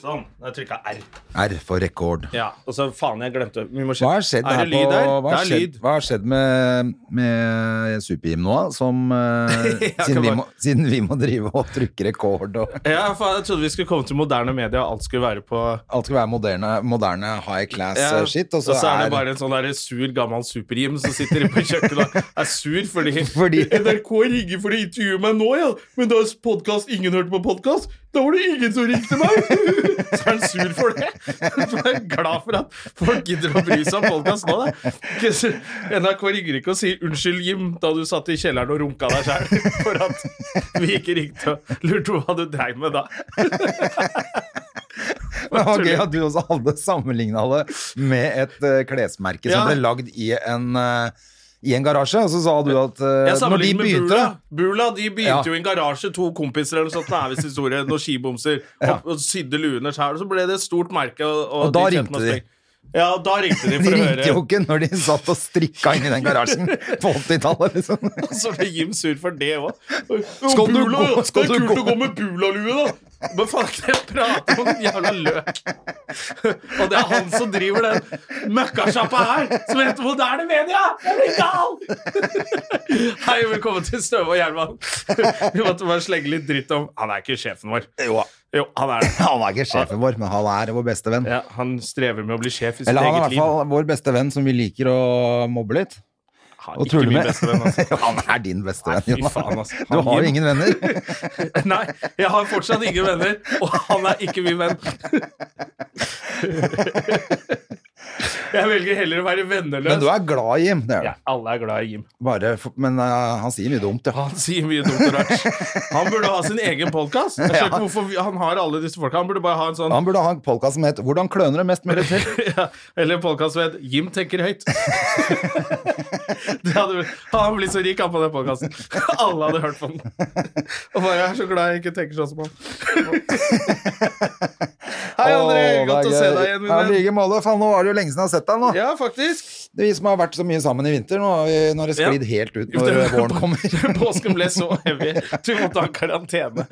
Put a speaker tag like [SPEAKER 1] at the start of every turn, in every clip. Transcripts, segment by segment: [SPEAKER 1] Sånn. Da trykka R.
[SPEAKER 2] R for rekord.
[SPEAKER 1] Ja, og så faen, jeg glemte Vi må
[SPEAKER 2] Hva
[SPEAKER 1] sjekke.
[SPEAKER 2] har skjedd
[SPEAKER 1] Er det
[SPEAKER 2] her på
[SPEAKER 1] lyd der?
[SPEAKER 2] Hva har
[SPEAKER 1] Det er
[SPEAKER 2] skjedd,
[SPEAKER 1] lyd.
[SPEAKER 2] hva har skjedd med, med Super-Jim nå, som eh,
[SPEAKER 1] Ja,
[SPEAKER 2] siden, vi
[SPEAKER 1] kan
[SPEAKER 2] må, siden vi må drive og trykke rekord og
[SPEAKER 1] Ja, faen, jeg trodde vi skulle komme til moderne media, og alt skulle være på
[SPEAKER 2] Alt skal være moderne, moderne high class
[SPEAKER 1] ja.
[SPEAKER 2] eh, shit, og
[SPEAKER 1] så,
[SPEAKER 2] så
[SPEAKER 1] er det
[SPEAKER 2] er
[SPEAKER 1] bare en sånn der sur, gammel super-Jim som sitter på kjøkkenet og er sur fordi,
[SPEAKER 2] Fordi-
[SPEAKER 1] NRK ringer for å intervjue meg nå, ja. Men da er podkast Ingen hørte på podkast. Da var det ingen som ringte meg! Så er han sur for det. Så er jeg glad for at folk gidder å bry seg om podkast nå, da. Ikke så- NRK ringer ikke og sier 'Unnskyld, Jim, da du satt i kjelleren og runka deg sjæl' for at vi ikke ringte og lurte på hva du dreiv med da.
[SPEAKER 2] Det var gøy at du også hadde sammenligna det med et eh, klesmerke
[SPEAKER 1] Ja.
[SPEAKER 2] som ble lagd i en, eh, i en garasje, og så sa du at eh,
[SPEAKER 1] Jeg
[SPEAKER 2] når de
[SPEAKER 1] sammenligner med
[SPEAKER 2] begynte
[SPEAKER 1] Bula. Bula de begynte
[SPEAKER 2] Ja.
[SPEAKER 1] jo i en garasje, to kompiser eller noe sånt, det er visst historie, noen skibomser, og, og sydde luene sjøl, og så ble det et stort merke. Og,
[SPEAKER 2] Og da
[SPEAKER 1] kjente
[SPEAKER 2] ringte
[SPEAKER 1] meg
[SPEAKER 2] de.
[SPEAKER 1] streng. Ja, og da ringte de
[SPEAKER 2] De
[SPEAKER 1] for å
[SPEAKER 2] ringte
[SPEAKER 1] høre.
[SPEAKER 2] jo ikke når de satt og strikka inn i den garasjen på 80-tallet, liksom.
[SPEAKER 1] Og så ble Jim sur for det òg.
[SPEAKER 2] Skal du gå-
[SPEAKER 1] Det
[SPEAKER 2] skal
[SPEAKER 1] er
[SPEAKER 2] du
[SPEAKER 1] kult
[SPEAKER 2] gå-
[SPEAKER 1] å gå med Bula-lue, da! Men faen, ikke jeg prater om den jævla løk. Og det er han som driver den møkkasjappa her, som heter Moderne Media! Jeg blir gal! Hei, velkommen til Støve og Gjerman. Vi måtte bare slenge litt dritt om Han er ikke sjefen vår.
[SPEAKER 2] Jo,
[SPEAKER 1] Jo, han er det.
[SPEAKER 2] han er ikke sjefen vår, men han er vår beste venn.
[SPEAKER 1] Ja, han strever med å bli sjef i sitt
[SPEAKER 2] Eller han er
[SPEAKER 1] eget
[SPEAKER 2] i hvert
[SPEAKER 1] liv.
[SPEAKER 2] fall vår beste venn som vi liker å mobbe litt.
[SPEAKER 1] Han er
[SPEAKER 2] Og
[SPEAKER 1] ikke
[SPEAKER 2] tulle
[SPEAKER 1] min
[SPEAKER 2] med.
[SPEAKER 1] beste venn, altså.
[SPEAKER 2] Han er din beste venn,
[SPEAKER 1] Nei, fy
[SPEAKER 2] Jonas.
[SPEAKER 1] faen, altså.
[SPEAKER 2] Du
[SPEAKER 1] Han
[SPEAKER 2] har
[SPEAKER 1] gir-
[SPEAKER 2] jo ingen venner.
[SPEAKER 1] Nei, jeg har fortsatt ingen venner, og han er ikke min venn. Jeg velger heller å være
[SPEAKER 2] Men
[SPEAKER 1] venneløs.
[SPEAKER 2] du er glad i Jim. Det er
[SPEAKER 1] Ja,
[SPEAKER 2] du.
[SPEAKER 1] alle er glad i Jim.
[SPEAKER 2] Bare for, men eh, han sier mye dumt, ja.
[SPEAKER 1] Han sier mye dumt og rart. Han burde ha sin egen podkast. Jeg skjønner
[SPEAKER 2] Ja.
[SPEAKER 1] ikke hvorfor vi- han har alle disse folka. Han burde bare ha en sånn
[SPEAKER 2] Han burde ha en podkast som het 'Hvordan kløner det mest mulig til'?
[SPEAKER 1] Ja, eller podkast som het 'Jim tenker høyt'. det hadde, han blir så rik, han på den podkasten. Alle hadde hørt på den. Og bare jeg er så glad jeg ikke tenker sånn som han. Hei, André.
[SPEAKER 2] Å, det er
[SPEAKER 1] Godt å
[SPEAKER 2] gøy.
[SPEAKER 1] se deg igjen,
[SPEAKER 2] Ja,
[SPEAKER 1] min
[SPEAKER 2] i
[SPEAKER 1] venn.
[SPEAKER 2] like måte. Faen, nå var det jo lenge siden jeg har sett deg nå.
[SPEAKER 1] Ja, faktisk.
[SPEAKER 2] Det er Vi som har vært så mye sammen i vinter, nå har vi- nå har det
[SPEAKER 1] Ja.
[SPEAKER 2] sklidd helt ut
[SPEAKER 1] Jo, det-
[SPEAKER 2] når våren kommer.
[SPEAKER 1] Påsken ble så heavy at vi måtte ha karantene.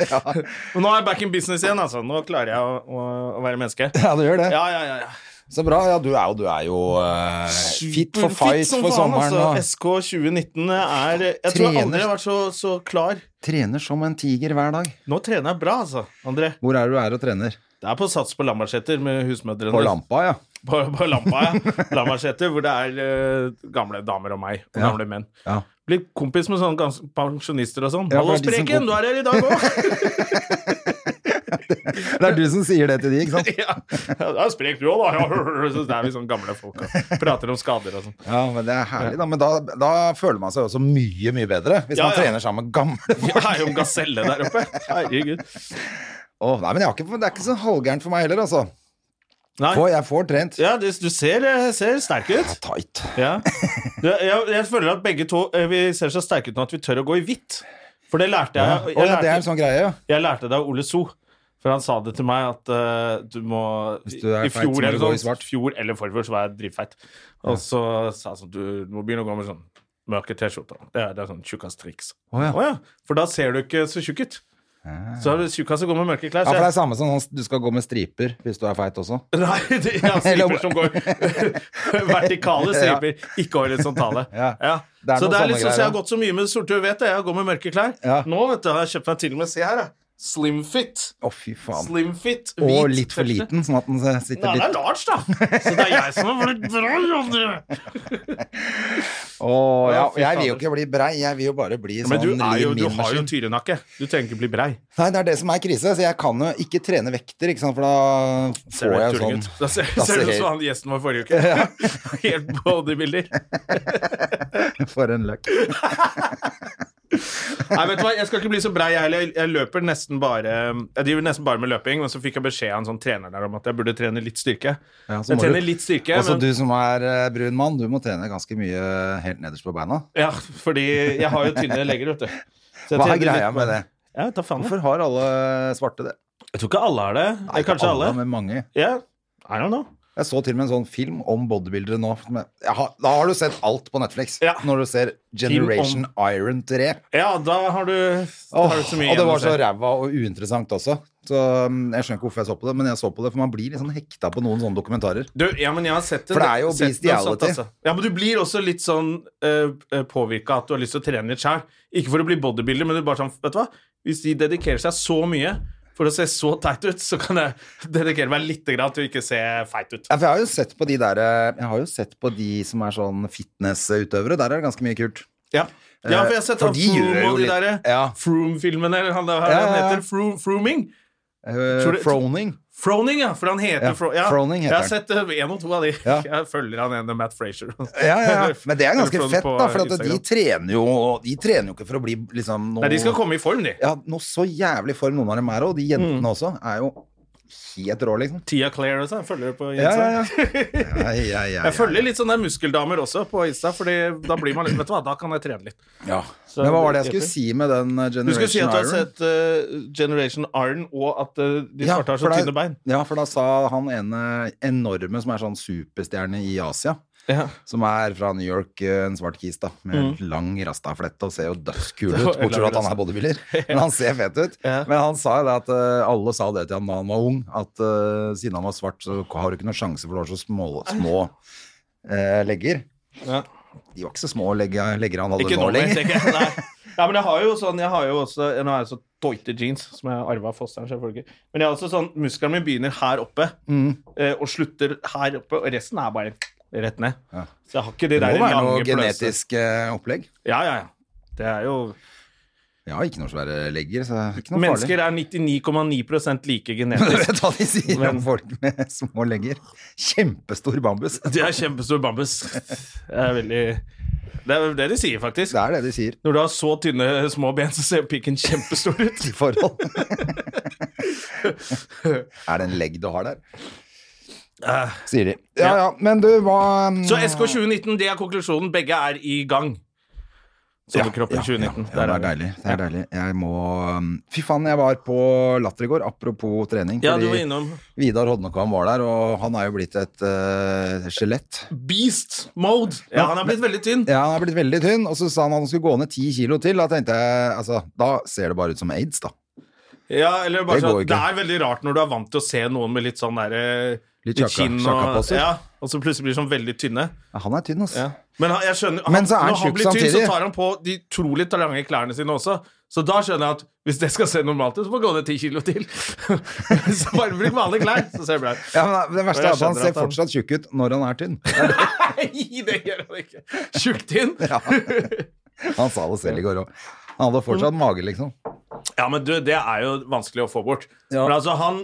[SPEAKER 1] Men nå er jeg back in business igjen, altså. Nå klarer jeg å, å, å være menneske.
[SPEAKER 2] Ja, det gjør det.
[SPEAKER 1] Ja, ja, ja. ja.
[SPEAKER 2] Så bra. Ja, du er jo, du er jo eh, fit for
[SPEAKER 1] Fit
[SPEAKER 2] fight
[SPEAKER 1] som
[SPEAKER 2] for
[SPEAKER 1] faen,
[SPEAKER 2] sommeren.
[SPEAKER 1] altså.
[SPEAKER 2] og
[SPEAKER 1] SK 2019 er Jeg tror jeg aldri
[SPEAKER 2] Trener.
[SPEAKER 1] har vært så, så klar.
[SPEAKER 2] Trener som en tiger hver dag.
[SPEAKER 1] Nå trener jeg bra, altså, André.
[SPEAKER 2] Hvor er du er og trener?
[SPEAKER 1] Det er på Sats på Lambertseter med husmødrene.
[SPEAKER 2] På Lampa, ja.
[SPEAKER 1] På, på Lampa, ja. Lambertseter, hvor det er eh, gamle damer og meg, og
[SPEAKER 2] Ja.
[SPEAKER 1] gamle menn.
[SPEAKER 2] ja.
[SPEAKER 1] Blir kompis med sånne gans- pensjonister og sånn.
[SPEAKER 2] Ja,
[SPEAKER 1] Hallo,
[SPEAKER 2] for det er de som
[SPEAKER 1] Spreken,
[SPEAKER 2] går-
[SPEAKER 1] du er her i dag òg!
[SPEAKER 2] Det er du som sier det til de, ikke sant?
[SPEAKER 1] ja. ja, det er sprek du òg, da. Ja. Så det er vi sånn gamle folk og prater om skader og sånn.
[SPEAKER 2] Ja, men det er herlig, da. Men da, da føler man seg også mye, mye bedre. Hvis
[SPEAKER 1] Ja,
[SPEAKER 2] man
[SPEAKER 1] ja.
[SPEAKER 2] trener sammen med gamle folk.
[SPEAKER 1] Jeg er jo en gaselle der oppe. Herregud.
[SPEAKER 2] Åh, nei, men jeg har ikke, det er ikke så halvgærent for meg heller, altså.
[SPEAKER 1] Nei.
[SPEAKER 2] For jeg får trent.
[SPEAKER 1] Ja, du, du ser, eh, ser sterk ut.
[SPEAKER 2] Tight.
[SPEAKER 1] Ja. Du, jeg, jeg føler at begge to eh, Vi ser så sterke ut nå at vi tør å gå i hvitt. For det lærte
[SPEAKER 2] Ja.
[SPEAKER 1] jeg.
[SPEAKER 2] Å,
[SPEAKER 1] jeg
[SPEAKER 2] ja, det er en
[SPEAKER 1] lærte,
[SPEAKER 2] sånn greie, ja.
[SPEAKER 1] jeg lærte det av Ole So. For han sa det til meg at eh, du må
[SPEAKER 2] Hvis du er
[SPEAKER 1] I
[SPEAKER 2] feit, så må
[SPEAKER 1] fjor
[SPEAKER 2] du
[SPEAKER 1] eller,
[SPEAKER 2] gå i
[SPEAKER 1] sånn,
[SPEAKER 2] svart.
[SPEAKER 1] fjor eller forfjor så var jeg dritfeit. Og så sa han sånn Du må begynne å gå med sånn mørke T-skjorter. Det, er- det er sånn tjukkas triks.
[SPEAKER 2] Å, ja. Ah.
[SPEAKER 1] Å ja, for da ser du ikke så tjukk ut. Så er du tjukkas og går med mørke klær.
[SPEAKER 2] Ja,
[SPEAKER 1] Så
[SPEAKER 2] for det
[SPEAKER 1] jeg,
[SPEAKER 2] er samme som sånn, du skal gå med striper hvis du er feit også.
[SPEAKER 1] nei, det er striper som går Vertikale striper, ikke horisontale.
[SPEAKER 2] Ja.
[SPEAKER 1] Ja.
[SPEAKER 2] Det er
[SPEAKER 1] Så det
[SPEAKER 2] noen sånne
[SPEAKER 1] er liksom, så jeg har
[SPEAKER 2] greier.
[SPEAKER 1] gått så mye med sorte, vet det. Jeg går med mørke klær.
[SPEAKER 2] Ja.
[SPEAKER 1] Nå vet du, har jeg kjøpt meg til og med, se her, da. Slimfit.
[SPEAKER 2] Å, fy faen.
[SPEAKER 1] Slimfit.
[SPEAKER 2] Og
[SPEAKER 1] hvit
[SPEAKER 2] litt for
[SPEAKER 1] T-skjorte.
[SPEAKER 2] liten, sånn at den sitter
[SPEAKER 1] Nei, det
[SPEAKER 2] litt
[SPEAKER 1] er Lars, da. Så det er jeg som har blitt bra, André.
[SPEAKER 2] Åh, ja,
[SPEAKER 1] Ja, fy
[SPEAKER 2] jeg vil jo
[SPEAKER 1] fader.
[SPEAKER 2] ikke bli brei, jeg vil jo bare bli sånn
[SPEAKER 1] Men du, er jo,
[SPEAKER 2] Lim
[SPEAKER 1] du har jo
[SPEAKER 2] Iversen.
[SPEAKER 1] tyrenakke. Du trenger ikke bli brei.
[SPEAKER 2] Nei, det er det som er krise, så jeg kan jo ikke trene vekter, ikke sant, for da
[SPEAKER 1] Ser du
[SPEAKER 2] får jeg
[SPEAKER 1] helt
[SPEAKER 2] jo sånn
[SPEAKER 1] tulling ut? Da ser
[SPEAKER 2] Da
[SPEAKER 1] ser du
[SPEAKER 2] ser
[SPEAKER 1] ut
[SPEAKER 2] jeg-
[SPEAKER 1] som han gjesten vår forrige uke.
[SPEAKER 2] sånn
[SPEAKER 1] Helt bodybuilder.
[SPEAKER 2] For en løk.
[SPEAKER 1] Nei, vet du hva, Jeg skal ikke bli så brei, jeg heller. Jeg løper nesten bare Jeg driver nesten bare med løping, men så fikk jeg beskjed av en sånn trener der om at jeg burde trene litt styrke.
[SPEAKER 2] Ja, så
[SPEAKER 1] jeg
[SPEAKER 2] må
[SPEAKER 1] trener
[SPEAKER 2] du-
[SPEAKER 1] litt styrke,
[SPEAKER 2] Også
[SPEAKER 1] men
[SPEAKER 2] du som er eh, brun mann, du må trene ganske mye helt nederst på beina.
[SPEAKER 1] ja, fordi jeg har jo tynnere legger, vet du. Så jeg
[SPEAKER 2] Hva
[SPEAKER 1] trener
[SPEAKER 2] er
[SPEAKER 1] litt-
[SPEAKER 2] greia med det?
[SPEAKER 1] Ja, ta faen jeg.
[SPEAKER 2] Hvorfor har alle svarte det?
[SPEAKER 1] jeg tror ikke alle har det. Nei,
[SPEAKER 2] Ikke
[SPEAKER 1] Kanskje alle.
[SPEAKER 2] Men mange.
[SPEAKER 1] Ja, I don't know.
[SPEAKER 2] Jeg så til og med en sånn film om bodybuildere nå. som jeg- Jeg har, da har du sett alt på Netflix.
[SPEAKER 1] Ja.
[SPEAKER 2] Når du ser Generation Iron 3.
[SPEAKER 1] Ja, da har du, da
[SPEAKER 2] Åh,
[SPEAKER 1] har du så mye
[SPEAKER 2] og det
[SPEAKER 1] igjen å
[SPEAKER 2] var så
[SPEAKER 1] se.
[SPEAKER 2] ræva og uinteressant også. Så mm, Jeg skjønner ikke hvorfor jeg så på det, men jeg så på det, for man blir litt sånn hekta på noen sånne dokumentarer.
[SPEAKER 1] Du, ja, men jeg har sett det.
[SPEAKER 2] For det er jo
[SPEAKER 1] Sett den og
[SPEAKER 2] bestiality.
[SPEAKER 1] satt, altså. Ja, men du blir også litt sånn uh, påvirka at du har lyst til å trene litt sjøl. Ikke for å bli bodybuilder, men du er bare sånn, vet du hva? Hvis de dedikerer seg så mye for å se så teit ut, så kan jeg dedikere meg litt grann til å ikke se feit ut.
[SPEAKER 2] Ja, for jeg har jo sett på de der eh, Jeg har jo sett på de som er sånn fitnessutøvere. Der er det ganske mye kult.
[SPEAKER 1] Ja, ja for jeg har sett
[SPEAKER 2] Eh, For
[SPEAKER 1] han
[SPEAKER 2] de gjør
[SPEAKER 1] Froome
[SPEAKER 2] jo
[SPEAKER 1] og de
[SPEAKER 2] litt-
[SPEAKER 1] derre
[SPEAKER 2] ja.
[SPEAKER 1] Froome-filmene, eller han, der, hva
[SPEAKER 2] Ja,
[SPEAKER 1] han
[SPEAKER 2] ja, ja.
[SPEAKER 1] heter Froome, Frooming.
[SPEAKER 2] Eh,
[SPEAKER 1] Tror du-
[SPEAKER 2] Froning.
[SPEAKER 1] Froning, ja, for han heter
[SPEAKER 2] Ja,
[SPEAKER 1] Fro ja.
[SPEAKER 2] Froning heter
[SPEAKER 1] Jeg har
[SPEAKER 2] han.
[SPEAKER 1] sett eh, en og to av de.
[SPEAKER 2] Ja.
[SPEAKER 1] Jeg følger han ene Matt Frazier.
[SPEAKER 2] Ja, ja, ja. Men det er
[SPEAKER 1] Eller
[SPEAKER 2] ganske
[SPEAKER 1] Froome
[SPEAKER 2] fett,
[SPEAKER 1] på
[SPEAKER 2] da, for at de
[SPEAKER 1] Instagram.
[SPEAKER 2] trener jo De trener jo ikke for å bli liksom noe
[SPEAKER 1] Nei, de skal komme i form, de.
[SPEAKER 2] Ja, noe så jævlig form noen av dem er, og de jentene
[SPEAKER 1] Mm.
[SPEAKER 2] også er jo helt rå, liksom.
[SPEAKER 1] Tia Claire også, jeg følger på
[SPEAKER 2] Ja,
[SPEAKER 1] Insta.
[SPEAKER 2] ja, ja. ja, ja, ja,
[SPEAKER 1] Jeg følger litt sånne muskeldamer også på Insta, Fordi da blir man litt Vet du hva, da kan jeg trene litt.
[SPEAKER 2] ja. Men hva var det jeg skulle si med den eh,
[SPEAKER 1] Du skulle
[SPEAKER 2] Generation
[SPEAKER 1] si at du har
[SPEAKER 2] Iron?
[SPEAKER 1] sett eh, Generation Iron, og at eh, de
[SPEAKER 2] Ja,
[SPEAKER 1] svarte har
[SPEAKER 2] for
[SPEAKER 1] så
[SPEAKER 2] da-
[SPEAKER 1] tynne bein.
[SPEAKER 2] Ja, for da sa han ene enorme som er sånn superstjerne i Asia,
[SPEAKER 1] Ja.
[SPEAKER 2] som er fra New York, eh, en svart kis da, med lang rastaflett og ser jo dødskul ut,
[SPEAKER 1] Mm. var lang
[SPEAKER 2] bortsett fra at han
[SPEAKER 1] rasta.
[SPEAKER 2] er bodybuilder, men han ser fett ut.
[SPEAKER 1] Ja.
[SPEAKER 2] Men han sa jo det at eh, alle sa det til ham da han var ung, at eh, siden han var svart så har du ikke noen sjanse for du har så små, små eh, legger.
[SPEAKER 1] Ja.
[SPEAKER 2] De var ikke så små legger, legger han hadde
[SPEAKER 1] Ikke
[SPEAKER 2] nå
[SPEAKER 1] nå lenger.
[SPEAKER 2] lenger.
[SPEAKER 1] tenker jeg. Nei. Ja, men jeg har jo sånn Jeg har jo også Nå har jeg så tøyte jeans, som jeg arva av fosteren, selvfølgelig. Men jeg har også sånn Muskelen min begynner her oppe,
[SPEAKER 2] Mm.
[SPEAKER 1] eh, og slutter her oppe, og resten er bare rett ned.
[SPEAKER 2] Ja.
[SPEAKER 1] Så jeg har ikke de
[SPEAKER 2] Det
[SPEAKER 1] der
[SPEAKER 2] må være
[SPEAKER 1] lange
[SPEAKER 2] noe
[SPEAKER 1] bløse-
[SPEAKER 2] genetisk eh, opplegg.
[SPEAKER 1] Ja, ja, ja. Det er jo
[SPEAKER 2] Jeg har ikke noen svære legger, så det er ikke noe farlig.
[SPEAKER 1] Mennesker er 99,9 like
[SPEAKER 2] Du
[SPEAKER 1] genetisk.
[SPEAKER 2] vet hva de sier
[SPEAKER 1] Men-
[SPEAKER 2] om folk med små legger? Kjempestor bambus.
[SPEAKER 1] De er kjempestor bambus. Det er veldig Det er det de sier, faktisk.
[SPEAKER 2] Det er det de sier
[SPEAKER 1] Når du har så tynne små ben, så ser pikken kjempestor ut.
[SPEAKER 2] i forhold. er det en legg du har der? Sier de. Ja ja, men du, hva
[SPEAKER 1] Eh,
[SPEAKER 2] mm,
[SPEAKER 1] Så SK 2019, det er konklusjonen. Begge er i gang. Sommerkroppen 2019.
[SPEAKER 2] Ja, det er deilig. Det er deilig. Jeg må um, Fy faen, jeg var på Latter i går, apropos trening.
[SPEAKER 1] Ja, du
[SPEAKER 2] fordi
[SPEAKER 1] var innom
[SPEAKER 2] Vidar Hodnekvam var der, og han er jo blitt et eh, skjelett.
[SPEAKER 1] beast mode. Ja, han er blitt veldig tynn.
[SPEAKER 2] Ja, han er blitt veldig tynn, og så sa han at han skulle gå ned ti kilo til. Da tenkte jeg altså, da ser det bare ut som aids, da.
[SPEAKER 1] Ja, eller bare
[SPEAKER 2] Det går
[SPEAKER 1] sånn,
[SPEAKER 2] ikke.
[SPEAKER 1] det er veldig rart når du er vant til å se noen med litt sånn derre
[SPEAKER 2] Litt tjaka-
[SPEAKER 1] og,
[SPEAKER 2] tjakkapåser.
[SPEAKER 1] ja, og så plutselig blir de sånn veldig tynne.
[SPEAKER 2] Ja, han er tynn, ass.
[SPEAKER 1] Men han, jeg skjønner, han,
[SPEAKER 2] Men så er han
[SPEAKER 1] når han
[SPEAKER 2] tjukk
[SPEAKER 1] blir tynn, så
[SPEAKER 2] samtidig.
[SPEAKER 1] tar han på de trolig lange klærne sine også. Så da skjønner jeg at hvis det skal se normalt ut, så må jeg gå ned ti kilo til. så bare bruk vanlige klær, så ser det bra ut.
[SPEAKER 2] Ja, men Det
[SPEAKER 1] Og jeg
[SPEAKER 2] verste er at han
[SPEAKER 1] skjønner
[SPEAKER 2] ser
[SPEAKER 1] at han-
[SPEAKER 2] fortsatt tjukk ut når han er tynn.
[SPEAKER 1] Nei, det gjør han ikke. Tjukt inn. Ja.
[SPEAKER 2] Han sa det selv i går òg. Han hadde fortsatt mage, liksom.
[SPEAKER 1] men du, det er jo vanskelig å få bort.
[SPEAKER 2] Ja.
[SPEAKER 1] Men altså, han,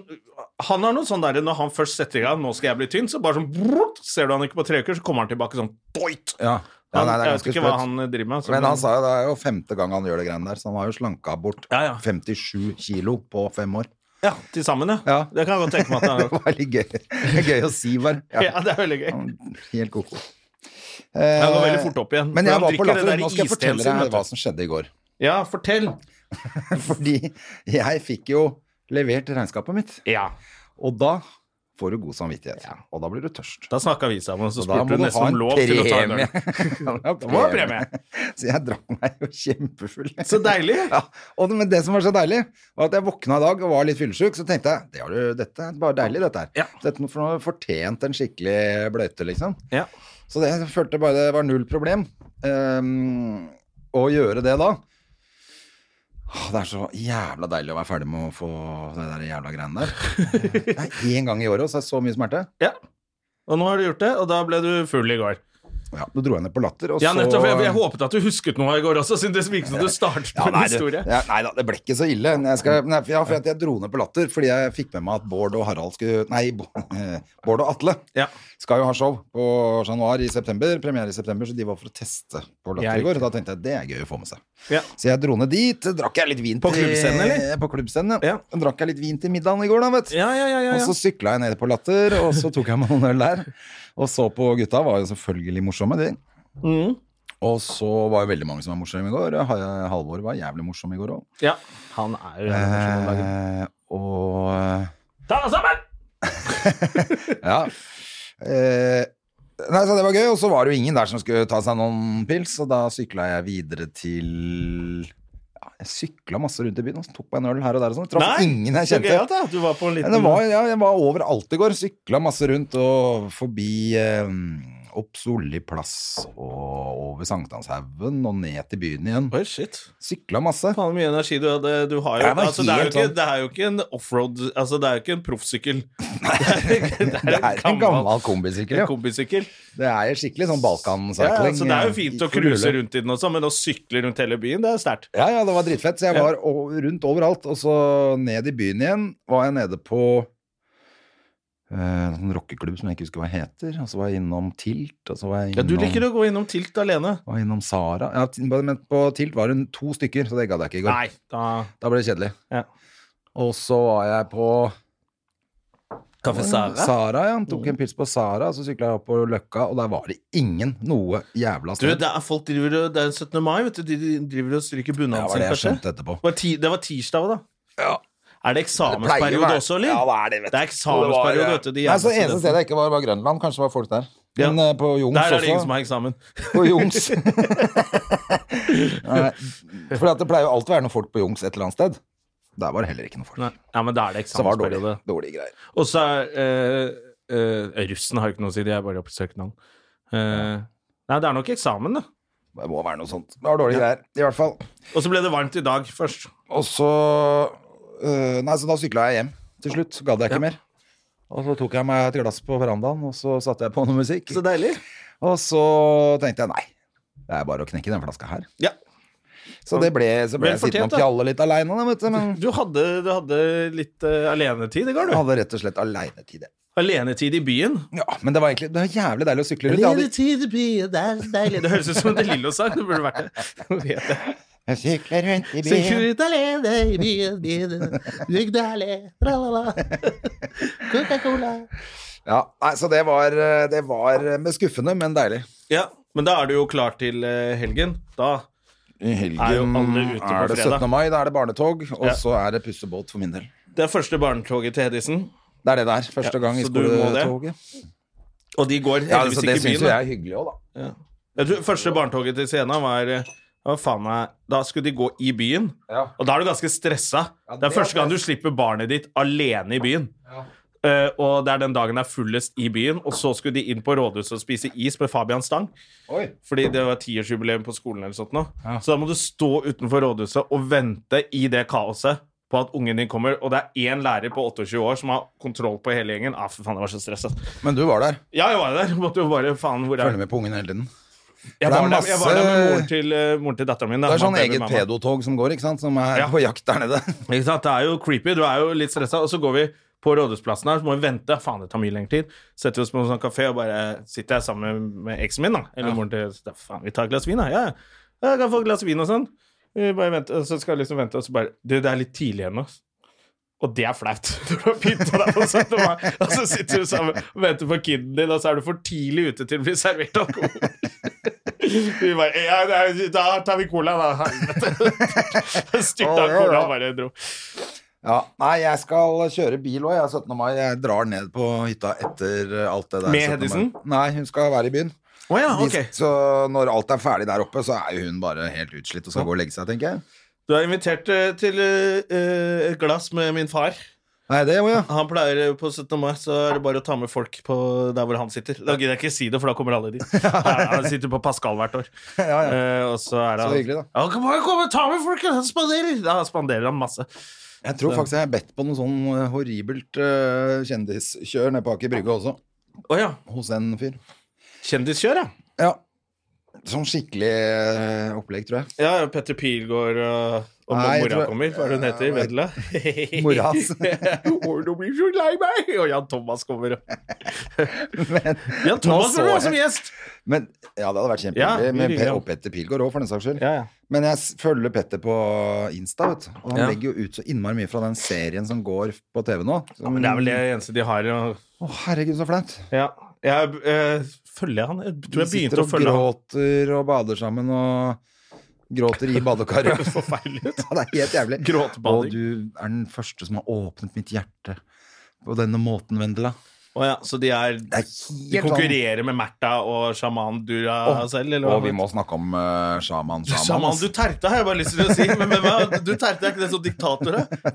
[SPEAKER 1] han har noe sånn derre når han først setter i gang 'nå skal jeg bli tynn', så bare sånn brrrt, Ser du han ikke på tre uker, så kommer han tilbake sånn boit.
[SPEAKER 2] Ja, ja
[SPEAKER 1] Han,
[SPEAKER 2] nei, det er
[SPEAKER 1] jeg vet
[SPEAKER 2] ganske
[SPEAKER 1] ikke hva
[SPEAKER 2] sprøtt.
[SPEAKER 1] han driver med. altså,
[SPEAKER 2] Men han sa jo det er jo femte gang han gjør det greiene der, så han har jo slanka bort
[SPEAKER 1] Ja, ja.
[SPEAKER 2] 57 kilo på fem år.
[SPEAKER 1] ja, til sammen, ja.
[SPEAKER 2] Ja.
[SPEAKER 1] Det kan jeg godt tenke meg at han har
[SPEAKER 2] Det
[SPEAKER 1] gjort.
[SPEAKER 2] var litt gøy, Det er gøy å si, bare. Ja,
[SPEAKER 1] Ja, det er veldig gøy.
[SPEAKER 2] helt koko.
[SPEAKER 1] Ja, det går veldig fort opp igjen.
[SPEAKER 2] Men
[SPEAKER 1] For
[SPEAKER 2] jeg
[SPEAKER 1] han
[SPEAKER 2] var på
[SPEAKER 1] drikker det
[SPEAKER 2] Latter.
[SPEAKER 1] der
[SPEAKER 2] Nå skal jeg
[SPEAKER 1] isteen
[SPEAKER 2] fortelle
[SPEAKER 1] sin, vet
[SPEAKER 2] deg
[SPEAKER 1] du.
[SPEAKER 2] hva som skjedde i går.
[SPEAKER 1] Ja, fortell.
[SPEAKER 2] Fordi jeg fikk jo levert regnskapet mitt,
[SPEAKER 1] Ja.
[SPEAKER 2] og da får du god samvittighet. Og da blir du tørst.
[SPEAKER 1] Da snakka vi sammen, og så
[SPEAKER 2] Så da
[SPEAKER 1] spurte du
[SPEAKER 2] må du
[SPEAKER 1] nesten
[SPEAKER 2] ha
[SPEAKER 1] om
[SPEAKER 2] en
[SPEAKER 1] lov til å ta en
[SPEAKER 2] premie.
[SPEAKER 1] øl.
[SPEAKER 2] Da må du
[SPEAKER 1] må
[SPEAKER 2] ha
[SPEAKER 1] ha premie.
[SPEAKER 2] Så jeg drakk meg jo kjempefull.
[SPEAKER 1] Så deilig.
[SPEAKER 2] Ja, og det, men det som var så deilig, var at jeg våkna i dag og var litt fyllesyk, så tenkte jeg det har du, dette er bare deilig, dette her.
[SPEAKER 1] Ja.
[SPEAKER 2] Dette for noe fortjent en skikkelig bløyte, liksom.
[SPEAKER 1] Ja.
[SPEAKER 2] Så det, jeg følte bare det var null problem ehm, å gjøre det da. Åh, Det er så jævla deilig å være ferdig med å få det der jævla greiene der. Det er én gang i året, og så er det så mye smerte.
[SPEAKER 1] Og nå har du gjort det, og da ble du full i går.
[SPEAKER 2] Ja, du dro jeg ned på latter, og
[SPEAKER 1] Ja,
[SPEAKER 2] så
[SPEAKER 1] nettopp. Jeg, jeg håpet at du husket noe i går også, siden det virket som du startet på
[SPEAKER 2] Ja,
[SPEAKER 1] en
[SPEAKER 2] nei, du,
[SPEAKER 1] historie.
[SPEAKER 2] ja, nei da, det ble ikke så ille. Men Jeg skal, nei, for- ja, for at jeg dro ned på latter fordi jeg fikk med meg at Bård og Harald skulle Nei, Bo- eh, Bård og Atle
[SPEAKER 1] Ja.
[SPEAKER 2] skal jo ha show på Chat Noir i september. Premiere i september, så de var for å teste på
[SPEAKER 1] Ja,
[SPEAKER 2] latter i går. Da tenkte jeg det er gøy å få med seg.
[SPEAKER 1] Ja.
[SPEAKER 2] Så jeg dro ned dit. Drakk jeg litt vin
[SPEAKER 1] På
[SPEAKER 2] til-
[SPEAKER 1] klubbscenen, eller?
[SPEAKER 2] På klubbscenen, ja.
[SPEAKER 1] Ja.
[SPEAKER 2] Drakk jeg litt vin til middagen i går, da, vet du.
[SPEAKER 1] Ja, ja, ja, ja,
[SPEAKER 2] Og
[SPEAKER 1] ja.
[SPEAKER 2] så sykla jeg ned på Latter, og så tok jeg meg noen øl der. Og så på gutta, var jo selvfølgelig morsomme, de.
[SPEAKER 1] Mm.
[SPEAKER 2] Og så var jo veldig mange som var morsomme i går. Ha- Halvor var jævlig morsom i går òg.
[SPEAKER 1] ja. Han er jo den personen om dagen.
[SPEAKER 2] Eh, og
[SPEAKER 1] Ta deg sammen!
[SPEAKER 2] Ja. Eh, nei, så det var gøy, og så var det jo ingen der som skulle ta seg noen pils, og da sykla jeg videre til ja, Jeg sykla masse rundt i byen og så tok meg en øl her og der og sånn. Traff ingen jeg
[SPEAKER 1] så gøyalt,
[SPEAKER 2] kjente.
[SPEAKER 1] da. Du var på en
[SPEAKER 2] Men
[SPEAKER 1] liten
[SPEAKER 2] det var, ja, jeg var overalt i går. Sykla masse rundt og forbi eh, opp Solli plass og over Sankthanshaugen og ned til byen igjen.
[SPEAKER 1] Oi, shit.
[SPEAKER 2] Sykla masse.
[SPEAKER 1] Faen, hvor mye energi du hadde. Du har jo,
[SPEAKER 2] Jeg var
[SPEAKER 1] altså, det, er jo
[SPEAKER 2] helt
[SPEAKER 1] ikke,
[SPEAKER 2] sånn.
[SPEAKER 1] det er jo ikke en offroad Altså, det er jo ikke en proffsykkel.
[SPEAKER 2] Det er en gammel kombisykkel,
[SPEAKER 1] En
[SPEAKER 2] ja.
[SPEAKER 1] kombisykkel.
[SPEAKER 2] Det er skikkelig sånn
[SPEAKER 1] Ja,
[SPEAKER 2] eh, Balkan-sykling.
[SPEAKER 1] så det er jo fint å
[SPEAKER 2] For
[SPEAKER 1] cruise
[SPEAKER 2] rulle.
[SPEAKER 1] rundt i den også, men å sykle rundt hele byen, det er sterkt.
[SPEAKER 2] Ja, ja, det var dritfett. Så jeg var o- rundt overalt. Og så ned i byen igjen var jeg nede på eh, en sånn rockeklubb som jeg ikke husker hva heter. Og så var jeg innom Tilt, og så var jeg
[SPEAKER 1] Ja, du
[SPEAKER 2] innom,
[SPEAKER 1] liker å gå innom Tilt alene.
[SPEAKER 2] var innom Sara. Ja, t- men på Tilt var hun to stykker, så det gadd jeg ikke i går.
[SPEAKER 1] Nei, da
[SPEAKER 2] Da ble det kjedelig.
[SPEAKER 1] Ja.
[SPEAKER 2] Og så var jeg på
[SPEAKER 1] Kaffe Sara.
[SPEAKER 2] Sara, ja. Tok
[SPEAKER 1] Mm.
[SPEAKER 2] en pils på Sara, så sykla jeg opp på Løkka, og der var det ingen noe jævla
[SPEAKER 1] Du,
[SPEAKER 2] sted.
[SPEAKER 1] det er folk driver og Det er 17. mai, vet du. De de driver og stryker
[SPEAKER 2] det
[SPEAKER 1] bunaden
[SPEAKER 2] var
[SPEAKER 1] sin,
[SPEAKER 2] det jeg
[SPEAKER 1] kanskje.
[SPEAKER 2] skjønte etterpå.
[SPEAKER 1] Det var, ti, det var tirsdag, da.
[SPEAKER 2] Ja.
[SPEAKER 1] Er det
[SPEAKER 2] pleier å være-
[SPEAKER 1] eksamensperiode også, eller?
[SPEAKER 2] Ja, det er det, vet du.
[SPEAKER 1] Det er eksamensperiode,
[SPEAKER 2] Det var-
[SPEAKER 1] vet du. De
[SPEAKER 2] Nei, så
[SPEAKER 1] jævla
[SPEAKER 2] eneste
[SPEAKER 1] studentene.
[SPEAKER 2] stedet jeg ikke var, var Grønland. Kanskje var folk der.
[SPEAKER 1] Ja.
[SPEAKER 2] Men eh, på Jungs
[SPEAKER 1] Der er det ingen
[SPEAKER 2] også.
[SPEAKER 1] som har eksamen.
[SPEAKER 2] På Jungs. Nei, for at det pleier jo alltid å være noen folk på Jungs et eller annet sted. Der var det heller ikke noen folk.
[SPEAKER 1] Nei. Ja, men da er det
[SPEAKER 2] Så det var dårlig,
[SPEAKER 1] eksamensperiode.
[SPEAKER 2] dårlige greier.
[SPEAKER 1] Og så er eh, eh, Russen har jo ikke noe å si, de er bare oppe i søknaden. Eh, Nei, det er nok eksamen, da.
[SPEAKER 2] Det må være noe sånt. Det var dårlige greier, i hvert fall.
[SPEAKER 1] Og så ble det varmt i dag først.
[SPEAKER 2] Og så øh, Nei, så da sykla jeg hjem til slutt. Gadd jeg ikke mer. Og så tok jeg meg et glass på verandaen, og så satte jeg på noe musikk.
[SPEAKER 1] Så deilig.
[SPEAKER 2] Og så tenkte jeg nei, det er bare å knekke den flaska her.
[SPEAKER 1] Ja.
[SPEAKER 2] Så det ble, så ble
[SPEAKER 1] Vel
[SPEAKER 2] jeg sittende
[SPEAKER 1] fortjent,
[SPEAKER 2] og
[SPEAKER 1] da.
[SPEAKER 2] pjalle litt aleine, da, vet du. Men
[SPEAKER 1] Du hadde, du hadde litt eh, alenetid i går,
[SPEAKER 2] jeg
[SPEAKER 1] du.
[SPEAKER 2] hadde rett og slett aleinetid. jeg.
[SPEAKER 1] Alenetid i byen.
[SPEAKER 2] Ja, men det var egentlig det var jævlig deilig å sykle rundt. Jeg hadde-
[SPEAKER 1] Alenetid i byen, det er så deilig. Det høres ut som en Lillo-sang. Det burde vært det. Nå vet jeg.
[SPEAKER 2] Jeg sykler rundt i
[SPEAKER 1] Sykler
[SPEAKER 2] byen.
[SPEAKER 1] ut alene i byen, byen, rygg deg alene, tralala, Coca-Cola.
[SPEAKER 2] Ja, nei, så det var, øh, det var øh, med skuffende, men deilig.
[SPEAKER 1] Ja, men da er du jo klar til eh, helgen. Da
[SPEAKER 2] I helgen
[SPEAKER 1] Er jo alle ute på
[SPEAKER 2] er det
[SPEAKER 1] fredag.
[SPEAKER 2] 17. mai, da er det barnetog, og
[SPEAKER 1] Ja.
[SPEAKER 2] så er det pussebåt for min del.
[SPEAKER 1] Det er første barnetoget til Hedisen,
[SPEAKER 2] Det er det det er. Første
[SPEAKER 1] Ja,
[SPEAKER 2] gang i
[SPEAKER 1] så du må det.
[SPEAKER 2] skoletoget.
[SPEAKER 1] og de går
[SPEAKER 2] Ja,
[SPEAKER 1] heldigvis
[SPEAKER 2] så
[SPEAKER 1] ikke
[SPEAKER 2] det
[SPEAKER 1] i byen.
[SPEAKER 2] syns jo
[SPEAKER 1] da.
[SPEAKER 2] jeg er hyggelig òg, da.
[SPEAKER 1] Jeg tror første barnetoget til Sena var eh, hva faen meg, Da skulle de gå i byen,
[SPEAKER 2] Ja.
[SPEAKER 1] og da er du ganske stressa.
[SPEAKER 2] Ja,
[SPEAKER 1] det er
[SPEAKER 2] det er
[SPEAKER 1] første gang du slipper barnet ditt alene i byen. Eh, og det er den dagen det er fullest i byen, og så skulle de inn på rådhuset og spise is med Fabian Stang.
[SPEAKER 2] Oi.
[SPEAKER 1] Fordi det var tiårsjubileum på skolen eller sånt nå. Så da må du stå utenfor rådhuset og vente i det kaoset på at ungen din kommer, og det er én lærer på 28 år som har kontroll på hele gjengen. Ah, for faen, jeg var så stressa.
[SPEAKER 2] Men du var der.
[SPEAKER 1] Ja, jeg var der. Måtte jo bare, faen, hvor er
[SPEAKER 2] Følger med på ungen hele tiden.
[SPEAKER 1] Jeg
[SPEAKER 2] det
[SPEAKER 1] var
[SPEAKER 2] er
[SPEAKER 1] der, jeg var der med
[SPEAKER 2] masse-
[SPEAKER 1] moren til, eh, moren til datteren min. da.
[SPEAKER 2] Det er sånn
[SPEAKER 1] Mamma, baby,
[SPEAKER 2] eget
[SPEAKER 1] mamma.
[SPEAKER 2] pedotog som går, ikke sant? Som er
[SPEAKER 1] Ja.
[SPEAKER 2] på jakt der nede.
[SPEAKER 1] Ikke sant? Det er jo creepy. Du er jo litt stressa. Og så går vi på Rådhusplassen her, så må vi vente. Faen, det tar mye lengre tid. Setter vi oss på en sånn kafé og bare sitter jeg sammen med eksen min, da. Eller moren til så da, Faen, vi tar et glass vin, da. Ja, ja. Ja, Jeg kan få et glass vin og sånn. Vi bare venter, og så skal jeg liksom vente, og så bare Du, det er litt tidlig ennå. Og det er flaut. Du har pynta deg på 17. mai, og så sitter du sammen og venter på kiden din, og så er du for tidlig ute til å bli servert alkohol. Vi bare Ja, nei, da tar vi cola, da. Helvete. Styrta
[SPEAKER 2] Ja, ja, ja.
[SPEAKER 1] cola og bare dro.
[SPEAKER 2] Ja, nei, jeg skal kjøre bil òg, jeg er 17. mai. Jeg drar ned på hytta etter eh, alt det der.
[SPEAKER 1] Med
[SPEAKER 2] 17. mai.
[SPEAKER 1] Hedisen?
[SPEAKER 2] Nei, hun skal være i byen.
[SPEAKER 1] Å ja,
[SPEAKER 2] De-
[SPEAKER 1] ok.
[SPEAKER 2] Så når alt er ferdig der oppe, så er jo hun bare helt utslitt og skal gå og legge seg, tenker jeg.
[SPEAKER 1] Du er invitert eh, til eh, et glass med min far.
[SPEAKER 2] Nei, det må jeg.
[SPEAKER 1] Han pleier eh, på 17. mai, så er det bare å ta med folk på der hvor han sitter. Da gidder jeg ikke si det, for da kommer alle dit. Han han sitter på Pascal hvert år.
[SPEAKER 2] Ja, ja.
[SPEAKER 1] Eh, og så er det
[SPEAKER 2] Så hyggelig, da.
[SPEAKER 1] Ja, kom, bare kom, ta med folk! Han spanderer! Da spanderer han masse.
[SPEAKER 2] Jeg tror faktisk jeg har bedt på noe sånn eh, horribelt eh, kjendiskjør nede på Aker Brygge også,
[SPEAKER 1] Å ja.
[SPEAKER 2] hos en fyr.
[SPEAKER 1] Kjendiskjør, ja.
[SPEAKER 2] Ja. Sånn skikkelig eh, opplegg, tror jeg.
[SPEAKER 1] Ja, Petter Pilgaard og, og
[SPEAKER 2] Nei, jeg
[SPEAKER 1] mora
[SPEAKER 2] tror-
[SPEAKER 1] kommer. Hva er det hun heter? Vedla?
[SPEAKER 2] Mora hans.
[SPEAKER 1] Å, Nå blir du så lei meg! Og Jan Thomas kommer.
[SPEAKER 2] Men,
[SPEAKER 1] Jan Thomas
[SPEAKER 2] så
[SPEAKER 1] kommer
[SPEAKER 2] jeg-
[SPEAKER 1] også som gjest!
[SPEAKER 2] men ja, det hadde vært
[SPEAKER 1] Ja,
[SPEAKER 2] kjempehyggelig. med
[SPEAKER 1] hyggelig,
[SPEAKER 2] Pe-
[SPEAKER 1] ja.
[SPEAKER 2] og Petter Pilgaard òg, for den saks skyld.
[SPEAKER 1] Ja, ja.
[SPEAKER 2] Men jeg s- følger Petter på Insta, vet du. Og han
[SPEAKER 1] Ja.
[SPEAKER 2] legger jo ut så innmari mye fra den serien som går på TV nå. Som,
[SPEAKER 1] Men det er vel det eneste de har. Og,
[SPEAKER 2] Å, herregud, så flaut.
[SPEAKER 1] Mm. ja. Jeg eh, følger han. Jeg tror
[SPEAKER 2] De
[SPEAKER 1] jeg
[SPEAKER 2] sitter
[SPEAKER 1] begynte å
[SPEAKER 2] og
[SPEAKER 1] følge han.
[SPEAKER 2] gråter og bader sammen og gråter i badekaret.
[SPEAKER 1] Det høres forferdelig ut.
[SPEAKER 2] Ja, det er helt jævlig.
[SPEAKER 1] Gråtbading.
[SPEAKER 2] Og du er den første som har åpnet mitt hjerte på denne måten, Vendela.
[SPEAKER 1] Å ja, så de, er, sånn.
[SPEAKER 2] Det er
[SPEAKER 1] de
[SPEAKER 2] helt
[SPEAKER 1] konkurrerer med Märtha og sjaman Dura selv? Eller
[SPEAKER 2] sånn. Og
[SPEAKER 1] hva?
[SPEAKER 2] vi må snakke om eh, sjaman. Sjaman,
[SPEAKER 1] Sjaman
[SPEAKER 2] ass.
[SPEAKER 1] du terta, har jeg bare lyst til å si. Men, men hva? du terta er ikke det som diktator, da?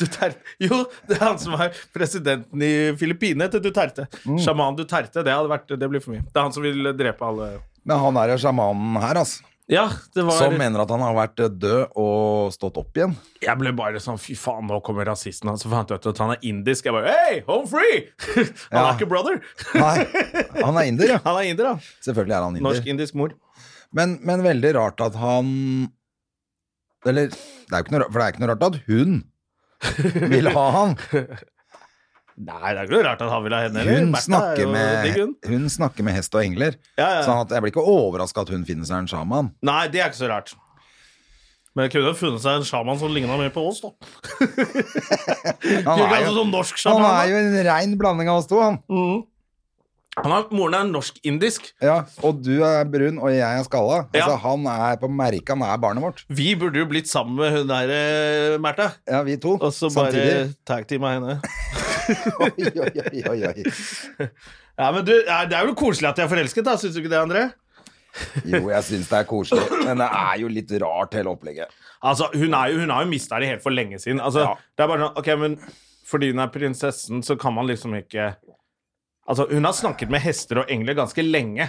[SPEAKER 1] Duterte. Jo, det er han som er presidenten i Filippinene til Duterte. Sjaman Duterte, det, hadde vært, det blir for mye. Det er han som vil drepe alle
[SPEAKER 2] Men han er jo sjamanen her, altså.
[SPEAKER 1] Ja, det var
[SPEAKER 2] Som mener at han har vært eh, død og stått opp igjen.
[SPEAKER 1] Jeg ble bare sånn Fy faen, nå kommer rasisten hans. Så fant jeg ut at han er indisk. Jeg bare Hei, home free! Han
[SPEAKER 2] Ja.
[SPEAKER 1] er ikke brother.
[SPEAKER 2] Nei, han er inder, ja.
[SPEAKER 1] Han er inder, da.
[SPEAKER 2] Selvfølgelig er han inder.
[SPEAKER 1] Norsk-indisk mor.
[SPEAKER 2] Men, men veldig rart at han Eller, det er jo ikke noe, ra- for det er ikke noe rart at hun vil ha han.
[SPEAKER 1] Nei, det er ikke noe rart at han vil ha henne. eller?
[SPEAKER 2] Hun
[SPEAKER 1] Märtha er
[SPEAKER 2] snakker
[SPEAKER 1] jo digg,
[SPEAKER 2] med,
[SPEAKER 1] hun.
[SPEAKER 2] hun snakker med hest og engler.
[SPEAKER 1] Ja, ja.
[SPEAKER 2] Sånn at jeg blir ikke overraska at hun finner seg en sjaman.
[SPEAKER 1] Nei, det er ikke så rart. Men jeg kunne jo funnet seg en sjaman som ligna mer på oss, da.
[SPEAKER 2] Han
[SPEAKER 1] Ikke
[SPEAKER 2] er
[SPEAKER 1] altså
[SPEAKER 2] jo,
[SPEAKER 1] sånn norsk
[SPEAKER 2] han
[SPEAKER 1] sjaman. Mm.
[SPEAKER 2] er jo en rein blanding av oss to, han.
[SPEAKER 1] da. Han er, moren er norsk-indisk.
[SPEAKER 2] Ja, og du er brun, og jeg er skalla.
[SPEAKER 1] Ja.
[SPEAKER 2] Altså, han er på merket, han er barnet vårt.
[SPEAKER 1] Vi burde jo blitt sammen med hun der, eh, Märtha.
[SPEAKER 2] Ja, vi to.
[SPEAKER 1] Og så bare
[SPEAKER 2] samtidig.
[SPEAKER 1] tag team av henne.
[SPEAKER 2] Oi, oi, oi, oi, oi.
[SPEAKER 1] Ja, men du, ja, Det er jo koselig at de er forelsket, da. Syns du ikke det, André?
[SPEAKER 2] Jo, jeg syns det er koselig, men det er jo litt rart, hele opplegget.
[SPEAKER 1] Altså, Hun, er jo, hun har jo mista det helt for lenge siden. Altså,
[SPEAKER 2] Ja.
[SPEAKER 1] Det er bare sånn, ok, men Fordi hun er prinsessen, så kan man liksom ikke Altså, Hun har snakket med hester og engler ganske lenge.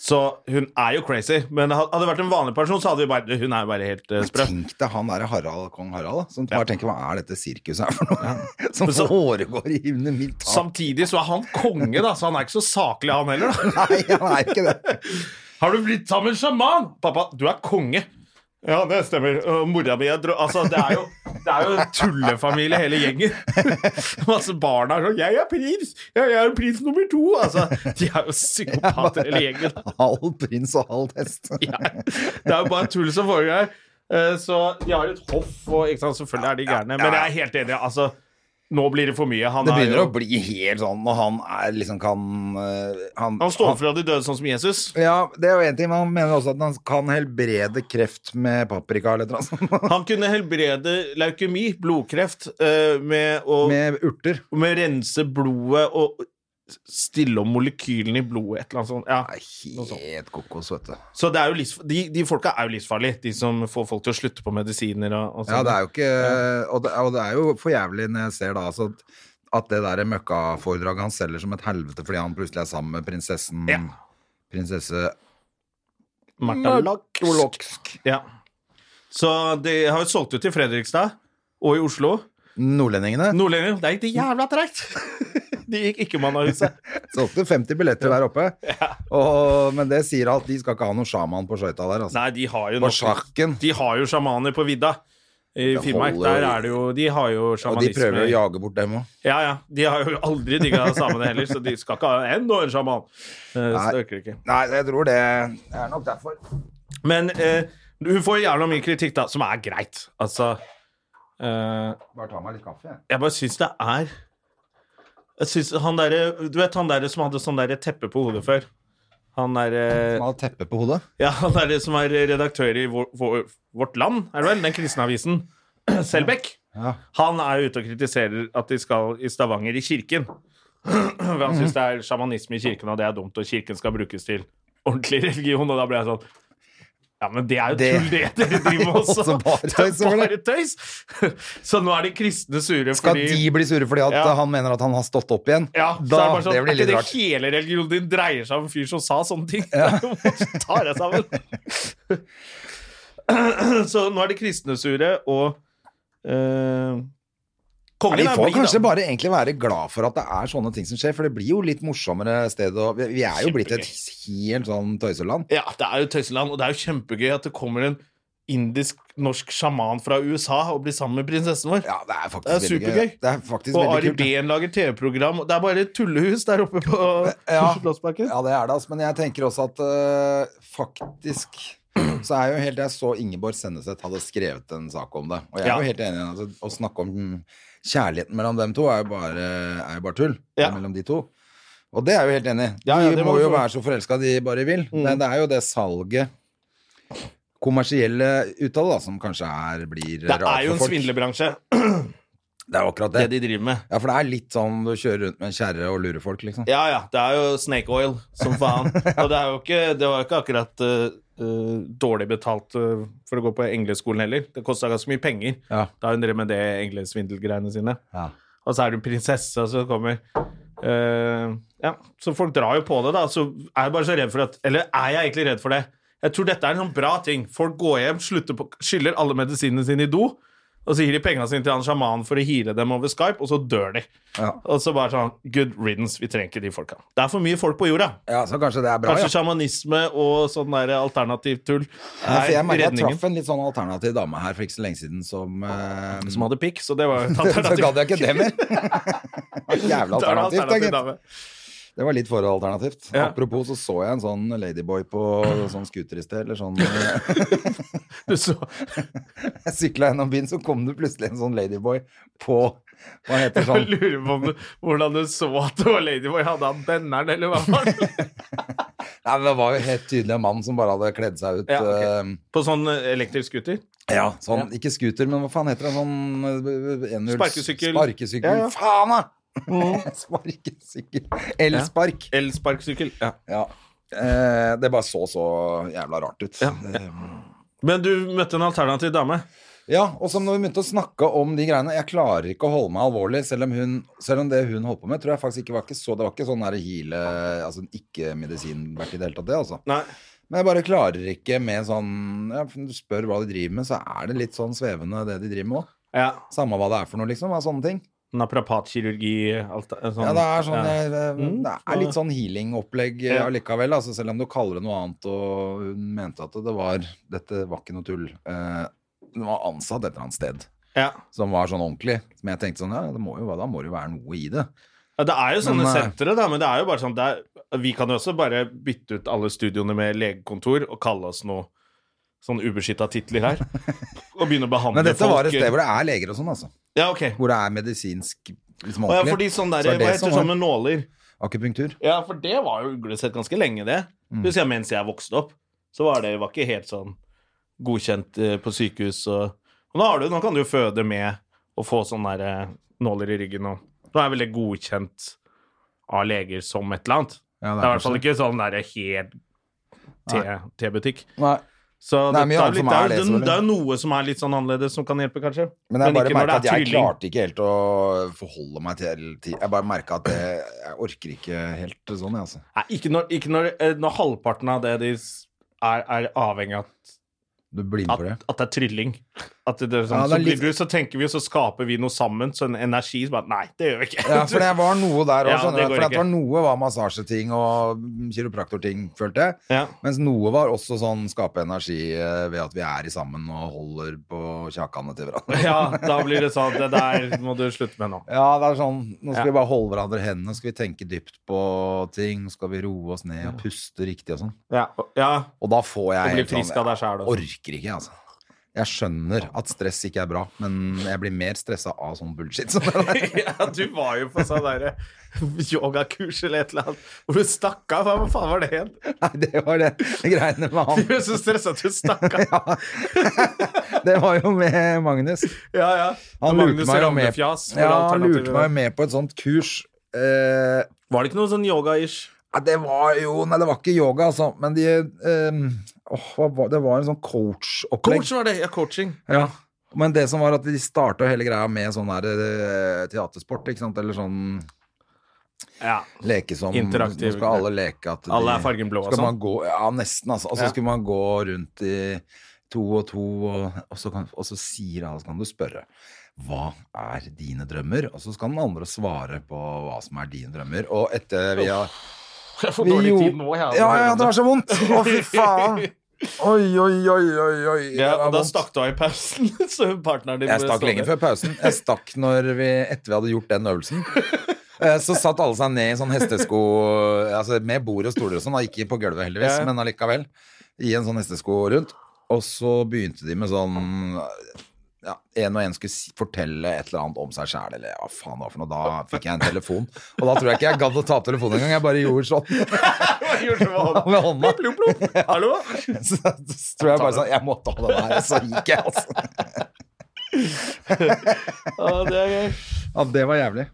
[SPEAKER 1] Så hun er jo crazy. Men had- hadde det vært en vanlig person, så hadde vi bare Hun er jo bare helt eh, sprø.
[SPEAKER 2] Tenk deg han der Harald, kong Harald, da, som bare tenker hva er dette sirkuset her for noe? Som
[SPEAKER 1] Men så-
[SPEAKER 2] foregår i under mitt tak.
[SPEAKER 1] Samtidig så er han konge, da, så han er ikke så saklig, han heller. da
[SPEAKER 2] Nei, han er ikke det.
[SPEAKER 1] Har du blitt sammen med en sjaman? Pappa, du er konge. Ja, det stemmer. Og mora mi er dro... Altså, det er jo, det er jo en tullefamilie, hele gjengen. Masse barna er sånn 'Jeg er prins! Ja, jeg er prins nummer to!' Altså, de er jo psykopater, hele gjengen.
[SPEAKER 2] Halv prins og halv hest.
[SPEAKER 1] Ja. Det er jo bare tull som foregår her. Eh, Så de har et hoff, og ikke sant, selvfølgelig er de gærne. Men jeg er helt enig. Altså, nå blir det for mye. Han,
[SPEAKER 2] Det
[SPEAKER 1] er
[SPEAKER 2] begynner
[SPEAKER 1] jo,
[SPEAKER 2] å bli helt sånn når han er liksom kan eh, Han,
[SPEAKER 1] han står fra de døde, sånn som Jesus.
[SPEAKER 2] han- Ja, det er jo én ting, men han mener også at han kan helbrede kreft med paprika eller noe sånt.
[SPEAKER 1] Han kunne helbrede leukemi, blodkreft, eh, med å
[SPEAKER 2] Med urter.
[SPEAKER 1] med å rense blodet og stille om molekylene i blodet, et eller annet sånt. Ja.
[SPEAKER 2] Helt kokos, vet du.
[SPEAKER 1] Så det er jo livs, de, de folka er jo livsfarlige, de som får folk til å slutte på medisiner og, sånn. og sånt.
[SPEAKER 2] Ja, det er jo ikke Og det, og det er jo for jævlig når jeg ser da altså, at det der møkkaforedraget han selger som et helvete fordi han plutselig er sammen med prinsessen
[SPEAKER 1] Ja.
[SPEAKER 2] Prinsesse
[SPEAKER 1] Martha Laksk. Ja. Så de har jo solgt ut til Fredrikstad og i Oslo.
[SPEAKER 2] Nordlendingene.
[SPEAKER 1] Nordlendinger, det gikk det jævla tregt! De gikk ikke mann av huset.
[SPEAKER 2] Solgte 50 billetter der oppe. Og, men det sier at de skal ikke ha noen sjaman på skøyta der, altså.
[SPEAKER 1] Nei, de har jo
[SPEAKER 2] På
[SPEAKER 1] nok-
[SPEAKER 2] sjarken.
[SPEAKER 1] De har jo sjamaner på vidda. I
[SPEAKER 2] Det
[SPEAKER 1] Finnmark,
[SPEAKER 2] holder
[SPEAKER 1] der
[SPEAKER 2] jo.
[SPEAKER 1] er det jo De har jo
[SPEAKER 2] Og de
[SPEAKER 1] sjamanisme.
[SPEAKER 2] prøver å jage bort dem òg.
[SPEAKER 1] Ja, ja. De har jo aldri digga samene heller, så de skal ikke ha enda en sjaman. Eh, så det orker de ikke.
[SPEAKER 2] Nei, jeg tror det er nok derfor.
[SPEAKER 1] Men eh, hun får jævla mye kritikk, da, som er greit. Altså eh,
[SPEAKER 2] Bare ta meg litt kaffe, jeg.
[SPEAKER 1] Jeg bare syns det er Jeg syns han derre Du vet han derre som hadde sånn derre teppe på hodet før? Han derre
[SPEAKER 2] Mal teppe på hodet.
[SPEAKER 1] Ja, han derre som er redaktør i vår, vår, Vårt Land, er det vel? Den kristne avisen. Selbekk.
[SPEAKER 2] Ja.
[SPEAKER 1] Han er jo ute og kritiserer at de skal i Stavanger i kirken. For han syns det er sjamanisme i kirken, og det er dumt, og kirken skal brukes til ordentlig religion. Og da ble jeg sånn Ja, men det er jo
[SPEAKER 2] Det
[SPEAKER 1] tull, det dere driver med også!
[SPEAKER 2] også
[SPEAKER 1] Det
[SPEAKER 2] bare
[SPEAKER 1] er
[SPEAKER 2] tøys, eller?
[SPEAKER 1] bare tøys! Så nå er de kristne sure
[SPEAKER 2] Skal
[SPEAKER 1] fordi
[SPEAKER 2] de bli sure fordi at
[SPEAKER 1] Ja.
[SPEAKER 2] han mener at han har stått opp igjen?
[SPEAKER 1] ja, så
[SPEAKER 2] da,
[SPEAKER 1] er det bare sånn,
[SPEAKER 2] det blir litt
[SPEAKER 1] er ikke
[SPEAKER 2] rart.
[SPEAKER 1] det hele religionen din dreier seg om en fyr som sa sånne ting? Så tar jeg sammen. så nå er de kristne sure, og eh,
[SPEAKER 2] Vi
[SPEAKER 1] Kongen er
[SPEAKER 2] får
[SPEAKER 1] blid,
[SPEAKER 2] kanskje
[SPEAKER 1] da.
[SPEAKER 2] bare egentlig være glad for at det er sånne ting som skjer, for det blir jo litt morsommere sted. å- vi- vi er jo blitt et helt sånn tøyseland.
[SPEAKER 1] Ja, det er jo tøyseland, og det er jo kjempegøy at det kommer en indisk-norsk sjaman fra USA og blir sammen med prinsessen vår.
[SPEAKER 2] Ja, det er faktisk
[SPEAKER 1] Det er
[SPEAKER 2] veldig
[SPEAKER 1] supergøy.
[SPEAKER 2] Det er faktisk
[SPEAKER 1] og
[SPEAKER 2] veldig
[SPEAKER 1] Ari
[SPEAKER 2] kult. da.
[SPEAKER 1] Behn lager TV-program. og Det er bare et tullehus der oppe på
[SPEAKER 2] Ja.
[SPEAKER 1] Slottsparken.
[SPEAKER 2] Ja, det er det, altså. Men jeg tenker også at øh, faktisk så er jeg jo helt Jeg så Ingeborg Senneset hadde skrevet en sak om det, og jeg er
[SPEAKER 1] Ja.
[SPEAKER 2] jo helt enig i henne. Altså, å snakke om kjærligheten mellom dem to er jo bare, er jo bare tull.
[SPEAKER 1] Ja.
[SPEAKER 2] Mellom de to. Og det er jeg jo helt enig i. De
[SPEAKER 1] Ja, ja, det
[SPEAKER 2] må
[SPEAKER 1] må vi
[SPEAKER 2] jo
[SPEAKER 1] få- Mm.
[SPEAKER 2] være så forelska de bare vil. Men det er jo det salget kommersielle uttale da, som kanskje er, blir
[SPEAKER 1] Det
[SPEAKER 2] rart
[SPEAKER 1] er jo en
[SPEAKER 2] for folk.
[SPEAKER 1] svindlebransje,
[SPEAKER 2] Det er jo akkurat det.
[SPEAKER 1] det de driver med.
[SPEAKER 2] Ja, for det er litt sånn du kjører rundt med en kjerre og lurer folk, liksom.
[SPEAKER 1] Ja, ja. Det er jo snake oil som faen. Og det, er jo ikke, det var jo ikke akkurat eh, eh, dårlig betalt eh, for å gå på engleskolen heller. Det kosta ganske mye penger.
[SPEAKER 2] Ja.
[SPEAKER 1] Da hun drev med det englesvindelgreiene sine.
[SPEAKER 2] Ja.
[SPEAKER 1] Og så er det en prinsesse som kommer. Eh, ja, Så folk drar jo på det, da. Så er jeg bare så redd for at Eller er jeg egentlig redd for det? Jeg tror dette er en sånn bra ting. Folk går hjem, slutter på, skyller alle medisinene sine i do, og så gir de pengene sine til han sjamanen for å hile dem over Skype, og så dør de.
[SPEAKER 2] Ja.
[SPEAKER 1] Og så bare sånn Good riddance, vi trenger ikke de folka. Det er for mye folk på jorda.
[SPEAKER 2] ja, så kanskje det er bra, ja.
[SPEAKER 1] Kanskje sjamanisme og sånn der alternativ tull
[SPEAKER 2] Ja, for
[SPEAKER 1] er
[SPEAKER 2] jeg, merker jeg
[SPEAKER 1] redningen.
[SPEAKER 2] traff en litt sånn alternativ dame her for ikke så lenge siden som eh,
[SPEAKER 1] Som hadde pikk, så det var jo et
[SPEAKER 2] Så gadd
[SPEAKER 1] alternativ.
[SPEAKER 2] jeg ikke det mer. Jævla
[SPEAKER 1] Da er det
[SPEAKER 2] alternativt, da,
[SPEAKER 1] alternativ,
[SPEAKER 2] gitt.
[SPEAKER 1] dame.
[SPEAKER 2] Det var litt for alternativt.
[SPEAKER 1] Ja.
[SPEAKER 2] Apropos så så jeg en sånn ladyboy på sånn scooter i sted, eller sånn
[SPEAKER 1] Du så,
[SPEAKER 2] Jeg sykla gjennom byen, så kom det plutselig en sånn ladyboy på Hva heter
[SPEAKER 1] jeg
[SPEAKER 2] sånn
[SPEAKER 1] lurer på om du, hvordan du så at det var Ladyboy. Hadde han benneren, eller hva var det?
[SPEAKER 2] Nei, men Det var jo helt tydelig en mann som bare hadde kledd seg ut
[SPEAKER 1] Ja, ok.
[SPEAKER 2] eh,
[SPEAKER 1] På sånn elektrisk scooter?
[SPEAKER 2] Ja, sånn, ikke scooter, men hva faen heter det? Sånn eh, enhjuls-
[SPEAKER 1] Sparkesykkel.
[SPEAKER 2] Sparkesykkel.
[SPEAKER 1] Ja, ja.
[SPEAKER 2] Faen, da! Sparkesykkel. Elspark.
[SPEAKER 1] Elsparkesykkel. Ja.
[SPEAKER 2] Ja. Eh, det bare så så jævla rart ut. Eh,
[SPEAKER 1] Ja.
[SPEAKER 2] Det-
[SPEAKER 1] Men du møtte en alternativ dame.
[SPEAKER 2] ja, og som når vi begynte å snakke om de greiene Jeg klarer ikke å holde meg alvorlig, selv om, hun, selv om det hun holdt på med, tror jeg faktisk ikke var ikke så Det var ikke sånn der hile Altså ikke-medisinbert i det hele tatt, det, altså.
[SPEAKER 1] Nei.
[SPEAKER 2] Men jeg bare klarer ikke med sånn ja, for Du spør hva de driver med, så er det litt sånn svevende det de driver med òg.
[SPEAKER 1] Ja.
[SPEAKER 2] Samme hva det er for noe, liksom. Av sånne ting.
[SPEAKER 1] Naprapatkirurgi alt, sånn.
[SPEAKER 2] Ja, det er sånn
[SPEAKER 1] ja. Mm,
[SPEAKER 2] jeg- jeg- Det er litt sånn healing-opplegg eh,
[SPEAKER 1] Ja.
[SPEAKER 2] allikevel, altså, selv om du kaller det noe annet, og hun mente at det var Dette var ikke noe tull. Eh, Hun var ansatt et eller annet sted
[SPEAKER 1] Ja.
[SPEAKER 2] som var sånn ordentlig. Som jeg tenkte sånn Ja, det må jo, da må det jo være noe i det.
[SPEAKER 1] Ja, det er jo sånne
[SPEAKER 2] Men, eh,
[SPEAKER 1] sentre, da, men det er jo bare sånn det er, Vi kan jo også bare bytte ut alle studioene med legekontor og kalle oss noe sånn ubeskytta titler her. Og begynne å behandle
[SPEAKER 2] Men dette
[SPEAKER 1] folk eh,
[SPEAKER 2] var et sted hvor det er leger og sånn, altså.
[SPEAKER 1] Ja, ok.
[SPEAKER 2] Hvor det er medisinsk liksom
[SPEAKER 1] Og ja,
[SPEAKER 2] ordentlig.
[SPEAKER 1] fordi sånn der,
[SPEAKER 2] Så er det
[SPEAKER 1] Hva heter
[SPEAKER 2] som
[SPEAKER 1] sånn
[SPEAKER 2] var
[SPEAKER 1] med nåler?
[SPEAKER 2] Akupunktur.
[SPEAKER 1] Ja, for det var jo uglesett ganske lenge, det.
[SPEAKER 2] Mm.
[SPEAKER 1] Husker jeg mens jeg vokste opp, så var det var ikke helt sånn godkjent eh, på sykehus og og nå, har du, nå kan du jo føde med å få sånne der, eh, nåler i ryggen og Nå er vel det godkjent av leger som et eller annet.
[SPEAKER 2] Ja,
[SPEAKER 1] Det er i hvert fall ikke sånn der helt te- tebutikk.
[SPEAKER 2] Nei.
[SPEAKER 1] Så
[SPEAKER 2] Nei,
[SPEAKER 1] det,
[SPEAKER 2] mye
[SPEAKER 1] det, er
[SPEAKER 2] annet
[SPEAKER 1] litt,
[SPEAKER 2] som
[SPEAKER 1] det,
[SPEAKER 2] er
[SPEAKER 1] er,
[SPEAKER 2] det,
[SPEAKER 1] jo-
[SPEAKER 2] selvfølgelig.
[SPEAKER 1] det er jo noe som er litt sånn annerledes, som kan hjelpe, kanskje.
[SPEAKER 2] Men jeg bare
[SPEAKER 1] ikke når
[SPEAKER 2] merka at
[SPEAKER 1] det er
[SPEAKER 2] jeg
[SPEAKER 1] tvilling.
[SPEAKER 2] klarte ikke helt å forholde meg til, til Jeg bare merka at det, jeg orker ikke helt sånn, jeg, altså.
[SPEAKER 1] Nei, ikke når, ikke når, eh, når halvparten av det de s- er, er avhengig av at,
[SPEAKER 2] Du blir med
[SPEAKER 1] at,
[SPEAKER 2] på det.
[SPEAKER 1] at det er trylling. At det, det er sånn,
[SPEAKER 2] Ja, det er
[SPEAKER 1] så, blir
[SPEAKER 2] litt-
[SPEAKER 1] du, så tenker vi, og så skaper vi noe sammen, så en energi så bare Nei, det gjør vi ikke.
[SPEAKER 2] Ja, for det var noe der òg,
[SPEAKER 1] Ja, det
[SPEAKER 2] skjønner du.
[SPEAKER 1] går
[SPEAKER 2] For det
[SPEAKER 1] ikke.
[SPEAKER 2] var noe var massasjeting og mm, kiropraktorting, følte jeg.
[SPEAKER 1] Ja.
[SPEAKER 2] Mens noe var også sånn skape energi eh, ved at vi er i sammen og holder på kjakene til hverandre.
[SPEAKER 1] Ja, da blir det sånn Det der må du slutte med nå.
[SPEAKER 2] Ja, det er sånn Nå skal
[SPEAKER 1] Ja.
[SPEAKER 2] vi bare holde hverandre i hendene, skal vi tenke dypt på ting, skal vi roe oss ned og puste riktig og sånn.
[SPEAKER 1] Ja, og- ja
[SPEAKER 2] Og da får jeg
[SPEAKER 1] Og bli
[SPEAKER 2] helt sånn-
[SPEAKER 1] frisk av deg selv, altså.
[SPEAKER 2] Orker ikke, altså. Jeg skjønner at stress ikke er bra, men jeg blir mer stressa av sånn bullshit. som det der.
[SPEAKER 1] Ja, du var jo på sånn derre yogakurs eller et eller annet, hvor du stakk av. Hva faen var det igjen?
[SPEAKER 2] Nei, det var det greiene med
[SPEAKER 1] Du
[SPEAKER 2] han.
[SPEAKER 1] ble så stressa at du stakk av.
[SPEAKER 2] Det var jo med Magnus.
[SPEAKER 1] Ja, ja.
[SPEAKER 2] Han lurte
[SPEAKER 1] Magnus
[SPEAKER 2] meg jo med,
[SPEAKER 1] Ravnefjas for
[SPEAKER 2] ja, han
[SPEAKER 1] alternativet.
[SPEAKER 2] lurte meg jo med på et sånt kurs. Eh,
[SPEAKER 1] Var det ikke noe sånn yoga-ish?
[SPEAKER 2] ja, det var jo Nei, det var ikke yoga, altså. Men de ehm, åh, hva var, Det var en sånn coach-opplegg.
[SPEAKER 1] Coach var det. Ja, coaching.
[SPEAKER 2] Ja. Men det som var at de starta hele greia med sånn der eh, teatersport, ikke sant? Eller sånn
[SPEAKER 1] Ja.
[SPEAKER 2] leke som
[SPEAKER 1] Interaktiv.
[SPEAKER 2] Nå skal alle leke at de-
[SPEAKER 1] Alle er fargen blå og
[SPEAKER 2] skal
[SPEAKER 1] sånn.
[SPEAKER 2] man gå, Ja, nesten, altså. Og så
[SPEAKER 1] Ja.
[SPEAKER 2] skulle man gå rundt i to og to, og, og, så, kan, og så sier alle Så kan du spørre hva er dine drømmer? Og så skal den andre svare på hva som er dine drømmer. Og etter vi har
[SPEAKER 1] Jeg får dårlig
[SPEAKER 2] Vi
[SPEAKER 1] tid
[SPEAKER 2] gjorde-
[SPEAKER 1] nå. Jeg, altså.
[SPEAKER 2] Ja, ja, det var så vondt! Å, fy faen! Oi, oi, oi, oi, oi.
[SPEAKER 1] ja,
[SPEAKER 2] Det var
[SPEAKER 1] og Da
[SPEAKER 2] vondt.
[SPEAKER 1] stakk du av i pausen. Så partneren din
[SPEAKER 2] Jeg
[SPEAKER 1] ble sånn.
[SPEAKER 2] stakk lenge
[SPEAKER 1] stående.
[SPEAKER 2] før pausen. Jeg stakk når vi, etter vi hadde gjort den øvelsen. Eh, Så satt alle seg ned i sånn hestesko altså Med bord og stoler og sånn. da, Ikke på gulvet, heldigvis,
[SPEAKER 1] Ja.
[SPEAKER 2] men allikevel. I en sånn hestesko rundt. Og så begynte de med sånn ja, En og en skulle si- fortelle et eller annet om seg sjæl, eller hva faen det var for noe. Da fikk jeg en telefon. Og da tror jeg ikke jeg gadd å ta opp telefonen engang. Jeg bare gjorde sånn
[SPEAKER 1] Jeg gjorde det med hånden.
[SPEAKER 2] med hånda.
[SPEAKER 1] Plopp, plopp. Hallo?
[SPEAKER 2] Så, så tror jeg bare sånn Jeg må ta den her. Og så gikk jeg, altså.
[SPEAKER 1] Ja, det er gøy.
[SPEAKER 2] Ja, det var jævlig.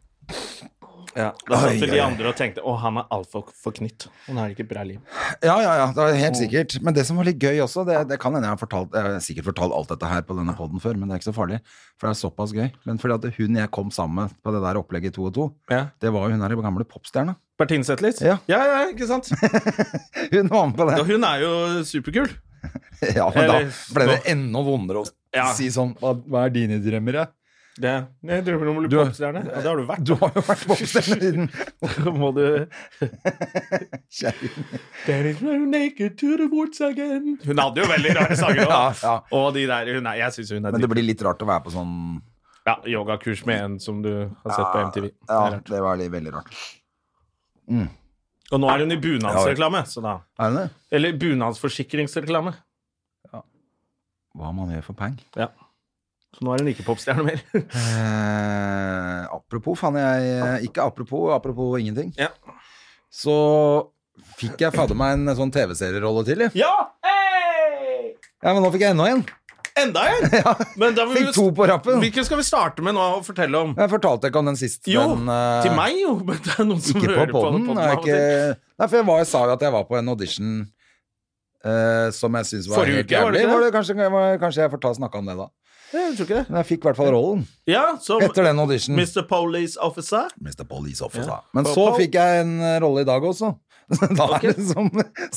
[SPEAKER 1] Da
[SPEAKER 2] Oi,
[SPEAKER 1] satt
[SPEAKER 2] oi,
[SPEAKER 1] vel de
[SPEAKER 2] oi.
[SPEAKER 1] andre og tenkte å, han er altfor forknytt. Han har ikke bra liv.
[SPEAKER 2] Ja, ja, ja, det er helt sikkert. Men det som var litt gøy også, det, det kan hende jeg har fortalt, jeg har sikkert fortalt alt dette her på denne podden før, men det er ikke så farlig, for det er såpass gøy. Men fordi at hun jeg kom sammen med på det der opplegget i 2 og 2,
[SPEAKER 1] Ja.
[SPEAKER 2] det var jo hun her i gamle popstjerna.
[SPEAKER 1] Bertine Zetlitz?
[SPEAKER 2] Ja.
[SPEAKER 1] ja, ja, ikke sant?
[SPEAKER 2] Hun var med på
[SPEAKER 1] Ja,
[SPEAKER 2] det.
[SPEAKER 1] hun er jo superkul.
[SPEAKER 2] Ja, men da
[SPEAKER 1] Eller-
[SPEAKER 2] ble det enda vondere å
[SPEAKER 1] Ja.
[SPEAKER 2] si sånn, hva, hva er dine drømmer, ja?
[SPEAKER 1] Det. Jeg drømmer om å bli
[SPEAKER 2] Du-
[SPEAKER 1] popstjerne. Ja, det har du vært.
[SPEAKER 2] Du har jo vært popstjerne siden.
[SPEAKER 1] Må du
[SPEAKER 2] Kjæring.
[SPEAKER 1] Daddy throw naked to the woods again. Hun hadde jo veldig rare sanger
[SPEAKER 2] Ja,
[SPEAKER 1] òg.
[SPEAKER 2] ja.
[SPEAKER 1] Og de der hun er, Jeg syns hun er
[SPEAKER 2] Men det
[SPEAKER 1] dritbra.
[SPEAKER 2] blir litt rart å være på sånn...
[SPEAKER 1] Ja, yogakurs med en som du har sett på MTV. Det er
[SPEAKER 2] Ja,
[SPEAKER 1] rart.
[SPEAKER 2] det var litt, veldig rart.
[SPEAKER 1] Og nå er hun i bunadsreklame. Så da.
[SPEAKER 2] Er det det?
[SPEAKER 1] Eller bunadsforsikringsreklame.
[SPEAKER 2] Hva man gjør for peng?
[SPEAKER 1] Ja. Så nå er hun ikke popstjerne mer.
[SPEAKER 2] Eh, apropos, faen jeg eh, Ikke apropos, apropos ingenting.
[SPEAKER 1] Ja.
[SPEAKER 2] Så fikk jeg fader meg en sånn TV-serierolle til. jeg.
[SPEAKER 1] Ja! Hey!
[SPEAKER 2] Ja, men nå fikk jeg enda en.
[SPEAKER 1] Enda en! Men da vil
[SPEAKER 2] Fikk to på rappen.
[SPEAKER 1] Hvilken skal vi starte med nå og fortelle om?
[SPEAKER 2] Jeg fortalte ikke om den sist.
[SPEAKER 1] Jo,
[SPEAKER 2] den, eh,
[SPEAKER 1] til meg, jo. Men det er noen som
[SPEAKER 2] Ikke på
[SPEAKER 1] hører
[SPEAKER 2] podden.
[SPEAKER 1] på den.
[SPEAKER 2] jeg er ikke, nei, for jeg var, sa jo at jeg var på en audition eh, som jeg syntes var
[SPEAKER 1] Forrige
[SPEAKER 2] helt
[SPEAKER 1] uke, var det ikke
[SPEAKER 2] jævlig.
[SPEAKER 1] det?
[SPEAKER 2] Var det, kanskje, var, kanskje jeg fortalte snakka om det da.
[SPEAKER 1] Eh, Jeg tror ikke det.
[SPEAKER 2] Men jeg fikk i hvert fall rollen
[SPEAKER 1] Ja, som
[SPEAKER 2] etter den auditionen.
[SPEAKER 1] Mr. Police Officer.
[SPEAKER 2] Mr. Police Officer.
[SPEAKER 1] Ja.
[SPEAKER 2] Men
[SPEAKER 1] Og
[SPEAKER 2] så
[SPEAKER 1] Paul-
[SPEAKER 2] fikk jeg en eh, rolle i dag også. Da
[SPEAKER 1] Ok.
[SPEAKER 2] er det som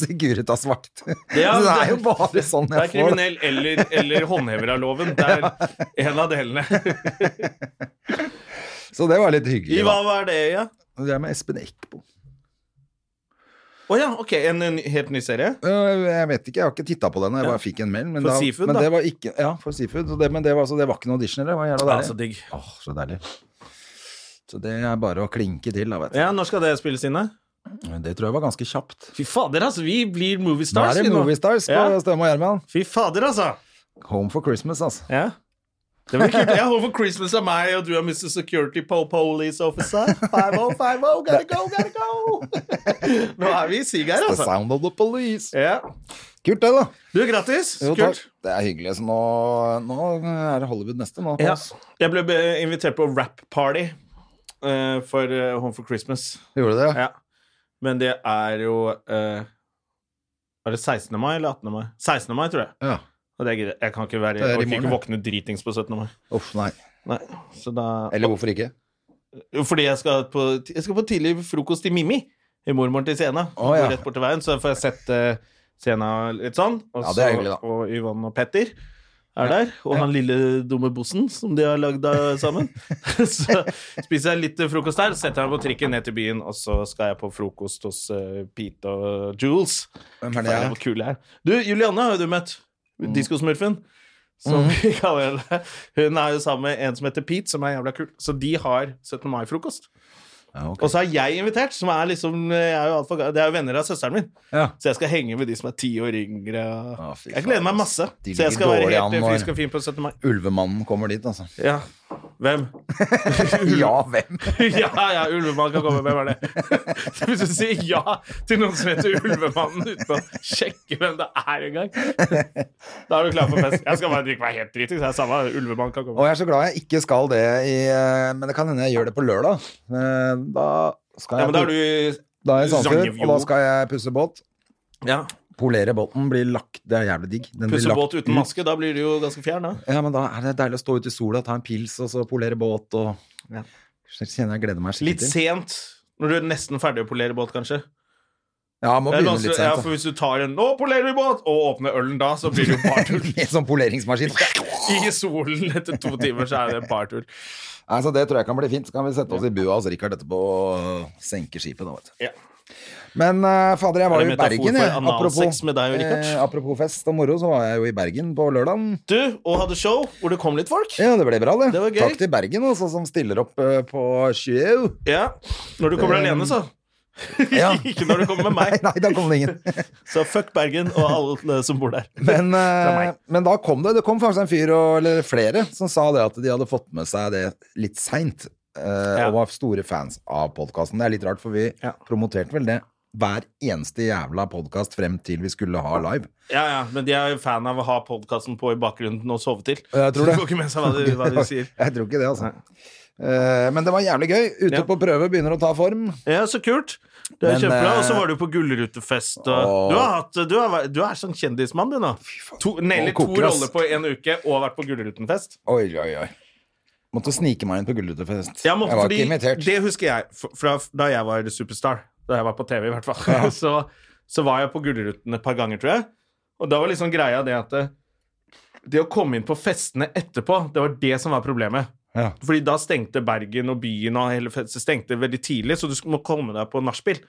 [SPEAKER 2] Sigurita Svart.
[SPEAKER 1] Ja,
[SPEAKER 2] så det er
[SPEAKER 1] det-
[SPEAKER 2] jo bare sånn
[SPEAKER 1] Det er
[SPEAKER 2] jeg får det.
[SPEAKER 1] kriminell eller, eller håndhever av loven. Det er en av delene.
[SPEAKER 2] Så det var litt
[SPEAKER 1] I
[SPEAKER 2] hyggelig.
[SPEAKER 1] hva
[SPEAKER 2] Da.
[SPEAKER 1] var det, ja?
[SPEAKER 2] Det er med Espen Eckbo.
[SPEAKER 1] Å ja, ok. En, en helt ny serie?
[SPEAKER 2] Øh, Jeg vet ikke, jeg har ikke titta på den. Jeg bare fikk en mail. Men
[SPEAKER 1] For
[SPEAKER 2] da,
[SPEAKER 1] Seafood,
[SPEAKER 2] men
[SPEAKER 1] da?
[SPEAKER 2] det var ikke, ja, for Seafood. Og det, men det var, altså- det var ikke noen audition, eller? Det var jævla
[SPEAKER 1] Ja,
[SPEAKER 2] deilig.
[SPEAKER 1] så altså digg.
[SPEAKER 2] Åh, så deilig. Så det er bare å klinke til, da, vet du.
[SPEAKER 1] Ja, Når skal det spilles inn? da?
[SPEAKER 2] Det tror jeg var ganske kjapt.
[SPEAKER 1] Fy fader, altså. Vi blir movie
[SPEAKER 2] Nå
[SPEAKER 1] stars.
[SPEAKER 2] er det
[SPEAKER 1] vi nå.
[SPEAKER 2] Movie Stars på
[SPEAKER 1] Ja.
[SPEAKER 2] Støme og Gjerman.
[SPEAKER 1] Fy fader, altså.
[SPEAKER 2] Home for Christmas, altså.
[SPEAKER 1] Ja. Det blir kult. Jeg håper Christmas er meg, og du er Mr. Security po Police Officer. 5050, oh, gotta go, gotta go! Nå er vi i sig her,
[SPEAKER 2] The
[SPEAKER 1] altså.
[SPEAKER 2] sound of the police.
[SPEAKER 1] Ja.
[SPEAKER 2] Kult, det, da.
[SPEAKER 1] Du, grattis.
[SPEAKER 2] Jo,
[SPEAKER 1] Kult.
[SPEAKER 2] takk. Det er hyggelig. Så nå, nå er det Hollywood neste. Nå, på
[SPEAKER 1] Ja.
[SPEAKER 2] oss.
[SPEAKER 1] Jeg ble be- invitert på rap party eh, for eh, Home for Christmas.
[SPEAKER 2] Gjorde du det?
[SPEAKER 1] Ja. Men det er jo eh, Er det 16. mai eller 18. mai? 16. mai, tror jeg.
[SPEAKER 2] Ja.
[SPEAKER 1] Og det gidder jeg. Jeg kan ikke være
[SPEAKER 2] Det er i
[SPEAKER 1] Jeg orker ikke
[SPEAKER 2] morgen,
[SPEAKER 1] våkne dritings på 17. mai.
[SPEAKER 2] Uff, nei.
[SPEAKER 1] Nei. Så da
[SPEAKER 2] Eller hvorfor ikke?
[SPEAKER 1] Jo, Fordi jeg skal, på, jeg skal på tidlig frokost til Mimmi. I mormoren til Sena.
[SPEAKER 2] Å, ja.
[SPEAKER 1] Går Rett bort til veien, så får jeg sett eh, Sena litt sånn. Og,
[SPEAKER 2] Ja, det er
[SPEAKER 1] så-
[SPEAKER 2] hyggelig, da.
[SPEAKER 1] og Yvonne og Petter er der. Og han lille dumme bossen som de har lagd av sammen. så spiser jeg litt frokost der, setter meg på trikken ned til byen, og så skal jeg på frokost hos eh, Pete og Jules.
[SPEAKER 2] Hvem er det? Mm.
[SPEAKER 1] Faen, hvor kul jeg er. Du, Julianne har jo du møtt. Diskosmurfen. Som vi kaller henne. Hun er jo sammen med en som heter Pete, som er jævla kul. Så de har 17. mai-frokost.
[SPEAKER 2] Ja, ok.
[SPEAKER 1] Og så er jeg invitert, som er liksom jeg er jo alt for, ga- Det er jo venner av søsteren min.
[SPEAKER 2] ja.
[SPEAKER 1] Så jeg skal henge med de som er ti år yngre.
[SPEAKER 2] Å, fy
[SPEAKER 1] Jeg
[SPEAKER 2] faen,
[SPEAKER 1] gleder meg
[SPEAKER 2] ass.
[SPEAKER 1] masse.
[SPEAKER 2] De
[SPEAKER 1] Så jeg
[SPEAKER 2] ligger
[SPEAKER 1] skal være
[SPEAKER 2] dårlig
[SPEAKER 1] helt
[SPEAKER 2] an
[SPEAKER 1] eh,
[SPEAKER 2] nå,
[SPEAKER 1] frisk og fin på 17. mai.
[SPEAKER 2] Ulvemannen kommer dit, altså.
[SPEAKER 1] Ja. Hvem?
[SPEAKER 2] ja, hvem?
[SPEAKER 1] ja, ja, Ulvemann kan komme. Hvem er det? Så Hvis du sier ja til noen som heter Ulvemannen uten å sjekke hvem det er engang, da er du klar for fest. Jeg skal bare drikke meg helt driting, så det er samme. Ulvemann kan
[SPEAKER 2] Og
[SPEAKER 1] komme.
[SPEAKER 2] jeg er så glad jeg ikke skal det i eh, Men det kan hende jeg gjør det på lørdag. Eh, Da skal
[SPEAKER 1] Ja,
[SPEAKER 2] jeg
[SPEAKER 1] men da er du
[SPEAKER 2] da er jeg i Sandefjord,
[SPEAKER 1] Zangevo.
[SPEAKER 2] og da skal jeg pusse båt.
[SPEAKER 1] ja,
[SPEAKER 2] Polere båten blir lagt Det er jævlig digg. Den blir
[SPEAKER 1] Pusse
[SPEAKER 2] lagt
[SPEAKER 1] båt uten
[SPEAKER 2] ut.
[SPEAKER 1] maske, da blir du jo ganske fjern, da.
[SPEAKER 2] Ja, men da er det deilig å stå ute i sola, ta en pils og så polere båt og
[SPEAKER 1] Ja.
[SPEAKER 2] Så Kjenner jeg gleder meg skikkelig
[SPEAKER 1] Litt
[SPEAKER 2] til.
[SPEAKER 1] sent. Når du er nesten ferdig å polere båt, kanskje.
[SPEAKER 2] Ja, må
[SPEAKER 1] Det er
[SPEAKER 2] begynne litt
[SPEAKER 1] vanskelig-
[SPEAKER 2] sent.
[SPEAKER 1] ja,
[SPEAKER 2] da.
[SPEAKER 1] for Hvis du tar en 'nå polerer vi båt' og åpner ølen da, så blir det jo bartull.
[SPEAKER 2] Med sånn poleringsmaskin.
[SPEAKER 1] i solen etter to timer, så er det en partur.
[SPEAKER 2] Nei, så Det tror jeg kan bli fint. Så kan vi sette oss i bua hos Richard etterpå og senke skipet. da, vet du.
[SPEAKER 1] Ja.
[SPEAKER 2] Men eh, fader, jeg var
[SPEAKER 1] Er
[SPEAKER 2] jo
[SPEAKER 1] det
[SPEAKER 2] i
[SPEAKER 1] metafor
[SPEAKER 2] Bergen,
[SPEAKER 1] for
[SPEAKER 2] jeg.
[SPEAKER 1] analsex med deg og Richard?
[SPEAKER 2] eh, apropos fest og moro, så var jeg jo i Bergen på lørdagen.
[SPEAKER 1] Du, og hadde show hvor det kom litt folk.
[SPEAKER 2] Ja, det ble bra, det.
[SPEAKER 1] Det var gøy.
[SPEAKER 2] Takk til Bergen, altså, som stiller opp eh, på show.
[SPEAKER 1] Ja. Når du kommer
[SPEAKER 2] Det-
[SPEAKER 1] alene, så.
[SPEAKER 2] Um, Ja.
[SPEAKER 1] Ikke når du kommer med
[SPEAKER 2] Nei,
[SPEAKER 1] meg.
[SPEAKER 2] nei, da kom det ingen.
[SPEAKER 1] Så fuck Bergen og alle som bor der.
[SPEAKER 2] Men, eh,
[SPEAKER 1] meg.
[SPEAKER 2] men da kom det. Det kom faktisk en fyr, og, eller flere, som sa det at de hadde fått med seg det litt seint. eh,
[SPEAKER 1] Ja.
[SPEAKER 2] Og var store fans av podkasten. Det er litt rart, for vi
[SPEAKER 1] Ja.
[SPEAKER 2] promoterte vel det hver eneste jævla podkast frem til vi skulle ha live.
[SPEAKER 1] Ja, ja, Men de er jo fan av å ha podkasten på i bakgrunnen og sove til.
[SPEAKER 2] Jeg tror det.
[SPEAKER 1] De får ikke med seg hva de, hva de sier.
[SPEAKER 2] Jeg tror ikke det, altså. Eh, men det var jævlig gøy. Ute
[SPEAKER 1] Ja.
[SPEAKER 2] på prøve, begynner å ta form.
[SPEAKER 1] Ja, så kult. Det er
[SPEAKER 2] Men,
[SPEAKER 1] kjempebra.
[SPEAKER 2] eh,
[SPEAKER 1] Og så var du på Gullrutefest. Og
[SPEAKER 2] Åh.
[SPEAKER 1] du, har hatt, du, har, vært- du er sånn kjendismann, du nå. To, Nelly
[SPEAKER 2] Nå
[SPEAKER 1] to
[SPEAKER 2] koker det, ass.
[SPEAKER 1] roller på en uke og vært på Gullrutenfest.
[SPEAKER 2] Oi, oi, oi. Måtte snike meg inn på Gullrutefest.
[SPEAKER 1] Ja, men
[SPEAKER 2] jeg var
[SPEAKER 1] fordi
[SPEAKER 2] ikke invitert.
[SPEAKER 1] Det husker jeg f- fra f- da jeg var superstar. Da jeg var på TV, i hvert fall. Så, så var jeg på Gullruten et par ganger, tror jeg. Og da var liksom greia det at det, det å komme inn på festene etterpå, det var det som var problemet.
[SPEAKER 2] Ja.
[SPEAKER 1] Fordi da stengte Bergen og byen og hele festen stengte veldig tidlig, så du sk- må komme deg på nachspiel.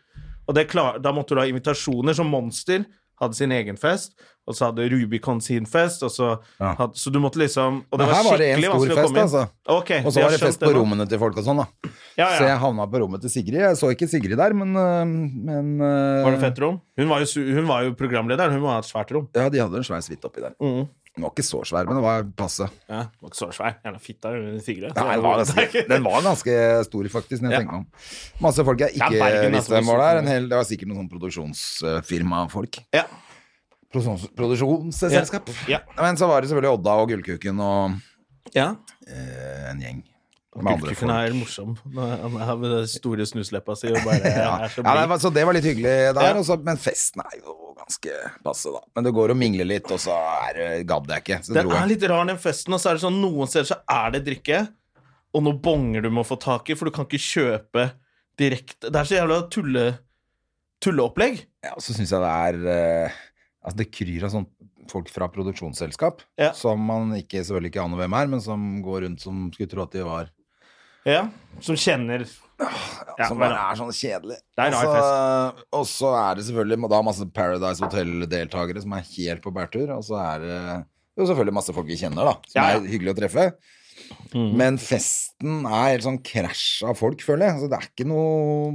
[SPEAKER 1] Og det klar, da måtte du ha invitasjoner, som Monster hadde sin egen fest, og så hadde Rubicon sin fest, og så,
[SPEAKER 2] Ja.
[SPEAKER 1] hadde, så du måtte liksom Og det
[SPEAKER 2] Men her
[SPEAKER 1] var
[SPEAKER 2] var det en
[SPEAKER 1] skikkelig
[SPEAKER 2] stor
[SPEAKER 1] vanskelig å komme inn.
[SPEAKER 2] fest, altså.
[SPEAKER 1] Ok,
[SPEAKER 2] Og
[SPEAKER 1] vi har
[SPEAKER 2] så var det
[SPEAKER 1] skjønt
[SPEAKER 2] fest på
[SPEAKER 1] nå.
[SPEAKER 2] rommene til folk og sånn, da.
[SPEAKER 1] Ja,
[SPEAKER 2] Så
[SPEAKER 1] ja.
[SPEAKER 2] jeg havna på rommet til Sigrid. Jeg så ikke Sigrid der, men, øh, men øh,
[SPEAKER 1] Var det fett rom? Hun var jo, su- hun var jo programleder, hun må ha et svært rom.
[SPEAKER 2] Ja, de hadde en svær suite oppi der.
[SPEAKER 1] Mm.
[SPEAKER 2] Den var ikke så svær, men den var passe.
[SPEAKER 1] Ja, det var ikke så svær. Gjerne fitta under fingre.
[SPEAKER 2] Nei, den, var ganske, den var ganske stor, faktisk, når jeg
[SPEAKER 1] Ja.
[SPEAKER 2] tenker meg om. Masse folk jeg ikke
[SPEAKER 1] Det er Bergen, altså,
[SPEAKER 2] visste hvem var
[SPEAKER 1] hvis-
[SPEAKER 2] der. En hel, det var sikkert noen sånn produksjonsfirmafolk.
[SPEAKER 1] Ja.
[SPEAKER 2] Produksjons, produksjonsselskap.
[SPEAKER 1] Ja.
[SPEAKER 2] Men så var det selvfølgelig Odda og Gullkuken og
[SPEAKER 1] ja.
[SPEAKER 2] eh, en gjeng. Med andre
[SPEAKER 1] Gullkukken
[SPEAKER 2] folk.
[SPEAKER 1] er morsom. Han har med den store snusleppa si og bare
[SPEAKER 2] Ja,
[SPEAKER 1] er så
[SPEAKER 2] ja det
[SPEAKER 1] blid.
[SPEAKER 2] var, så det var litt hyggelig der,
[SPEAKER 1] Ja.
[SPEAKER 2] og så, men festen er jo ganske passe, da. Men du går og mingler litt, og så er det- gadd jeg ikke. Så
[SPEAKER 1] Den
[SPEAKER 2] dro jeg.
[SPEAKER 1] er litt rar, den festen. Og så er det sånn, noen steder så er det drikke, og noen bonger du må få tak i, for du kan ikke kjøpe direkte. Det er så jævla tulle, tulleopplegg.
[SPEAKER 2] Ja, og så syns jeg det er eh, Altså, det kryr av sånn folk fra produksjonsselskap
[SPEAKER 1] Ja.
[SPEAKER 2] som man ikke, selvfølgelig ikke aner hvem er, men som går rundt som skulle tro at de var
[SPEAKER 1] Ja, som kjenner Ja,
[SPEAKER 2] Som
[SPEAKER 1] men-
[SPEAKER 2] bare er sånn kjedelig.
[SPEAKER 1] Det er en rar
[SPEAKER 2] Og så- Og så er det selvfølgelig da masse Paradise Hotel-deltakere som er helt på bærtur, og så er det jo selvfølgelig masse folk vi kjenner, da, som
[SPEAKER 1] Ja, ja.
[SPEAKER 2] er hyggelig å treffe. Men festen er helt sånn krasj av folk, føler jeg. Altså, det er ikke noe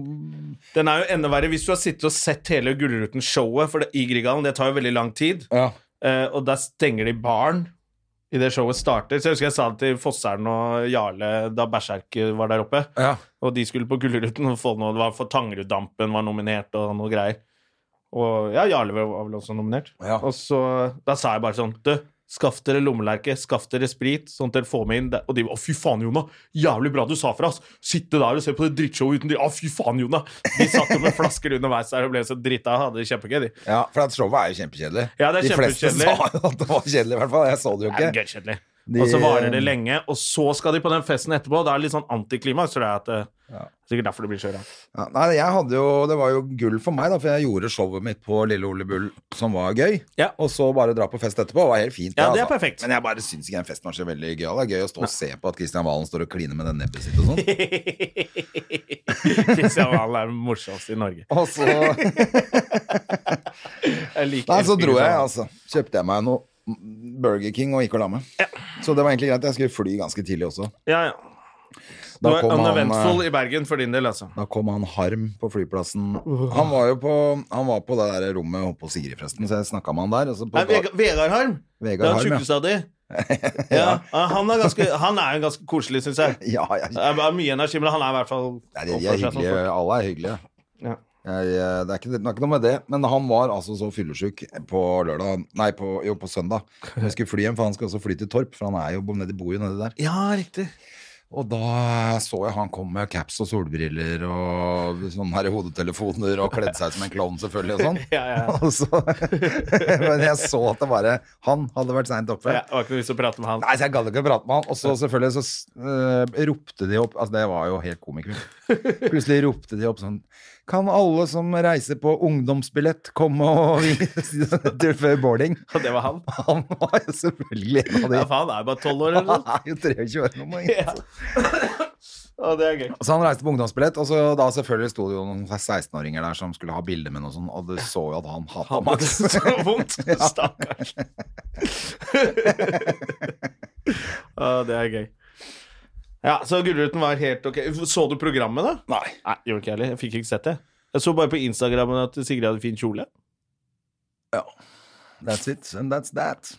[SPEAKER 1] Den er jo enda verre hvis du har sittet og sett hele Gullruten-showet for det, i Grieghallen. Det tar jo veldig lang tid,
[SPEAKER 2] Ja.
[SPEAKER 1] eh, og der stenger de baren i det showet starter. Så jeg husker jeg sa det til Fossern og Jarle da Berserk var der oppe,
[SPEAKER 2] ja.
[SPEAKER 1] og de skulle på Gullruten og få noe. Det var for Tangeruddampen var nominert og noe greier. Og ja, Jarle var vel også nominert.
[SPEAKER 2] Ja.
[SPEAKER 1] Og så da sa jeg bare sånn Du, skaff dere lommelerke, skaff dere sprit, sånn at dere får med inn det. Og de Å, fy faen, Jona. Jævlig bra du sa fra, ass. Sitte der og se på det drittshowet uten de. Å, fy faen, Jona. De satt jo med flasker underveis der og ble så drita. Hadde det kjempegøy, de.
[SPEAKER 2] Ja, for at showet er jo kjempekjedelig.
[SPEAKER 1] Ja, det er
[SPEAKER 2] de fleste
[SPEAKER 1] kjempekjedelig.
[SPEAKER 2] sa jo at det var kjedelig, i hvert fall. Jeg så det jo
[SPEAKER 1] Det er
[SPEAKER 2] ikke.
[SPEAKER 1] gøykjedelig.
[SPEAKER 2] De-
[SPEAKER 1] Og så varer det lenge, og så skal de på den festen etterpå. Da er det litt sånn antiklimaks, tror jeg. at det- Sikkert derfor det blir så rart.
[SPEAKER 2] Ja, nei, jeg hadde jo, det var jo gull for meg, da, for jeg gjorde showet mitt på Lille Ole Bull, som var gøy.
[SPEAKER 1] Ja.
[SPEAKER 2] Og så bare dra på fest etterpå. Det var helt fint.
[SPEAKER 1] Ja, det er perfekt.
[SPEAKER 2] Men jeg bare syns ikke den festen var så veldig gøy. Det er gøy å stå og se på at Kristian Valen står og kliner med det nebbet sitt og sånn.
[SPEAKER 1] Kristian Valen er morsomst i Norge.
[SPEAKER 2] Og så, nei,
[SPEAKER 1] Jeg liker
[SPEAKER 2] så
[SPEAKER 1] elsker
[SPEAKER 2] dro jeg,
[SPEAKER 1] Kristian.
[SPEAKER 2] altså. Kjøpte jeg meg noe Burger King og gikk og la meg. Så det var egentlig greit. Jeg skulle fly ganske tidlig også.
[SPEAKER 1] Ja, ja.
[SPEAKER 2] Da
[SPEAKER 1] Det var
[SPEAKER 2] kom han,
[SPEAKER 1] uneventful
[SPEAKER 2] eh,
[SPEAKER 1] i Bergen for din del, altså.
[SPEAKER 2] Da kom han harm på flyplassen. Han var jo på, han var på det der rommet oppe på Sigrid, forresten, så jeg snakka med han der. Og så på,
[SPEAKER 1] Nei, Vega- Vegard Harm. det er
[SPEAKER 2] Vegard Harm, ja.
[SPEAKER 1] han tjukkeste av de. Ja. Han, er ganske, han er jo ganske koselig, syns jeg.
[SPEAKER 2] ja, ja,
[SPEAKER 1] Det er mye energi, men han er i hvert fall
[SPEAKER 2] Nei, de, de er
[SPEAKER 1] oppfører seg som
[SPEAKER 2] hyggelige. Alle er hyggelige.
[SPEAKER 1] Ja.
[SPEAKER 2] Jeg, eh, det, er ikke, det er ikke noe med det, men han var altså så fyllesyk på lørdag Nei, på, jo, på søndag. Jeg skulle fly hjem, for han skal også fly til Torp, for han er jo nede i Boju nedi der.
[SPEAKER 1] folk. Ja, riktig.
[SPEAKER 2] Og da så jeg han kom med caps og solbriller og sånne her hodetelefoner og kledde seg som en klovn selvfølgelig og sånn.
[SPEAKER 1] Ja, ja, ja.
[SPEAKER 2] Og så- men jeg så at det bare Han hadde vært seint oppe.
[SPEAKER 1] Jeg har ikke noe lyst til å prate med han.
[SPEAKER 2] Nei, så jeg gadd ikke å prate med han. Og så selvfølgelig så eh, ropte de opp Altså, det var jo helt komiker. Plutselig ropte de opp sånn Kan alle som reiser på ungdomsbillett, komme og til før boarding?
[SPEAKER 1] Og det var han.
[SPEAKER 2] Han var jo selvfølgelig en av de.
[SPEAKER 1] Ja, sånn? faen, han er jo bare tolv år eller
[SPEAKER 2] Han
[SPEAKER 1] noe.
[SPEAKER 2] er jo 23 år nå, må jeg innse.
[SPEAKER 1] Ja, det er gøy.
[SPEAKER 2] Så Altså, han reiste på ungdomsbillett, og så da selvfølgelig sto det jo noen 16-åringer der som skulle ha bilde med noe sånt, og du så jo at han hata
[SPEAKER 1] Han hadde
[SPEAKER 2] Max.
[SPEAKER 1] det så vondt. Stakkars. ja, det er gøy. Ja, Så Gullruten var helt ok. Så du programmet, da?
[SPEAKER 2] Nei.
[SPEAKER 1] Nei, gjorde ikke jeg heller. Jeg fikk ikke sett det. Jeg så bare på Instagramen at Sigrid hadde fin kjole.
[SPEAKER 2] That's it, and that's that.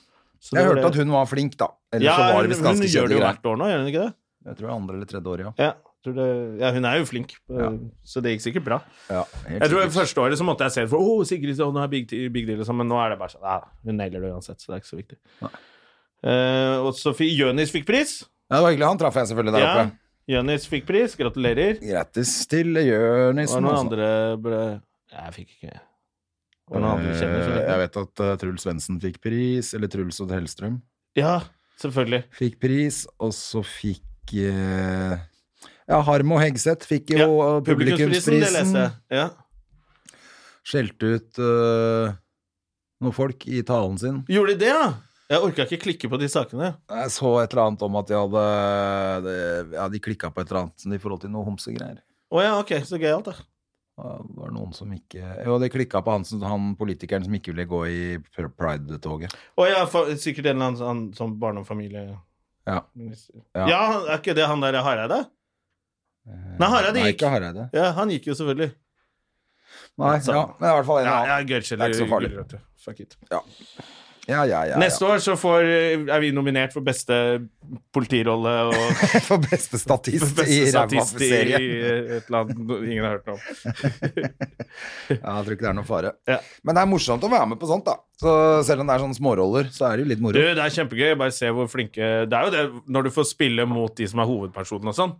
[SPEAKER 1] Så
[SPEAKER 2] Jeg
[SPEAKER 1] det var
[SPEAKER 2] hørte at
[SPEAKER 1] det.
[SPEAKER 2] hun var flink, da. Ellers
[SPEAKER 1] ja,
[SPEAKER 2] så var det
[SPEAKER 1] hun,
[SPEAKER 2] visst
[SPEAKER 1] gjør
[SPEAKER 2] ganske
[SPEAKER 1] det
[SPEAKER 2] kjedelige
[SPEAKER 1] jo
[SPEAKER 2] greier.
[SPEAKER 1] hvert år nå, gjør hun ikke det?
[SPEAKER 2] Jeg tror det er andre eller tredje året, ja.
[SPEAKER 1] Ja, tror det, ja hun er jo flink, eh,
[SPEAKER 2] Ja.
[SPEAKER 1] så det gikk sikkert bra.
[SPEAKER 2] ja helt
[SPEAKER 1] Jeg tror
[SPEAKER 2] sikkert.
[SPEAKER 1] Første året så måtte jeg se det for Å, Sigrid, å, nå er big, big deal, og sånn, men nå er det bare sånn ja, Hun nailer det uansett, så det er ikke så viktig. Eh, og så fikk Jonis fikk pris.
[SPEAKER 2] Ja, det var hyggelig. Han traff jeg selvfølgelig der
[SPEAKER 1] Ja,
[SPEAKER 2] oppe.
[SPEAKER 1] Jonis fikk pris. Gratulerer.
[SPEAKER 2] Grattis til
[SPEAKER 1] Det var
[SPEAKER 2] Jørnisen.
[SPEAKER 1] noen
[SPEAKER 2] altså.
[SPEAKER 1] andre ble... Jeg fikk ikke Det var noen andre
[SPEAKER 2] Eh, Jeg
[SPEAKER 1] kjendiser.
[SPEAKER 2] vet at eh, Truls Svendsen fikk pris, eller Truls Odd Hellstrøm
[SPEAKER 1] Ja, selvfølgelig.
[SPEAKER 2] fikk pris, og så fikk eh, ja, Harmo Hegseth fikk jo eh,
[SPEAKER 1] Publikumsprisen, det
[SPEAKER 2] publikumsprisen.
[SPEAKER 1] leste jeg. Ja.
[SPEAKER 2] Skjelte ut eh, noen folk i talen sin.
[SPEAKER 1] Gjorde de det, ja? Jeg orka ikke klikke på de sakene.
[SPEAKER 2] Jeg så et eller annet om at de hadde det- Ja, de klikka på et eller annet i forhold til noe homsegreier.
[SPEAKER 1] Å ja, ok, så gøyalt, da.
[SPEAKER 2] Det var noen som ikke Jo, de klikka på han, som- han politikeren som ikke ville gå i pr- pride-toget.
[SPEAKER 1] Å ja, for, sikkert en eller annen sånn, sånn barne- og familie...
[SPEAKER 2] Ja. Eh,
[SPEAKER 1] Ja. er ikke det han der Hareide? Nei, Hareide
[SPEAKER 2] Nei,
[SPEAKER 1] gikk.
[SPEAKER 2] ikke Hareide.
[SPEAKER 1] Ja, han gikk jo selvfølgelig.
[SPEAKER 2] Nei,
[SPEAKER 1] Så-
[SPEAKER 2] ja, men i hvert fall en
[SPEAKER 1] Ja,
[SPEAKER 2] annen.
[SPEAKER 1] ja, Gørkjell
[SPEAKER 2] Det er ikke så farlig.
[SPEAKER 1] gulrøtter. Fuck it.
[SPEAKER 2] Ja, ja, ja.
[SPEAKER 1] Neste år så får, eh, er vi nominert for beste politirolle og
[SPEAKER 2] ja. For beste statist
[SPEAKER 1] beste
[SPEAKER 2] i
[SPEAKER 1] statist i
[SPEAKER 2] ræva-serien.
[SPEAKER 1] et land ingen har hørt om.
[SPEAKER 2] Ja, jeg tror ikke det er noen fare.
[SPEAKER 1] Ja.
[SPEAKER 2] Men det er morsomt å være med på sånt, da. Så selv om det er sånne småroller, så er det jo litt
[SPEAKER 1] Du,
[SPEAKER 2] moro.
[SPEAKER 1] det er kjempegøy. Bare se hvor flinke Det er jo det når du får spille mot de som er hovedpersonen og sånn.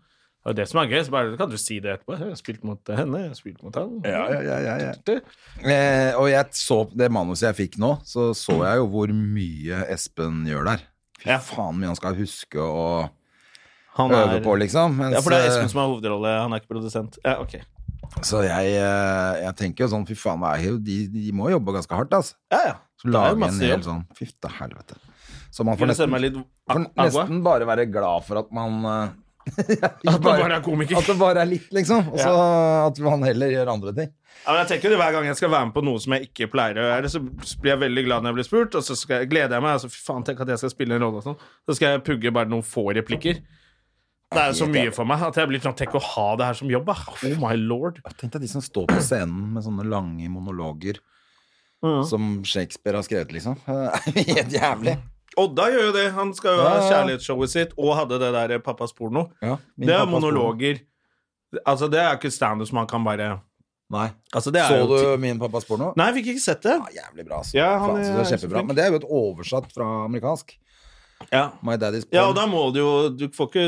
[SPEAKER 1] Det er jo det som er gøy. Så bare kan du si det etterpå. Jeg har spilt mot henne, jeg har spilt mot han.
[SPEAKER 2] ja, ja, ja, ja. Eh, og jeg så det manuset jeg fikk nå, så så jeg jo hvor mye Espen gjør der. Fy
[SPEAKER 1] Ja.
[SPEAKER 2] faen mye han skal huske å
[SPEAKER 1] Han
[SPEAKER 2] øve på,
[SPEAKER 1] er,
[SPEAKER 2] liksom. Mens,
[SPEAKER 1] ja, for det er
[SPEAKER 2] eh,
[SPEAKER 1] Espen som er hovedrolle, han er ikke produsent. Ja, ok.
[SPEAKER 2] Så jeg, eh, jeg tenker jo sånn, fy faen, det er jo- de, de må jobbe ganske hardt, altså.
[SPEAKER 1] Ja, ja. Det er
[SPEAKER 2] Så
[SPEAKER 1] jo
[SPEAKER 2] lage en
[SPEAKER 1] masse
[SPEAKER 2] hel
[SPEAKER 1] jobb.
[SPEAKER 2] sånn Fy til helvete. Så man får
[SPEAKER 1] Kunne sende
[SPEAKER 2] nesten,
[SPEAKER 1] meg litt Ah,
[SPEAKER 2] får
[SPEAKER 1] agua.
[SPEAKER 2] nesten bare være glad for at man eh,
[SPEAKER 1] At man bare er komiker.
[SPEAKER 2] At det bare er litt, liksom. Og så at man heller gjør andre ting.
[SPEAKER 1] Ja, men jeg tenker det Hver gang jeg skal være med på noe som jeg ikke pleier å gjøre, så blir jeg veldig glad når jeg blir spurt, og så skal jeg, gleder jeg meg. Altså, fy faen, tenk at jeg skal spille en rolle og sånn. Så skal jeg pugge bare noen få replikker. Det er jo så mye for meg at jeg blir sånn Tenk å ha det her som jobb, da. Oh my lord.
[SPEAKER 2] Tenk deg de som står på scenen med sånne lange monologer
[SPEAKER 1] Mm.
[SPEAKER 2] som Shakespeare har skrevet, liksom. Det er Helt jævlig.
[SPEAKER 1] Mm. Odda gjør jo det. Han skal jo ha
[SPEAKER 2] Ja, ja.
[SPEAKER 1] kjærlighetsshowet sitt, og hadde det der eh, Pappas porno.
[SPEAKER 2] Ja, min
[SPEAKER 1] Det er
[SPEAKER 2] pappas
[SPEAKER 1] monologer. Altså, det er jo ikke standup som man kan bare
[SPEAKER 2] porno. Nei.
[SPEAKER 1] Altså, det er
[SPEAKER 2] Så
[SPEAKER 1] jo
[SPEAKER 2] du
[SPEAKER 1] ti-
[SPEAKER 2] min pappas porno?
[SPEAKER 1] Nei, jeg fikk ikke sett det.
[SPEAKER 2] Ja, jævlig bra, altså.
[SPEAKER 1] Ja, han
[SPEAKER 2] Faen, så
[SPEAKER 1] er
[SPEAKER 2] det er
[SPEAKER 1] så
[SPEAKER 2] kjempebra.
[SPEAKER 1] flink.
[SPEAKER 2] Men det er jo et oversatt fra amerikansk.
[SPEAKER 1] Ja.
[SPEAKER 2] My daddy's porn.
[SPEAKER 1] ja, og da må du jo Du får ikke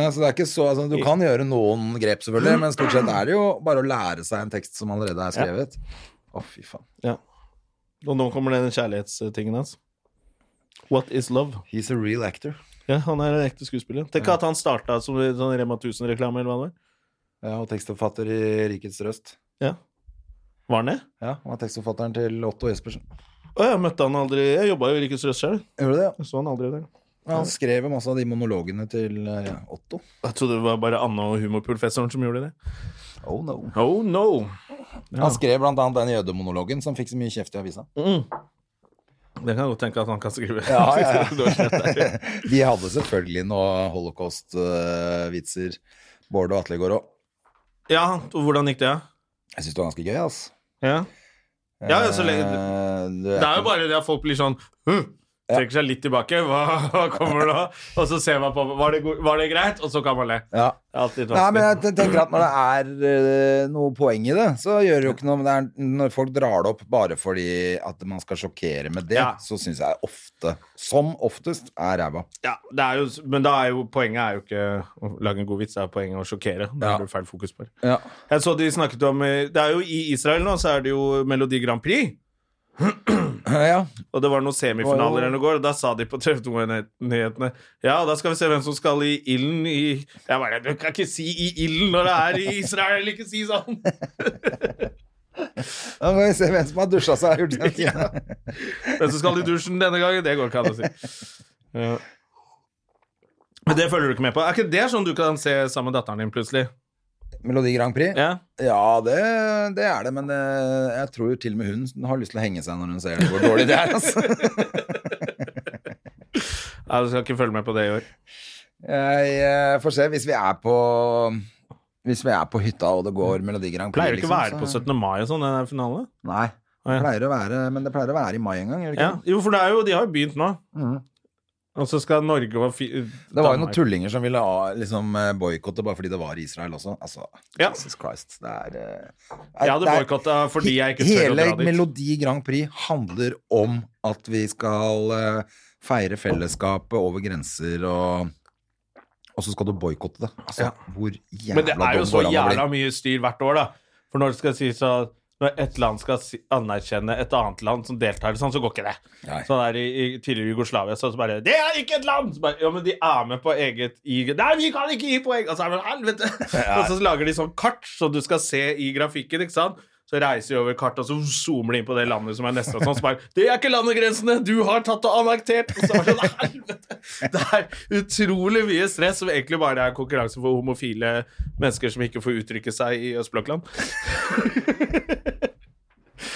[SPEAKER 2] Nei, så det er ikke så, altså, du kan gjøre noen grep,
[SPEAKER 1] Mm.
[SPEAKER 2] selvfølgelig, men stort sett er det jo bare å lære seg en tekst som allerede er skrevet. Å, fy faen.
[SPEAKER 1] Ja. Og nå kommer den kjærlighetstingen hans. What is love?
[SPEAKER 2] He's a real actor.
[SPEAKER 1] Ja, han er en ekte skuespiller. Tenk at han starta som en sånn Rema 1000-reklame, eller hva det var.
[SPEAKER 2] Ja, og tekstforfatter i Rikets Røst.
[SPEAKER 1] Ja. Var han det?
[SPEAKER 2] Ja, Han var tekstforfatteren til Otto Jespersen.
[SPEAKER 1] Å, jeg møtte han aldri. Jeg jobba jo i Rikets Røst selv.
[SPEAKER 2] Gjorde du det? ja?
[SPEAKER 1] Jeg så han aldri der.
[SPEAKER 2] Ja, han skrev masse av de monologene til eh, Otto.
[SPEAKER 1] Jeg trodde det var bare Anne og humorprofessoren som gjorde det.
[SPEAKER 2] Oh no.
[SPEAKER 1] Oh no!
[SPEAKER 2] Han skrev blant annet den jødemonologen som fikk så mye kjeft i avisa.
[SPEAKER 1] Det kan jeg godt tenke at han kan skrive.
[SPEAKER 2] Ja, ja, ja.
[SPEAKER 1] Du har slett der.
[SPEAKER 2] De hadde selvfølgelig noe holocaust-vitser, Bård og Atlegård òg.
[SPEAKER 1] ja, og hvordan gikk det?
[SPEAKER 2] Jeg syns det var ganske gøy, ass.
[SPEAKER 1] Ja. Ja, ja, så lenge-
[SPEAKER 2] Eh, du
[SPEAKER 1] Det
[SPEAKER 2] er
[SPEAKER 1] er
[SPEAKER 2] ikke-
[SPEAKER 1] jo bare det at folk blir sånn «Hm, trekker seg litt tilbake. Hva kommer nå? Og så ser man på Var det, go- var det greit? Og så kan man le. Det
[SPEAKER 2] Ja.
[SPEAKER 1] er alltid
[SPEAKER 2] Nei, men
[SPEAKER 1] vanskelig.
[SPEAKER 2] jeg ten- tenker at når det er eh, noe poeng i det, så gjør det jo ikke noe. Men det er, når folk drar det opp bare fordi at man skal sjokkere med det,
[SPEAKER 1] Ja.
[SPEAKER 2] så syns jeg ofte, som oftest, er ræva.
[SPEAKER 1] Ja, det er jo, men da er jo poenget er jo ikke å lage en god vits, det er poenget å sjokkere. Det
[SPEAKER 2] Ja.
[SPEAKER 1] er det feil fokus på.
[SPEAKER 2] Ja.
[SPEAKER 1] Jeg så de snakket om eh, Det er jo i Israel nå, så er det jo Melodi Grand Prix.
[SPEAKER 2] Eh, ja.
[SPEAKER 1] Og det var noen
[SPEAKER 2] Det var jo-
[SPEAKER 1] semifinaler eller noe i går, og da sa de på TV 2-nyhetene Ja, da skal vi se hvem som skal i ilden i Jeg bare Du kan ikke si i ilden når det er i Israel! Ikke si sånn!
[SPEAKER 2] Da må vi se hvem som har dusja seg og gjort den tiden.
[SPEAKER 1] Hvem som skal i dusjen denne gangen? Det går ikke an å si. Ja. Men det følger du ikke med på. Er ikke det sånn du kan se sammen med datteren din plutselig?
[SPEAKER 2] Melodi Grand Prix?
[SPEAKER 1] Ja.
[SPEAKER 2] Ja, det, det er det, men det, jeg tror til og med hun har lyst til å henge seg når hun ser hvor dårlig det er. Altså.
[SPEAKER 1] ja, du skal ikke følge med på det i år.
[SPEAKER 2] Jeg eh, får se hvis vi er på Hvis vi er på hytta og det går Melodi Grand Prix.
[SPEAKER 1] Pleier det ikke å
[SPEAKER 2] liksom,
[SPEAKER 1] være på
[SPEAKER 2] så-
[SPEAKER 1] 17. mai og sånn, den der finalen?
[SPEAKER 2] Nei.
[SPEAKER 1] Å, ja.
[SPEAKER 2] Det Pleier å være, men det pleier å være i mai en gang. Gjør det,
[SPEAKER 1] Ja.
[SPEAKER 2] ikke?
[SPEAKER 1] Jo, for det er jo, de har jo begynt nå.
[SPEAKER 2] Mhm.
[SPEAKER 1] Og så skal Norge og fi
[SPEAKER 2] det? det var jo noen tullinger som ville ha- liksom, eh, boikotte bare fordi det var i Israel også. Altså,
[SPEAKER 1] Ja.
[SPEAKER 2] Jesus Christ. Det er eh,
[SPEAKER 1] Jeg hadde
[SPEAKER 2] det er-
[SPEAKER 1] boikotta fordi jeg ikke tør å
[SPEAKER 2] Hele
[SPEAKER 1] dra dit.
[SPEAKER 2] Melodi Grand Prix handler om at vi skal eh, feire fellesskapet over grenser og og så skal du boikotte det. Altså, hvor jævla
[SPEAKER 1] Men det er jo
[SPEAKER 2] dum
[SPEAKER 1] så
[SPEAKER 2] går an å bli?
[SPEAKER 1] jævla mye styr hvert år, da. For når det skal sies at når et land skal si, anerkjenne et annet land som deltar, sånn, så går ikke det.
[SPEAKER 2] Nei.
[SPEAKER 1] Sånn der i, i tidligere Jugoslavia så, så bare 'Det er ikke et land!' Så bare, ja, men de er med på eget i Nei, vi kan ikke gi poeng! Og så er det helvete! Og så lager de sånn kart som du skal se i grafikken, ikke sant? Så reiser de over kart, og så zoomer de inn på det landet som er neste. Og sånn, så bare 'Det er ikke landegrensene! Du har tatt og annektert!' Og så er det sånn helvete! Det er utrolig mye stress som egentlig bare er konkurranse for homofile mennesker som ikke får uttrykke seg i østblokkland.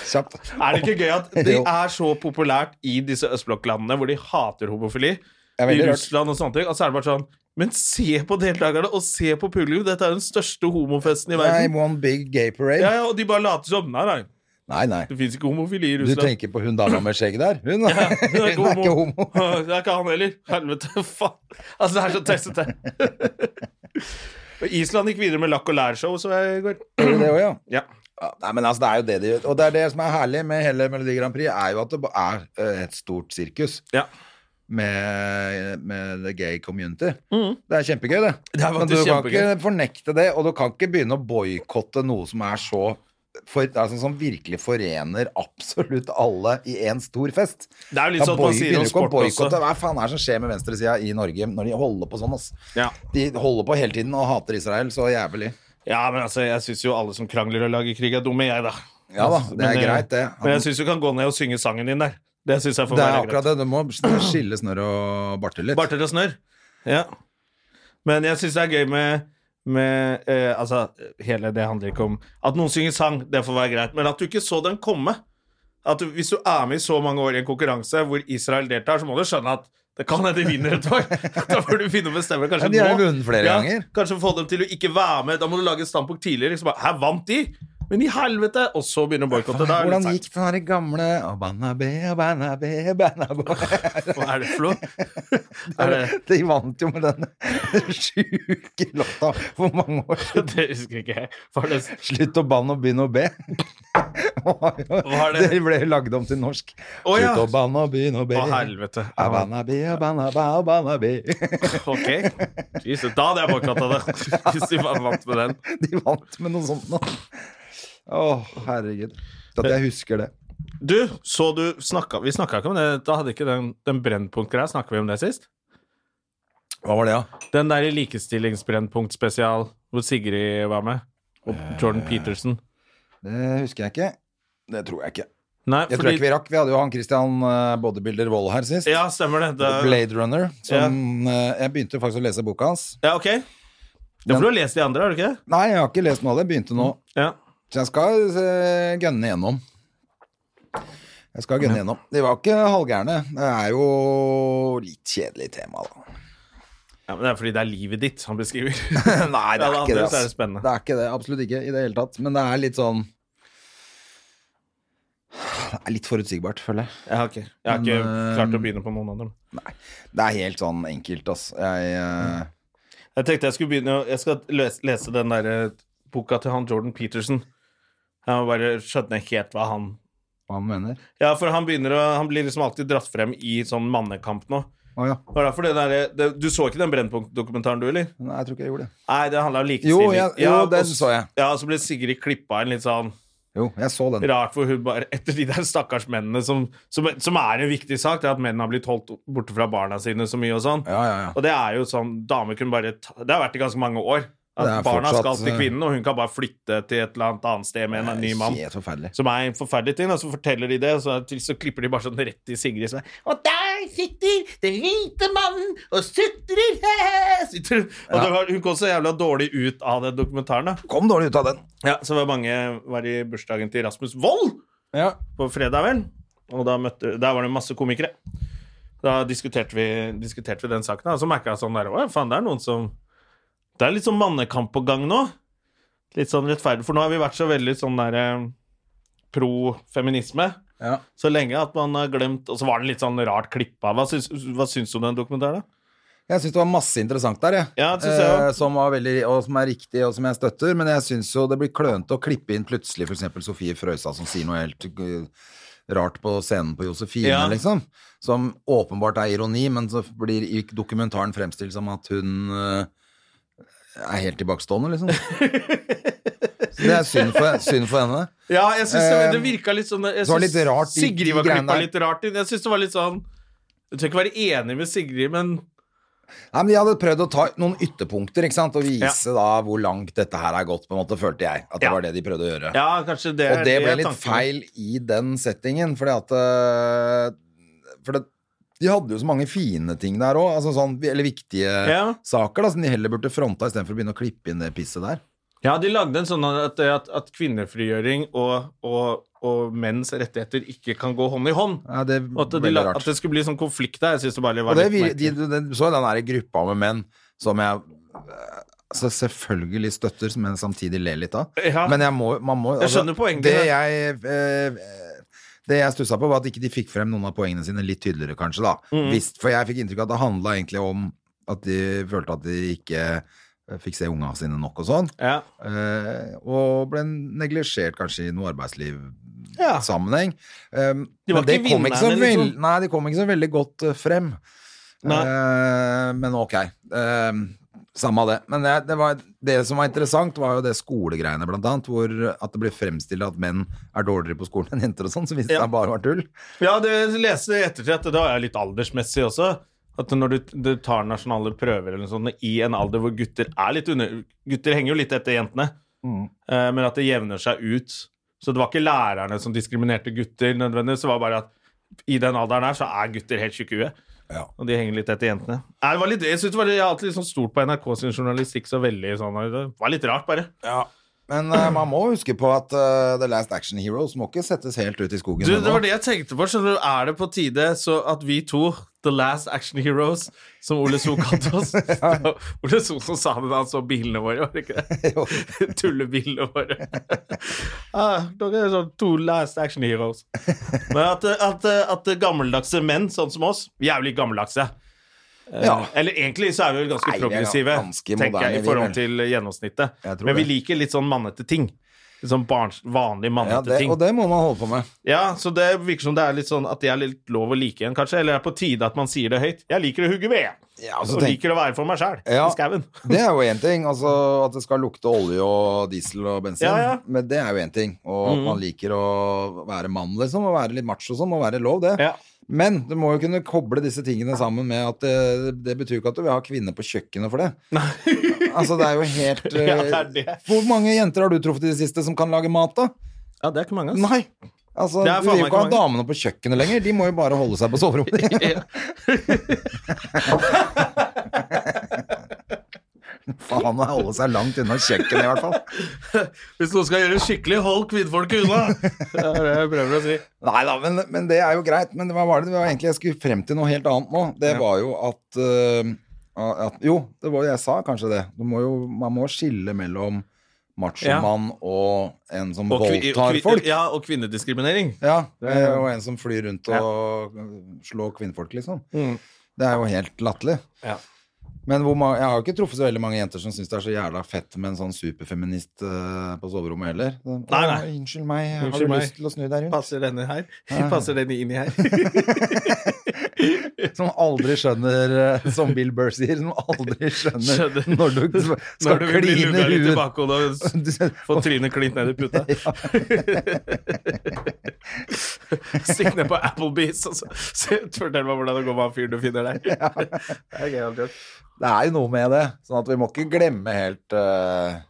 [SPEAKER 2] Kjapt.
[SPEAKER 1] Er det ikke gøy at det
[SPEAKER 2] Jo.
[SPEAKER 1] er så populært i disse østblokklandene hvor de hater homofili?
[SPEAKER 2] er
[SPEAKER 1] I
[SPEAKER 2] veldig rart.
[SPEAKER 1] Russland og sånne ting. Og så er det bare sånn Men se på deltakerne, og se på publikum! Dette er den største homofesten i
[SPEAKER 2] Nei,
[SPEAKER 1] verden.
[SPEAKER 2] one big gay parade.
[SPEAKER 1] Ja, ja, og de bare later som. Nei, nei,
[SPEAKER 2] Nei, nei.
[SPEAKER 1] det fins ikke homofili i
[SPEAKER 2] Du
[SPEAKER 1] Russland.
[SPEAKER 2] tenker på hun dama med skjegg der? Hun,
[SPEAKER 1] Ja,
[SPEAKER 2] hun er ikke homo.
[SPEAKER 1] Det er ikke han heller. Helvete, faen. Altså, det er så tøysete. Og Island gikk videre med lakk og lær-show, så jeg i går.
[SPEAKER 2] Gjør det også, ja.
[SPEAKER 1] Ja.
[SPEAKER 2] Ja, Nei, men altså, det er jo det de gjør. Og det er det som er herlig med hele Melodi Grand Prix, er jo at det ba- er eh, et stort sirkus
[SPEAKER 1] ja.
[SPEAKER 2] med, med the gay community. Det er kjempegøy, det.
[SPEAKER 1] Mm. er
[SPEAKER 2] men du
[SPEAKER 1] faktisk
[SPEAKER 2] kan
[SPEAKER 1] kjempegøy.
[SPEAKER 2] ikke fornekte det, og du kan ikke begynne å boikotte noe som er så for, altså, som virkelig forener absolutt alle i én stor fest.
[SPEAKER 1] Det er jo litt
[SPEAKER 2] Da
[SPEAKER 1] sånn at man
[SPEAKER 2] boy-
[SPEAKER 1] sier om
[SPEAKER 2] begynner du ikke å
[SPEAKER 1] sport også.
[SPEAKER 2] boykotte. Hva faen er det som skjer med venstresida i Norge når de holder på sånn, ass?
[SPEAKER 1] Ja.
[SPEAKER 2] De holder på hele tiden og hater Israel så jævlig.
[SPEAKER 1] Ja, men altså, jeg syns jo alle som krangler og lager krig, er dumme, jeg, da.
[SPEAKER 2] Ja da,
[SPEAKER 1] Altså,
[SPEAKER 2] det er
[SPEAKER 1] men, eh,
[SPEAKER 2] greit, det.
[SPEAKER 1] Men jeg syns du kan gå ned og synge sangen din der. Det syns jeg får
[SPEAKER 2] Det er
[SPEAKER 1] være
[SPEAKER 2] akkurat
[SPEAKER 1] greit.
[SPEAKER 2] det. Du må skille snørr og barter litt.
[SPEAKER 1] Barter og snørr. Ja. Men jeg syns det er gøy med med, eh, altså, hele det handler ikke om At noen synger sang, det får være greit, men at du ikke så den komme. At du, Hvis du er med i så mange år i en konkurranse hvor Israel deltar, så må du skjønne at det kan hende de vinner et år. Da får du finne og bestemme kanskje
[SPEAKER 2] Ja, de har jo
[SPEAKER 1] nå.
[SPEAKER 2] vunnet flere ganger.
[SPEAKER 1] Kanskje få dem til å ikke være med. Da må du lage et standpunkt tidligere. Liksom, bare, Her vant de! Men i helvete! Og så begynner boikottet. Da er det
[SPEAKER 2] Hvordan
[SPEAKER 1] litt
[SPEAKER 2] gikk den her gamle Abanabe, Abanabe, Abanabe
[SPEAKER 1] seigt. Hva er det for noe? er det,
[SPEAKER 2] De vant jo med den sjuke låta for mange år siden.
[SPEAKER 1] det husker ikke jeg. Var det,
[SPEAKER 2] Slutt å banne og begynn å be. Var jo-
[SPEAKER 1] Var det-
[SPEAKER 2] Det ble lagd om til norsk.
[SPEAKER 1] Å, ja.
[SPEAKER 2] Slutt å banne og begynn å be.
[SPEAKER 1] å, helvete.
[SPEAKER 2] Abanabe, Abanabe, Abanabe.
[SPEAKER 1] Ok. Jesus, da hadde jeg boikotta det. Hvis de var vant med den.
[SPEAKER 2] De vant med noe sånt nå. Å, herregud. At jeg husker det.
[SPEAKER 1] Du, så du snakka Vi snakka ikke om det. Da hadde ikke den, den Brennpunkt-greia. Snakka vi om det sist?
[SPEAKER 2] Hva var det, da?
[SPEAKER 1] Den der likestillingsbrennpunkt-spesial hvor Sigrid var med. Og
[SPEAKER 2] Eh.
[SPEAKER 1] Jordan Peterson.
[SPEAKER 2] Det husker jeg ikke. Det tror jeg ikke.
[SPEAKER 1] Nei,
[SPEAKER 2] Jeg tror ikke vi rakk. Vi hadde jo han Christian eh, Bodybuilder Wold her sist.
[SPEAKER 1] Ja, stemmer det. det
[SPEAKER 2] Blade Runner. Som, eh, Jeg begynte faktisk å lese boka hans.
[SPEAKER 1] ja, ok. Ja, for du har lest de andre, har du ikke det?
[SPEAKER 2] Nei, jeg har ikke lest noe av det. Begynte nå.
[SPEAKER 1] Ja.
[SPEAKER 2] Så jeg skal eh, gønne gjennom. Jeg skal gønne gjennom. De var ikke halvgærne. Det er jo litt kjedelig tema, da.
[SPEAKER 1] ja, men Det er fordi det er livet ditt han beskriver.
[SPEAKER 2] Nei, det er ikke det.
[SPEAKER 1] ass. Er det
[SPEAKER 2] ass.
[SPEAKER 1] spennende.
[SPEAKER 2] Det er ikke det. Absolutt ikke i det hele tatt. Men det er litt sånn det er litt forutsigbart, føler jeg.
[SPEAKER 1] Jeg har ikke, jeg har ikke
[SPEAKER 2] Men, eh,
[SPEAKER 1] klart å begynne på noen av dem.
[SPEAKER 2] Det er helt sånn enkelt, altså. Jeg, eh,
[SPEAKER 1] Jeg tenkte jeg skulle begynne å- Jeg skal lese, lese den der eh, boka til han Jordan Peterson. Jeg må bare skjønner helt hva han
[SPEAKER 2] hva han mener.
[SPEAKER 1] Ja, for han begynner å Han blir liksom alltid dratt frem i sånn mannekamp nå.
[SPEAKER 2] Å ja.
[SPEAKER 1] Det var derfor det der, eh, det, du så ikke den Brennpunkt-dokumentaren, du, eller?
[SPEAKER 2] Nei, jeg tror ikke jeg gjorde det.
[SPEAKER 1] Nei, det handla om
[SPEAKER 2] Jo,
[SPEAKER 1] likestilling.
[SPEAKER 2] jeg, jo
[SPEAKER 1] Ja, og
[SPEAKER 2] den
[SPEAKER 1] s-
[SPEAKER 2] så jeg.
[SPEAKER 1] Ja, og så ble Sigrid klippa inn litt sånn
[SPEAKER 2] Jo, jeg så den.
[SPEAKER 1] rart, hvor hun bare Etter de der stakkars mennene, som, som, som er en viktig sak, det er at menn har blitt holdt borte fra barna sine så mye og sånn.
[SPEAKER 2] Ja, ja, ja.
[SPEAKER 1] Og det er jo sånn Damer kunne bare ta, Det har vært i ganske mange år. At
[SPEAKER 2] Det er
[SPEAKER 1] barna skal
[SPEAKER 2] fortsatt, eh,
[SPEAKER 1] til kvinnen, og hun kan bare flytte til et eller annet annet sted med en ny mann.
[SPEAKER 2] Helt forferdelig.
[SPEAKER 1] Som er en forferdelig ting, og så forteller de det, og så, er det trist, så klipper de bare sånn rett i Sigrid. Som er, og der sitter den hvite mannen og sutrer! Sitter, og det var, hun kom så jævla dårlig ut av den dokumentaren. da.
[SPEAKER 2] Kom dårlig ut av den.
[SPEAKER 1] Ja, Så var mange var i bursdagen til Rasmus Wold
[SPEAKER 2] Ja.
[SPEAKER 1] på fredag, vel. Og da møtte, der var det masse komikere. Da diskuterte vi, diskuterte vi den saken, da, og så merka jeg sånn der Å, faen, det er noen som Det er litt sånn mannekamp på gang nå. Litt sånn rettferdig. For nå har vi vært så veldig sånn der eh, pro-feminisme
[SPEAKER 2] Ja.
[SPEAKER 1] så lenge at man har glemt Og så var den litt sånn rart klippa. Hva syns, hva syns du om den dokumentaren, da?
[SPEAKER 2] Jeg syns det var masse interessant der, jeg. Eh,
[SPEAKER 1] Ja, det synes jeg også.
[SPEAKER 2] som, var veldig, og som er riktig, og som jeg støtter. Men jeg syns jo det blir klønete å klippe inn plutselig f.eks. Sofie Frøysa som sier noe helt uh, rart på scenen på Josefine,
[SPEAKER 1] Ja.
[SPEAKER 2] liksom. Som åpenbart er ironi, men så blir i dokumentaren fremstilt som at hun uh, er helt tilbakestående, liksom. Så det er synd for, synd for henne.
[SPEAKER 1] Ja, jeg syns det,
[SPEAKER 2] Eh,
[SPEAKER 1] det virka litt sånn jeg
[SPEAKER 2] det var
[SPEAKER 1] synes
[SPEAKER 2] litt rart, de- de
[SPEAKER 1] Sigrid var
[SPEAKER 2] greiene
[SPEAKER 1] klippa
[SPEAKER 2] der.
[SPEAKER 1] litt rart inn. Jeg syns det var litt sånn Du trenger ikke være enig med Sigrid, men
[SPEAKER 2] Nei, men De hadde prøvd å ta noen ytterpunkter ikke sant? og vise da hvor langt dette her er gått, på en måte, følte jeg. At det
[SPEAKER 1] Ja.
[SPEAKER 2] var det de prøvde å gjøre.
[SPEAKER 1] Ja, kanskje det er
[SPEAKER 2] og det ble
[SPEAKER 1] er
[SPEAKER 2] litt
[SPEAKER 1] tanken.
[SPEAKER 2] feil i den settingen, fordi at eh, For det, de hadde jo så mange fine ting der òg, altså sånn, eller viktige
[SPEAKER 1] Ja.
[SPEAKER 2] saker da, som de heller burde fronta istedenfor å begynne å klippe inn det pisset der.
[SPEAKER 1] Ja, de lagde en sånn at, at, at kvinnefrigjøring og, og, og menns rettigheter ikke kan gå hånd i hånd.
[SPEAKER 2] Ja, det er
[SPEAKER 1] Og at, de,
[SPEAKER 2] veldig
[SPEAKER 1] la-
[SPEAKER 2] rart.
[SPEAKER 1] at det skulle bli sånn konflikt der. Jeg synes det bare var
[SPEAKER 2] og det,
[SPEAKER 1] litt
[SPEAKER 2] vi- de,
[SPEAKER 1] merkelig.
[SPEAKER 2] de, de, så den der gruppa med menn som jeg eh, så selvfølgelig støtter, men samtidig ler litt av.
[SPEAKER 1] Ja.
[SPEAKER 2] Men jeg må, man må altså,
[SPEAKER 1] Jeg skjønner poenget.
[SPEAKER 2] Det jeg, eh, det jeg stussa på, var at ikke de fikk frem noen av poengene sine litt tydeligere, kanskje. da.
[SPEAKER 1] Mm.
[SPEAKER 2] Hvis- for jeg fikk inntrykk av at det handla egentlig om at de følte at de ikke eh, fikk se unga sine nok og sånn.
[SPEAKER 1] ja.
[SPEAKER 2] Eh, og ble neglisjert kanskje i noe arbeidslivssammenheng.
[SPEAKER 1] Ja.
[SPEAKER 2] Um,
[SPEAKER 1] De var
[SPEAKER 2] men det
[SPEAKER 1] ikke
[SPEAKER 2] kom ikke så
[SPEAKER 1] vinnerne,
[SPEAKER 2] veld-
[SPEAKER 1] liksom.
[SPEAKER 2] Nei, de kom ikke så veldig godt eh, frem.
[SPEAKER 1] Nei.
[SPEAKER 2] Eh, men ok. Um, samme av det. Men det, det, var, det som var interessant, var jo det skolegreiene, blant annet. Hvor at det ble fremstilt at menn er dårligere på skolen enn jenter og sånn, som hvis
[SPEAKER 1] Ja.
[SPEAKER 2] det bare var tull.
[SPEAKER 1] ja, det leste jeg i ettertid at det var litt aldersmessig også. At når du, du tar nasjonale prøver eller noe sånt, i en alder hvor gutter er litt under Gutter henger jo litt etter jentene, eh, men at det jevner seg ut. Så det var ikke lærerne som diskriminerte gutter nødvendigvis. Det var bare at i den alderen her så er gutter helt tjukke i huet.
[SPEAKER 2] Ja.
[SPEAKER 1] Og de henger litt etter jentene. Nei, det var litt, jeg synes det var litt, jeg har alltid litt sånn stort på NRK sin journalistikk så veldig sånn Det var litt rart, bare.
[SPEAKER 2] Men eh, man må huske på at eh, The Last Action Heroes må ikke settes helt ut i skogen.
[SPEAKER 1] Du, det
[SPEAKER 2] ennå.
[SPEAKER 1] var det jeg tenkte på. Skjønner du, Er det på tide så at vi to, The Last Action Heroes, som Ole So kalte oss Det var Ole So som sa det da han så bilene våre, var det ikke
[SPEAKER 2] Jo.
[SPEAKER 1] det? Tullebilene våre. ah, dere er sånn to Last Action Heroes. Men at, at, at gammeldagse menn, sånn som oss Vi er jo litt gammeldagse. Eh,
[SPEAKER 2] Ja.
[SPEAKER 1] Eller egentlig så er vi vel ganske
[SPEAKER 2] Nei, vi er
[SPEAKER 1] progressive,
[SPEAKER 2] ganske
[SPEAKER 1] tenker jeg,
[SPEAKER 2] moderne,
[SPEAKER 1] i
[SPEAKER 2] vi
[SPEAKER 1] forhold
[SPEAKER 2] vel.
[SPEAKER 1] til gjennomsnittet.
[SPEAKER 2] Jeg tror
[SPEAKER 1] Men vi
[SPEAKER 2] det.
[SPEAKER 1] liker litt sånn mannete ting. Litt Sånn barns, vanlig
[SPEAKER 2] ja,
[SPEAKER 1] mannete
[SPEAKER 2] det,
[SPEAKER 1] ting.
[SPEAKER 2] og det må man holde på med.
[SPEAKER 1] Ja, så det virker som det er litt sånn at det er litt lov å like en, kanskje. Eller er det på tide at man sier det høyt. Jeg liker å hugge ved.
[SPEAKER 2] Ja, og så
[SPEAKER 1] og
[SPEAKER 2] tenk-
[SPEAKER 1] liker å være for meg sjæl
[SPEAKER 2] Ja.
[SPEAKER 1] i skauen.
[SPEAKER 2] Det er jo én ting. Altså, at det skal lukte olje og diesel og bensin.
[SPEAKER 1] Ja, Mm. ja.
[SPEAKER 2] Men det er jo én ting. Og at man liker å være mann, liksom. Og være litt macho og sånn. Må være lov, det.
[SPEAKER 1] Ja.
[SPEAKER 2] Men du må jo kunne koble disse tingene sammen med at det, det betyr jo ikke at du vil ha kvinner på kjøkkenet for det. altså, det er jo helt
[SPEAKER 1] Ja, det er
[SPEAKER 2] eh,
[SPEAKER 1] det.
[SPEAKER 2] Hvor mange jenter har du truffet i det siste som kan lage mat, da?
[SPEAKER 1] Ja, det er ikke mange,
[SPEAKER 2] Nei. Altså,
[SPEAKER 1] Det er faen
[SPEAKER 2] Du vil jo
[SPEAKER 1] meg
[SPEAKER 2] ikke ha
[SPEAKER 1] ikke
[SPEAKER 2] damene på kjøkkenet lenger. De må jo bare holde seg på soverommet. Faen, å holde seg langt unna kjøkkenet, i hvert fall.
[SPEAKER 1] Hvis noen skal gjøre det skikkelig, hold kvinnfolket unna! Det er det jeg prøver å si.
[SPEAKER 2] Nei da, men, men det er jo greit. Men det var, var det, det var egentlig jeg skulle frem til noe helt annet nå. Det var jo at, eh, øh, at Jo, det var jo jeg sa kanskje det. Du må jo, man må skille mellom machomann og en som
[SPEAKER 1] Og, kvi, og,
[SPEAKER 2] voldtar
[SPEAKER 1] kvi,
[SPEAKER 2] folk. Ja,
[SPEAKER 1] ja, og kvinnediskriminering.
[SPEAKER 2] eh, Og en som flyr rundt og eh, slår kvinnfolk, liksom. Det er jo helt latterlig.
[SPEAKER 1] Mm. Ja.
[SPEAKER 2] Men hvor ma- jeg har jo ikke truffet så veldig mange jenter som syns det er så jævla fett med en sånn superfeminist eh, på soverommet heller. Sånn,
[SPEAKER 1] Nei,
[SPEAKER 2] «Å,
[SPEAKER 1] nei.
[SPEAKER 2] Unnskyld meg,
[SPEAKER 1] Unnskyld
[SPEAKER 2] har du
[SPEAKER 1] meg.
[SPEAKER 2] lyst til å snu deg rundt?
[SPEAKER 1] Passer denne her? Passer denne inni her?
[SPEAKER 2] Som aldri skjønner, eh, som Bill Burr sier, som aldri skjønner,
[SPEAKER 1] Skjønner.
[SPEAKER 2] når du skal
[SPEAKER 1] Når du vil bli
[SPEAKER 2] kline
[SPEAKER 1] lugga litt i
[SPEAKER 2] ut.
[SPEAKER 1] bakhodet og s- få trynet klint ned i puta. Stikk ned på Applebee's og så se- fortell meg hvordan det går med han fyren du finner der. Det er gøy, Albjørn.
[SPEAKER 2] Det er jo noe med det, sånn at vi må ikke glemme helt eh,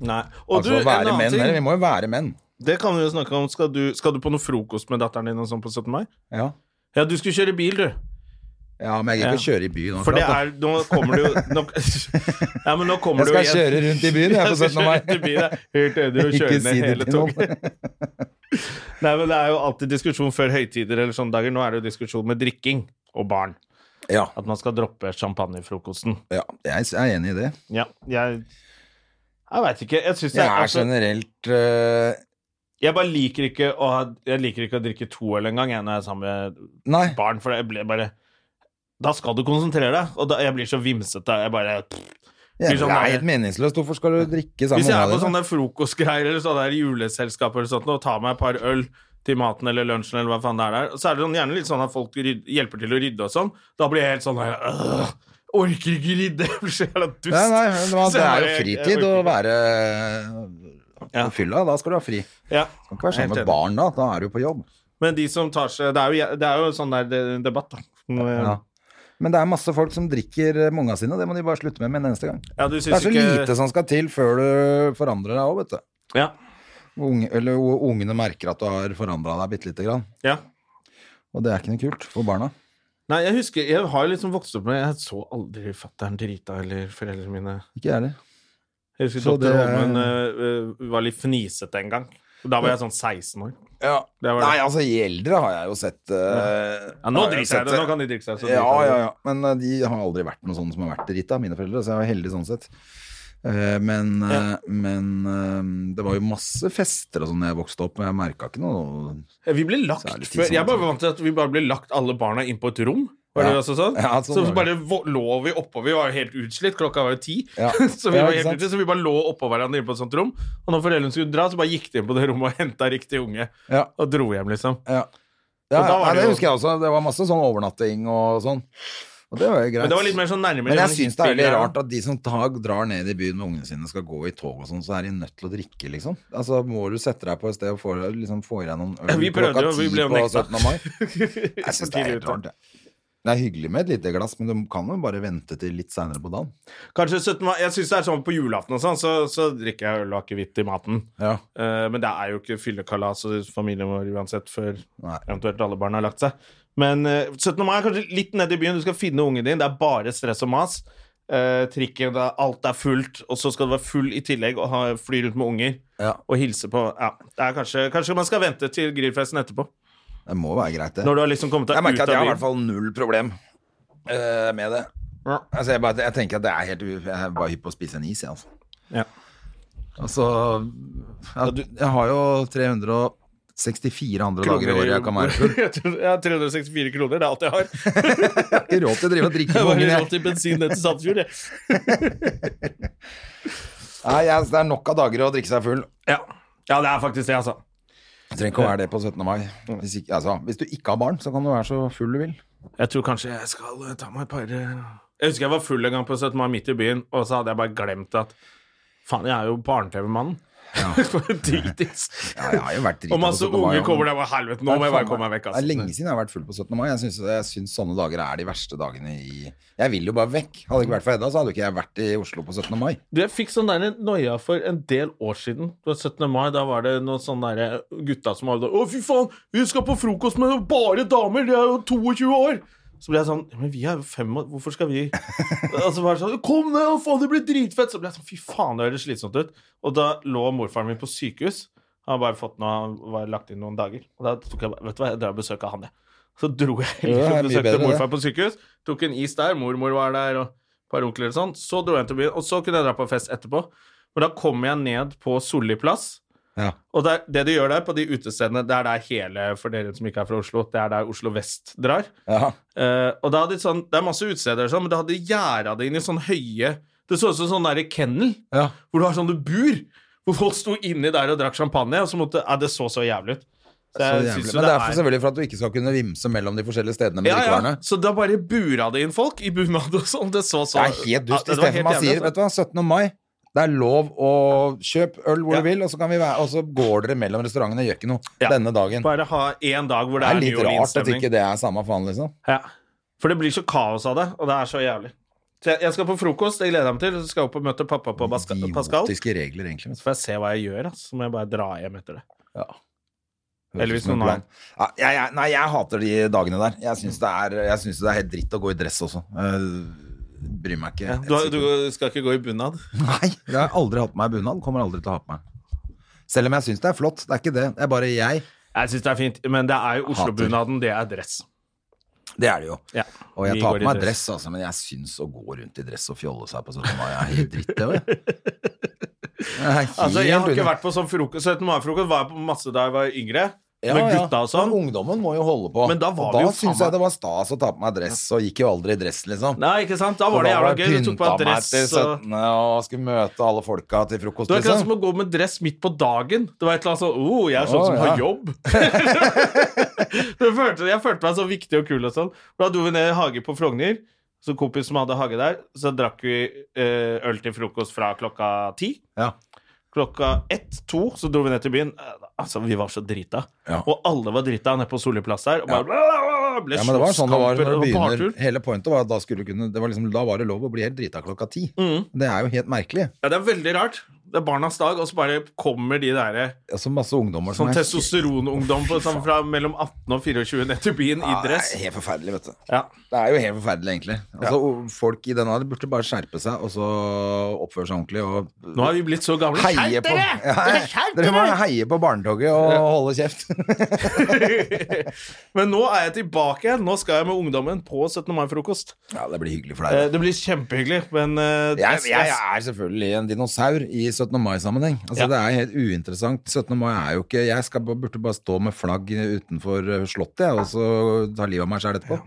[SPEAKER 1] Nei. Og
[SPEAKER 2] altså,
[SPEAKER 1] du,
[SPEAKER 2] å
[SPEAKER 1] en
[SPEAKER 2] være
[SPEAKER 1] annen
[SPEAKER 2] menn. Eller,
[SPEAKER 1] ting.
[SPEAKER 2] vi må jo være menn.
[SPEAKER 1] Det kan vi jo snakke om. Skal du, skal du på noe frokost med datteren din og sånn på 17. mai?
[SPEAKER 2] Ja.
[SPEAKER 1] Ja, du skulle kjøre bil, du.
[SPEAKER 2] ja, men jeg gidder ikke å
[SPEAKER 1] Ja.
[SPEAKER 2] kjøre i byen
[SPEAKER 1] For det er
[SPEAKER 2] akkurat, da.
[SPEAKER 1] Nå kommer det jo nå, Ja, men nå kommer
[SPEAKER 2] Jeg
[SPEAKER 1] det jo
[SPEAKER 2] skal kjøre rundt i byen, jeg, på 17. mai.
[SPEAKER 1] Jeg skal kjøre rundt i byen, jeg. Helt enig, og
[SPEAKER 2] Ikke
[SPEAKER 1] kjøre
[SPEAKER 2] si
[SPEAKER 1] ned
[SPEAKER 2] det
[SPEAKER 1] hele
[SPEAKER 2] til noen.
[SPEAKER 1] toget. Nei, men det er jo alltid diskusjon før høytider eller sånne dager. Nå er det jo diskusjon med drikking og barn.
[SPEAKER 2] Ja,
[SPEAKER 1] At man skal droppe champagnefrokosten.
[SPEAKER 2] ja, jeg er enig i det.
[SPEAKER 1] Ja, jeg Jeg veit ikke. Jeg syns det
[SPEAKER 2] Jeg
[SPEAKER 1] er
[SPEAKER 2] er
[SPEAKER 1] altså,
[SPEAKER 2] generelt eh,
[SPEAKER 1] Jeg bare liker ikke å ha Jeg liker ikke å drikke to øl engang, jeg, når jeg er sammen med
[SPEAKER 2] Nei.
[SPEAKER 1] barn, for jeg blir bare Da skal du konsentrere deg, og da, jeg blir så vimsete. Jeg bare
[SPEAKER 2] Ja,
[SPEAKER 1] Blir
[SPEAKER 2] det
[SPEAKER 1] sånn
[SPEAKER 2] er
[SPEAKER 1] der-
[SPEAKER 2] helt meningsløst. Hvorfor skal du drikke sammen
[SPEAKER 1] Hvis jeg er på
[SPEAKER 2] med ungene dine?
[SPEAKER 1] sånne frokostgreier eller sånne der juleselskap eller sånt, og tar meg et par øl til maten eller lunsjen eller hva faen det er der, så er det sånn, gjerne litt sånn at folk ryd, hjelper til å rydde og sånn. Da blir jeg helt sånn der, «Åh, Orker ikke rydde! Jeg blir så jævla dust.
[SPEAKER 2] Nei, nei, men det var-
[SPEAKER 1] Så
[SPEAKER 2] det er jo
[SPEAKER 1] jeg- jeg
[SPEAKER 2] fritid å
[SPEAKER 1] orker ikke.
[SPEAKER 2] være
[SPEAKER 1] Ja.
[SPEAKER 2] på fylla. Da skal du ha fri. Du
[SPEAKER 1] ja.
[SPEAKER 2] kan ikke være sammen
[SPEAKER 1] Helt
[SPEAKER 2] med
[SPEAKER 1] enig.
[SPEAKER 2] barn da. Da er du på jobb.
[SPEAKER 1] Men de som tar seg Det er jo, det er jo sånn der de- debatt, da. eh,
[SPEAKER 2] Ja. Men det er masse folk som drikker eh, med unga sine. Det må de bare slutte med med en eneste gang.
[SPEAKER 1] Ja, du syns
[SPEAKER 2] Det er så
[SPEAKER 1] ikke
[SPEAKER 2] lite som skal til før du forandrer deg òg, vet du.
[SPEAKER 1] Ja.
[SPEAKER 2] Unge, eller hvor ungene merker at du har forandra deg bitte lite grann.
[SPEAKER 1] ja.
[SPEAKER 2] Og det er ikke noe kult for barna.
[SPEAKER 1] Nei, jeg husker Jeg har jo liksom vokst opp med Jeg så aldri fatter'n drita eller foreldrene mine
[SPEAKER 2] Ikke jeg heller.
[SPEAKER 1] Jeg husker
[SPEAKER 2] Så
[SPEAKER 1] doktor
[SPEAKER 2] det-
[SPEAKER 1] Holmen eh, eh, var litt fnisete en gang. Da var jeg sånn 16 år.
[SPEAKER 2] Ja.
[SPEAKER 1] Det var det.
[SPEAKER 2] Nei, altså, i eldre har jeg jo sett eh,
[SPEAKER 1] Ja, nå
[SPEAKER 2] har jo
[SPEAKER 1] driter
[SPEAKER 2] sett
[SPEAKER 1] jeg i det. Nå kan de drikke seg. Så
[SPEAKER 2] Ja,
[SPEAKER 1] driter jeg i
[SPEAKER 2] ja,
[SPEAKER 1] det.
[SPEAKER 2] ja. Men eh, de har aldri vært noen sånne som har vært drita, mine foreldre, så jeg var heldig sånn sett. Eh, Men, eh, men eh, det var jo masse fester og sånn da jeg vokste opp, men jeg merka ikke noe
[SPEAKER 1] Ja, Vi ble lagt
[SPEAKER 2] Så er det litt
[SPEAKER 1] før.
[SPEAKER 2] sånn-
[SPEAKER 1] Jeg bare var vant til at vi bare ble lagt alle barna inn på et rom. Var det
[SPEAKER 2] Ja.
[SPEAKER 1] også sånn?
[SPEAKER 2] Ja, sånn
[SPEAKER 1] så
[SPEAKER 2] var
[SPEAKER 1] bare
[SPEAKER 2] det.
[SPEAKER 1] vo- lå vi oppå. Vi var jo helt utslitt, klokka var jo ti.
[SPEAKER 2] Ja.
[SPEAKER 1] Så, vi
[SPEAKER 2] Ja,
[SPEAKER 1] var
[SPEAKER 2] ikke
[SPEAKER 1] helt
[SPEAKER 2] sant?
[SPEAKER 1] utslitt, så vi bare lå oppå hverandre inne på et sånt rom. Og når foreldrene skulle dra, så bare gikk de inn på det rommet og henta riktig unge.
[SPEAKER 2] Ja.
[SPEAKER 1] Og dro hjem, liksom.
[SPEAKER 2] Ja,
[SPEAKER 1] da
[SPEAKER 2] ja,
[SPEAKER 1] var
[SPEAKER 2] nei,
[SPEAKER 1] det
[SPEAKER 2] det
[SPEAKER 1] jo-
[SPEAKER 2] husker jeg også. Det var masse sånn overnatting og sånn. Og det var jo greit.
[SPEAKER 1] Men det var litt mer sånn nærmere.
[SPEAKER 2] Men jeg
[SPEAKER 1] sånn
[SPEAKER 2] syns det er veldig
[SPEAKER 1] hippie-greier.
[SPEAKER 2] rart at de som tar, drar ned i byen med ungene sine, skal gå i tog og sånn, så er de nødt til å drikke, liksom. Altså, må du sette deg på et sted og få, liksom, få i deg noen øl
[SPEAKER 1] Vi prøvde jo, vi ble jo
[SPEAKER 2] på
[SPEAKER 1] nekta.
[SPEAKER 2] 17. mai? Jeg syns det er helt rart, jeg. Det er hyggelig med et lite glass, men du kan jo bare vente til litt seinere på dagen.
[SPEAKER 1] Kanskje 17. mai. Jeg syns det er sånn på julaften og sånn, så, så drikker jeg øl og akevitt i maten.
[SPEAKER 2] Ja.
[SPEAKER 1] Eh, men det er jo ikke fyllekalas og familien vår uansett før
[SPEAKER 2] Nei.
[SPEAKER 1] eventuelt alle barn har lagt seg. Men eh, 17. mai er kanskje litt nede i byen. Du skal finne ungen din. Det er bare stress og mas. Eh, trikken, det er, alt er fullt, og så skal du være full i tillegg og ha, fly rundt med unger
[SPEAKER 2] Ja.
[SPEAKER 1] og hilse på Ja, det er kanskje, kanskje man skal vente til grillfesten etterpå.
[SPEAKER 2] Det må være greit, det.
[SPEAKER 1] Når du har liksom kommet deg
[SPEAKER 2] Jeg
[SPEAKER 1] ut av byen.
[SPEAKER 2] merker at jeg har i hvert fall null problem eh, med det.
[SPEAKER 1] Ja.
[SPEAKER 2] Altså, jeg, bare, jeg tenker at det er helt u- Jeg er bare hypp på å spise en is, jeg, altså.
[SPEAKER 1] Ja.
[SPEAKER 2] Altså jeg, jeg har jo 364 andre dager i året jeg kan være full.
[SPEAKER 1] Jeg tror- jeg har 364 kroner, det er alt jeg har.
[SPEAKER 2] Jeg har ikke råd til å drive og drikke
[SPEAKER 1] Jeg
[SPEAKER 2] med
[SPEAKER 1] bare
[SPEAKER 2] ungene.
[SPEAKER 1] råd til bensin ned til Sandfjord, jeg.
[SPEAKER 2] Nei, jeg- altså, Det er nok av dager å drikke seg full.
[SPEAKER 1] Ja. ja, det er faktisk det, altså.
[SPEAKER 2] Du trenger ikke å være det på 17. mai. Hvis, ikke, altså, hvis du ikke har barn, så kan du være så full du vil.
[SPEAKER 1] Jeg tror kanskje jeg skal eh, ta meg et par eh. Jeg husker jeg var full en gang på 17. mai midt i byen, og så hadde jeg bare glemt at Faen, jeg er jo barne-TV-mannen. Dritings.
[SPEAKER 2] Ja, jeg har jo vært drita
[SPEAKER 1] Og masse unge kommer der og bare Helvete, nå må jeg bare komme meg vekk,
[SPEAKER 2] Det er lenge
[SPEAKER 1] altså.
[SPEAKER 2] siden jeg har vært full på 17. mai. Jeg syns, jeg syns sånne dager er de verste dagene i Jeg vil jo bare vekk. Hadde det ikke vært for Hedda, så hadde jo ikke jeg vært i Oslo på 17. mai.
[SPEAKER 1] Du, jeg fikk sånn der noia for en del år siden. Det var 17. mai, da var det noen sånne der gutta som hadde Å, fy faen, vi skal på frokost med bare damer, de er jo 22 år! Så ble jeg sånn Men vi er jo fem år, hvorfor skal vi Og så var det sånn Kom ned, og faen, det blir dritfett! Så ble jeg sånn Fy faen, det høres slitsomt ut. Og da lå morfaren min på sykehus. Han hadde bare fått noe, han var lagt inn noen dager. Og da tok jeg bare Vet du hva, jeg drar og besøker han, jeg. Så dro jeg
[SPEAKER 2] Ja, det
[SPEAKER 1] og
[SPEAKER 2] er mye
[SPEAKER 1] besøkte
[SPEAKER 2] bedre, det.
[SPEAKER 1] morfar på sykehus. Tok en is der, mormor var der, og et par onkler og sånn. Så dro jeg til byen, og så kunne jeg dra på fest etterpå. For da kommer jeg ned på Solli plass.
[SPEAKER 2] Ja.
[SPEAKER 1] Og det, det de gjør der på de utestedene, det er der hele, for dere som ikke er fra Oslo, det er der Oslo Vest drar.
[SPEAKER 2] Ja.
[SPEAKER 1] Eh, og da hadde de sånn, det er masse utesteder, og sånn, men da hadde de gjerda det inn i sånn høye Det så ut som sånn derre kennel,
[SPEAKER 2] Ja.
[SPEAKER 1] hvor du har sånne bur. Hvor folk sto inni der og drakk champagne, og så måtte Ja, det så så jævlig ut. Så
[SPEAKER 2] Så
[SPEAKER 1] jeg
[SPEAKER 2] jævlig.
[SPEAKER 1] synes jo
[SPEAKER 2] Men det er for
[SPEAKER 1] er-
[SPEAKER 2] selvfølgelig for at du ikke skal kunne vimse mellom de forskjellige stedene med
[SPEAKER 1] ja, ja.
[SPEAKER 2] drikkevarene.
[SPEAKER 1] Så da bare bura det inn folk i bunad og sånn. Det så så
[SPEAKER 2] Det er helt
[SPEAKER 1] Ja, det
[SPEAKER 2] dust.
[SPEAKER 1] var
[SPEAKER 2] Istedenfor
[SPEAKER 1] helt jævlig,
[SPEAKER 2] man
[SPEAKER 1] altså.
[SPEAKER 2] sier vet du hva, 17. mai, det er lov å kjøpe øl hvor
[SPEAKER 1] Ja.
[SPEAKER 2] du vil, og så, kan vi være, og så går dere mellom restaurantene, gjør ikke noe
[SPEAKER 1] Ja.
[SPEAKER 2] denne dagen.
[SPEAKER 1] altså. Bare ha én dag hvor
[SPEAKER 2] Det
[SPEAKER 1] det
[SPEAKER 2] er
[SPEAKER 1] er
[SPEAKER 2] litt
[SPEAKER 1] New
[SPEAKER 2] rart at
[SPEAKER 1] Orleans-stemning.
[SPEAKER 2] ikke det er samme faen, liksom.
[SPEAKER 1] Ja. For det blir så kaos av det, og det er så jævlig. Så jeg, jeg skal på frokost, det gleder jeg meg til. Så skal jeg opp og møte pappa på Basca- Pascal.
[SPEAKER 2] Idiotiske regler, egentlig.
[SPEAKER 1] Så får jeg se hva jeg gjør, ass. så må jeg bare dra hjem etter det.
[SPEAKER 2] Ja.
[SPEAKER 1] Eller hvis
[SPEAKER 2] Høres ut som
[SPEAKER 1] noen har
[SPEAKER 2] en plan. ja, jeg, jeg, Nei, jeg hater de dagene der. Jeg syns det, er- jeg synes det er helt dritt å gå i dress også. Eh, bryr meg ikke.
[SPEAKER 1] Ja,
[SPEAKER 2] Et
[SPEAKER 1] du, har-
[SPEAKER 2] sekund.
[SPEAKER 1] du skal ikke gå i bunad?
[SPEAKER 2] Nei, jeg har aldri hatt på meg bunad. Kommer aldri til å ha på meg. Selv om jeg syns det er flott. Det er ikke det. Det er bare jeg.
[SPEAKER 1] Jeg syns det er fint, men det er jo
[SPEAKER 2] Hater.
[SPEAKER 1] Oslo-bunaden, det er dress.
[SPEAKER 2] Det er det jo.
[SPEAKER 1] Ja.
[SPEAKER 2] Og jeg
[SPEAKER 1] Vi
[SPEAKER 2] tar
[SPEAKER 1] går
[SPEAKER 2] på
[SPEAKER 1] i
[SPEAKER 2] meg dress,
[SPEAKER 1] dress.
[SPEAKER 2] altså, men jeg syns å gå rundt i dress og fjolle seg på 17. mai er helt dritt, det òg.
[SPEAKER 1] Altså, jeg har ikke vært på sånn frokost, 17. mai-frokost var jeg på masse da jeg var yngre, med gutta og sånn.
[SPEAKER 2] Men ungdommen må jo holde på.
[SPEAKER 1] Men da var
[SPEAKER 2] Og
[SPEAKER 1] vi jo
[SPEAKER 2] da
[SPEAKER 1] faen
[SPEAKER 2] syns
[SPEAKER 1] meg-
[SPEAKER 2] jeg det var stas å ta på meg dress, og gikk jo aldri i dress, liksom.
[SPEAKER 1] Nei, ikke sant? Da var det jævla gøy. Du tok på deg dress og
[SPEAKER 2] og Og skulle møte alle folka til frokost,
[SPEAKER 1] Det var akkurat sånn som
[SPEAKER 2] liksom.
[SPEAKER 1] å gå med dress midt på dagen. Det var et eller annet sånn oh, jeg er sånn
[SPEAKER 2] Å,
[SPEAKER 1] som
[SPEAKER 2] ja.
[SPEAKER 1] har jobb. det følte, jeg følte meg så viktig og kul og sånn. Da dro vi ned i hage på Frogner, så kompis som hadde hage der, så drakk vi eh, øl til frokost fra klokka ti.
[SPEAKER 2] Ja.
[SPEAKER 1] Klokka ett, to, så dro vi ned til byen. Eh, Altså, vi var så drita.
[SPEAKER 2] Ja.
[SPEAKER 1] Og alle var drita nede på Solli plass der. Og bare bla, bla, bla, bla, ble
[SPEAKER 2] Ja, men det var sånn det var
[SPEAKER 1] slåsskamper
[SPEAKER 2] når det
[SPEAKER 1] og
[SPEAKER 2] begynner.
[SPEAKER 1] bartur.
[SPEAKER 2] Hele pointet var at da, skulle du kunne, det var liksom, da var det lov å bli helt drita klokka ti.
[SPEAKER 1] Mm.
[SPEAKER 2] Det er jo helt merkelig.
[SPEAKER 1] Ja, det er veldig rart. Det er barnas dag, og så bare kommer de derre
[SPEAKER 2] Altså masse ungdommer
[SPEAKER 1] sånn
[SPEAKER 2] er-
[SPEAKER 1] testosteronungdom på- sånn fra mellom 18 og 24 ned til byen i
[SPEAKER 2] Ja,
[SPEAKER 1] dress.
[SPEAKER 2] Det er helt forferdelig, vet du.
[SPEAKER 1] Ja.
[SPEAKER 2] Det er jo helt forferdelig, egentlig. Altså, o- Folk i denne alderen burde bare skjerpe seg og så oppføre seg ordentlig og
[SPEAKER 1] Nå er vi blitt så gamle.
[SPEAKER 2] heie på Ja, Dere må heie på barnetoget og holde kjeft.
[SPEAKER 1] Men nå er jeg tilbake igjen. Nå skal jeg med ungdommen på 17. mai-frokost.
[SPEAKER 2] Ja, det blir hyggelig for
[SPEAKER 1] Eh,
[SPEAKER 2] deg. da.
[SPEAKER 1] Det blir kjempehyggelig, men eh,
[SPEAKER 2] Jeg,
[SPEAKER 1] jeg-
[SPEAKER 2] jeg er selvfølgelig en dinosaur i 17. mai-sammenheng. Altså,
[SPEAKER 1] Ja.
[SPEAKER 2] Det er helt uinteressant. 17. mai er jo ikke Jeg skal, bare- burde bare stå med flagg utenfor eh, Slottet jeg, og så ta livet av meg sjæl etterpå.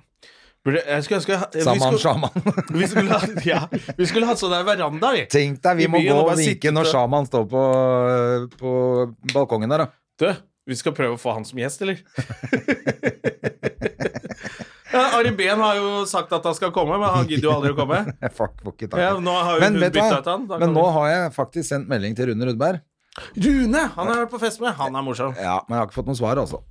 [SPEAKER 1] burde- jeg skulle ønske vi
[SPEAKER 2] Saman
[SPEAKER 1] skulle-
[SPEAKER 2] sjaman.
[SPEAKER 1] Vi skulle ha, ja, vi skulle hatt sånn der veranda, vi.
[SPEAKER 2] Tenk deg, vi
[SPEAKER 1] I
[SPEAKER 2] må
[SPEAKER 1] byen
[SPEAKER 2] gå
[SPEAKER 1] og
[SPEAKER 2] og
[SPEAKER 1] bare
[SPEAKER 2] vinke
[SPEAKER 1] sitte
[SPEAKER 2] når
[SPEAKER 1] ute.
[SPEAKER 2] sjaman står på, eh, på balkongen der, da.
[SPEAKER 1] Du, vi skal prøve å få han som gjest, eller? ja, Ari Behn har jo sagt at han skal komme, men han gidder jo aldri å komme.
[SPEAKER 2] Fuck, får ikke tak i
[SPEAKER 1] Ja,
[SPEAKER 2] det.
[SPEAKER 1] nå har jo
[SPEAKER 2] Men
[SPEAKER 1] hun
[SPEAKER 2] vet du
[SPEAKER 1] byttet
[SPEAKER 2] hva?
[SPEAKER 1] ut han, da
[SPEAKER 2] Men
[SPEAKER 1] kan
[SPEAKER 2] nå
[SPEAKER 1] vi-
[SPEAKER 2] har jeg faktisk sendt melding til Rune Rudberg.
[SPEAKER 1] Rune! Han har jeg vært på fest med. Han er morsom.
[SPEAKER 2] Ja, men jeg har ikke fått noe svar, altså.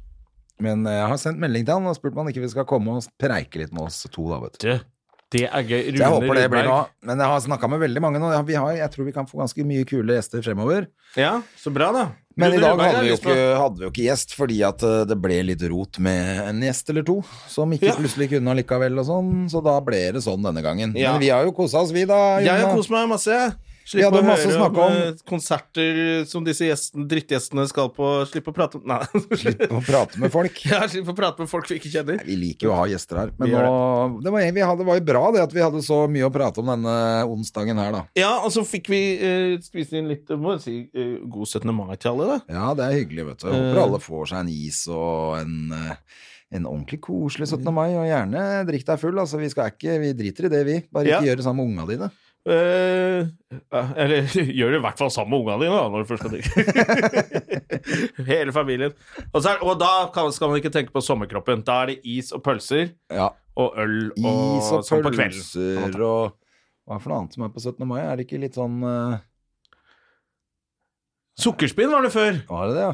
[SPEAKER 2] Men eh, jeg har sendt melding til han og spurt om han ikke skal komme og preike litt med oss to, da, vet du.
[SPEAKER 1] Du, det er gøy. Rune
[SPEAKER 2] Så jeg håper det blir
[SPEAKER 1] Rudberg.
[SPEAKER 2] noe. Men jeg har snakka med veldig mange nå. Ja, Vi har, jeg tror vi kan få ganske mye kule gjester fremover.
[SPEAKER 1] Ja, så bra, da.
[SPEAKER 2] Men i
[SPEAKER 1] Rune
[SPEAKER 2] dag
[SPEAKER 1] Rudberg
[SPEAKER 2] hadde
[SPEAKER 1] er
[SPEAKER 2] vi, jo
[SPEAKER 1] liksom-
[SPEAKER 2] ikke, hadde vi jo ikke gjest, fordi at eh, det ble litt rot med en gjest eller to, som ikke
[SPEAKER 1] Ja.
[SPEAKER 2] plutselig kunne allikevel og sånn, så da ble det sånn denne gangen.
[SPEAKER 1] Ja.
[SPEAKER 2] Men vi har jo kosa oss, vi da.
[SPEAKER 1] Jeg har
[SPEAKER 2] Jonna.
[SPEAKER 1] kost meg masse. jeg.
[SPEAKER 2] Vi
[SPEAKER 1] Slippe
[SPEAKER 2] hadde
[SPEAKER 1] å
[SPEAKER 2] masse å
[SPEAKER 1] høre om,
[SPEAKER 2] snakke om.
[SPEAKER 1] eh, konserter som disse gjestene, drittgjestene skal på. Slippe å prate om Nei.
[SPEAKER 2] Slipp å prate med folk.
[SPEAKER 1] Ja, slippe å prate med folk vi ikke kjenner.
[SPEAKER 2] Nei, Vi liker jo å ha gjester her,
[SPEAKER 1] Vi
[SPEAKER 2] men nå,
[SPEAKER 1] gjør
[SPEAKER 2] det. var, vi hadde, det var jo bra det at vi hadde så mye å prate om denne onsdagen her, da.
[SPEAKER 1] Ja, og så fikk vi eh, skvist inn litt eh, må jeg si, eh, god 17. mai til alle, da.
[SPEAKER 2] Ja, det er hyggelig, vet du.
[SPEAKER 1] Eh.
[SPEAKER 2] Jeg håper alle får seg en is og en, eh, en ordentlig koselig 17. mai, og gjerne drikk deg full. Altså, vi, skal ikke, vi driter i det, vi. Bare
[SPEAKER 1] Ja.
[SPEAKER 2] ikke gjør det sammen med unga dine.
[SPEAKER 1] Eh, ja, eller gjør det i hvert fall sammen med ungene dine, da, når du først skal drikke. Hele familien. Og, så er, og da kan, skal man ikke tenke på sommerkroppen. Da er det is og pølser
[SPEAKER 2] Ja,
[SPEAKER 1] og øl og,
[SPEAKER 2] Is og
[SPEAKER 1] sånn på kvelden.
[SPEAKER 2] pølser og hva for noe annet som er på 17. mai? Er det ikke litt sånn eh,
[SPEAKER 1] Sukkerspinn var det før.
[SPEAKER 2] Var det det, ja?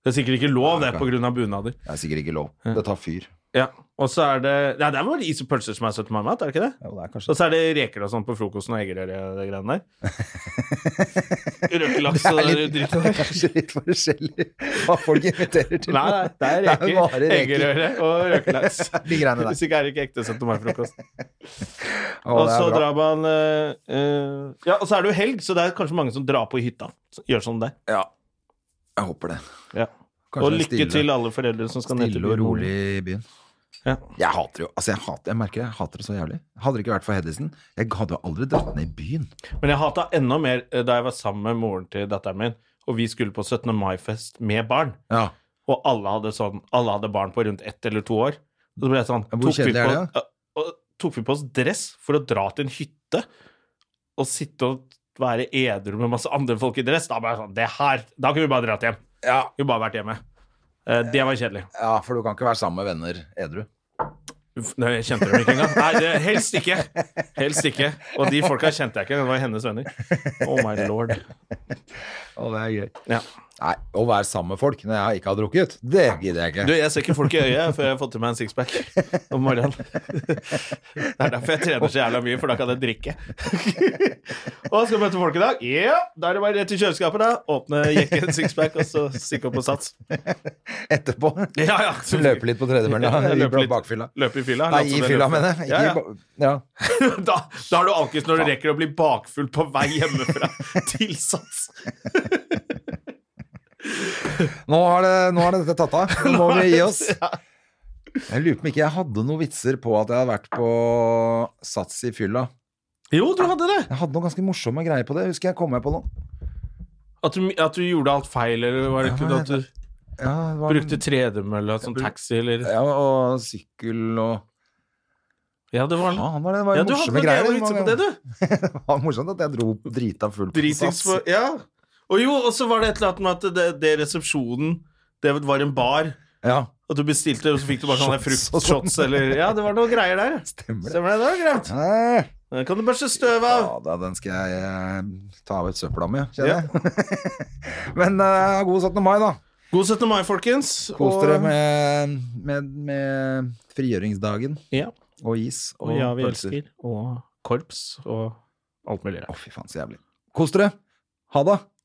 [SPEAKER 1] Det er sikkert ikke lov, det,
[SPEAKER 2] Ok.
[SPEAKER 1] pga. bunader.
[SPEAKER 2] Det er sikkert ikke lov. Det tar fyr.
[SPEAKER 1] Ja. Og så er det Nei, det er vel is og pølser som er 17. mai-mat, er det ikke det?
[SPEAKER 2] Ja, det er kanskje
[SPEAKER 1] Og så er det reker og sånn på frokosten og eggerøre og det greiene der. Røkelaks
[SPEAKER 2] Det
[SPEAKER 1] og
[SPEAKER 2] er
[SPEAKER 1] det
[SPEAKER 2] litt-
[SPEAKER 1] dritt.
[SPEAKER 2] det er kanskje litt forskjellig hva folk inviterer til.
[SPEAKER 1] Nei, nei, det er
[SPEAKER 2] Det er
[SPEAKER 1] reker,
[SPEAKER 2] bare reker.
[SPEAKER 1] eggerøre og røkelaks.
[SPEAKER 2] De greiene der.
[SPEAKER 1] Hvis ikke er det ikke ekte 17. mai-frokost.
[SPEAKER 2] Å,
[SPEAKER 1] Og
[SPEAKER 2] det er
[SPEAKER 1] så
[SPEAKER 2] bra.
[SPEAKER 1] drar man eh, eh, Ja, og så er det jo helg, så det er kanskje mange som drar på hytta. Så- Gjør sånn der.
[SPEAKER 2] Ja, jeg håper det.
[SPEAKER 1] Ja.
[SPEAKER 2] Kanskje
[SPEAKER 1] Og
[SPEAKER 2] det er
[SPEAKER 1] lykke
[SPEAKER 2] stille-
[SPEAKER 1] til alle foreldre som skal ned til
[SPEAKER 2] Stille og
[SPEAKER 1] byen.
[SPEAKER 2] rolig i byen.
[SPEAKER 1] Ja.
[SPEAKER 2] Jeg hater jo altså jeg, hater, jeg merker det, jeg hater det så jævlig. Hadde det ikke vært for Hedison, jeg hadde jo aldri dratt ned i byen.
[SPEAKER 1] Men jeg hata enda mer eh, da jeg var sammen med moren til datteren min, og vi skulle på 17. mai-fest med barn.
[SPEAKER 2] Ja.
[SPEAKER 1] Og alle hadde, sånn, alle hadde barn på rundt ett eller to år. Og så ble jeg sånn
[SPEAKER 2] Ja, hvor
[SPEAKER 1] tok vi,
[SPEAKER 2] kjedelig
[SPEAKER 1] på,
[SPEAKER 2] er det,
[SPEAKER 1] ja, og, tok vi på oss dress for å dra til en hytte og sitte og være edru med masse andre folk i dress? Da ble jeg sånn Det her Da kunne vi bare dratt hjem.
[SPEAKER 2] Ja.
[SPEAKER 1] Vi kunne bare vært hjemme. Eh, Det var kjedelig.
[SPEAKER 2] ja, for du kan ikke være sammen med venner edru.
[SPEAKER 1] Uff, Nei, jeg kjente dem ikke engang. Nei, det, helst ikke. Helst ikke. Og de folka kjente jeg ikke. Det var hennes venner. Oh my lord.
[SPEAKER 2] Å, det er gøy.
[SPEAKER 1] Ja.
[SPEAKER 2] Nei, å være sammen med folk når jeg ikke har drukket, det gidder jeg ikke.
[SPEAKER 1] Du, jeg ser ikke folk i øyet før jeg har fått til meg en sixpack om morgenen. Det er derfor jeg trener så jævla mye, for da kan jeg drikke. Og skal møte folk i dag. Ja, da er det bare rett i kjøleskapet, da. Åpne jekke en sixpack, og så stikke opp på sats.
[SPEAKER 2] Etterpå
[SPEAKER 1] Ja, ja.
[SPEAKER 2] løpe litt på tredemølla
[SPEAKER 1] Ja,
[SPEAKER 2] i
[SPEAKER 1] løpe litt.
[SPEAKER 2] bakfylla.
[SPEAKER 1] Løpe i fylla.
[SPEAKER 2] Nei,
[SPEAKER 1] late
[SPEAKER 2] i
[SPEAKER 1] som det
[SPEAKER 2] fylla,
[SPEAKER 1] løper.
[SPEAKER 2] mener jeg.
[SPEAKER 1] Ja,
[SPEAKER 2] Ikke i
[SPEAKER 1] ja.
[SPEAKER 2] ba- Ja.
[SPEAKER 1] Da, da har du alkis når du rekker å bli bakfull på vei hjemmefra til sats.
[SPEAKER 2] Nå har, det, nå har det dette tatt av. Nå må vi gi oss.
[SPEAKER 1] Ja.
[SPEAKER 2] Jeg lurer på om ikke jeg hadde noen vitser på at jeg hadde vært på Sats i fylla.
[SPEAKER 1] Jo, du hadde det.
[SPEAKER 2] Jeg hadde noen ganske morsomme greier på det. Husker jeg kom med på noe.
[SPEAKER 1] At du, at du gjorde alt feil, eller var det ikke
[SPEAKER 2] Ja,
[SPEAKER 1] at du
[SPEAKER 2] Ja, det var,
[SPEAKER 1] brukte tredemølla som taxi, eller
[SPEAKER 2] ja, og sykkel og
[SPEAKER 1] Ja, det var
[SPEAKER 2] Faen, var det, det var
[SPEAKER 1] Ja, du hadde
[SPEAKER 2] morsomme
[SPEAKER 1] noen
[SPEAKER 2] greier.
[SPEAKER 1] jævla vitser sånn på det, du.
[SPEAKER 2] det var morsomt at jeg dro drita full på
[SPEAKER 1] Dritings
[SPEAKER 2] Sats.
[SPEAKER 1] for Ja. Og jo, og så var det et eller annet med at det, det resepsjonen Det var en bar,
[SPEAKER 2] Ja,
[SPEAKER 1] og du bestilte, og så fikk du bare sånne
[SPEAKER 2] Shots og sånn.
[SPEAKER 1] fruktshots eller Ja, det var noen greier der.
[SPEAKER 2] stemmer det.
[SPEAKER 1] Stemmer det? Det var glemt.
[SPEAKER 2] Nei.
[SPEAKER 1] Den kan du børste støv av.
[SPEAKER 2] Ja, da, den skal jeg eh, ta av et søpla med, kjenner
[SPEAKER 1] Ja.
[SPEAKER 2] jeg. Men eh, god 17. mai, da.
[SPEAKER 1] God 17. mai, folkens.
[SPEAKER 2] Kos
[SPEAKER 1] og-
[SPEAKER 2] dere med, med, med frigjøringsdagen
[SPEAKER 1] Ja.
[SPEAKER 2] og is og,
[SPEAKER 1] Og ja, vi
[SPEAKER 2] pølser.
[SPEAKER 1] elsker. Og korps og alt mulig
[SPEAKER 2] Å,
[SPEAKER 1] rart.
[SPEAKER 2] fy faen, så jævlig. Kos dere. Ha det.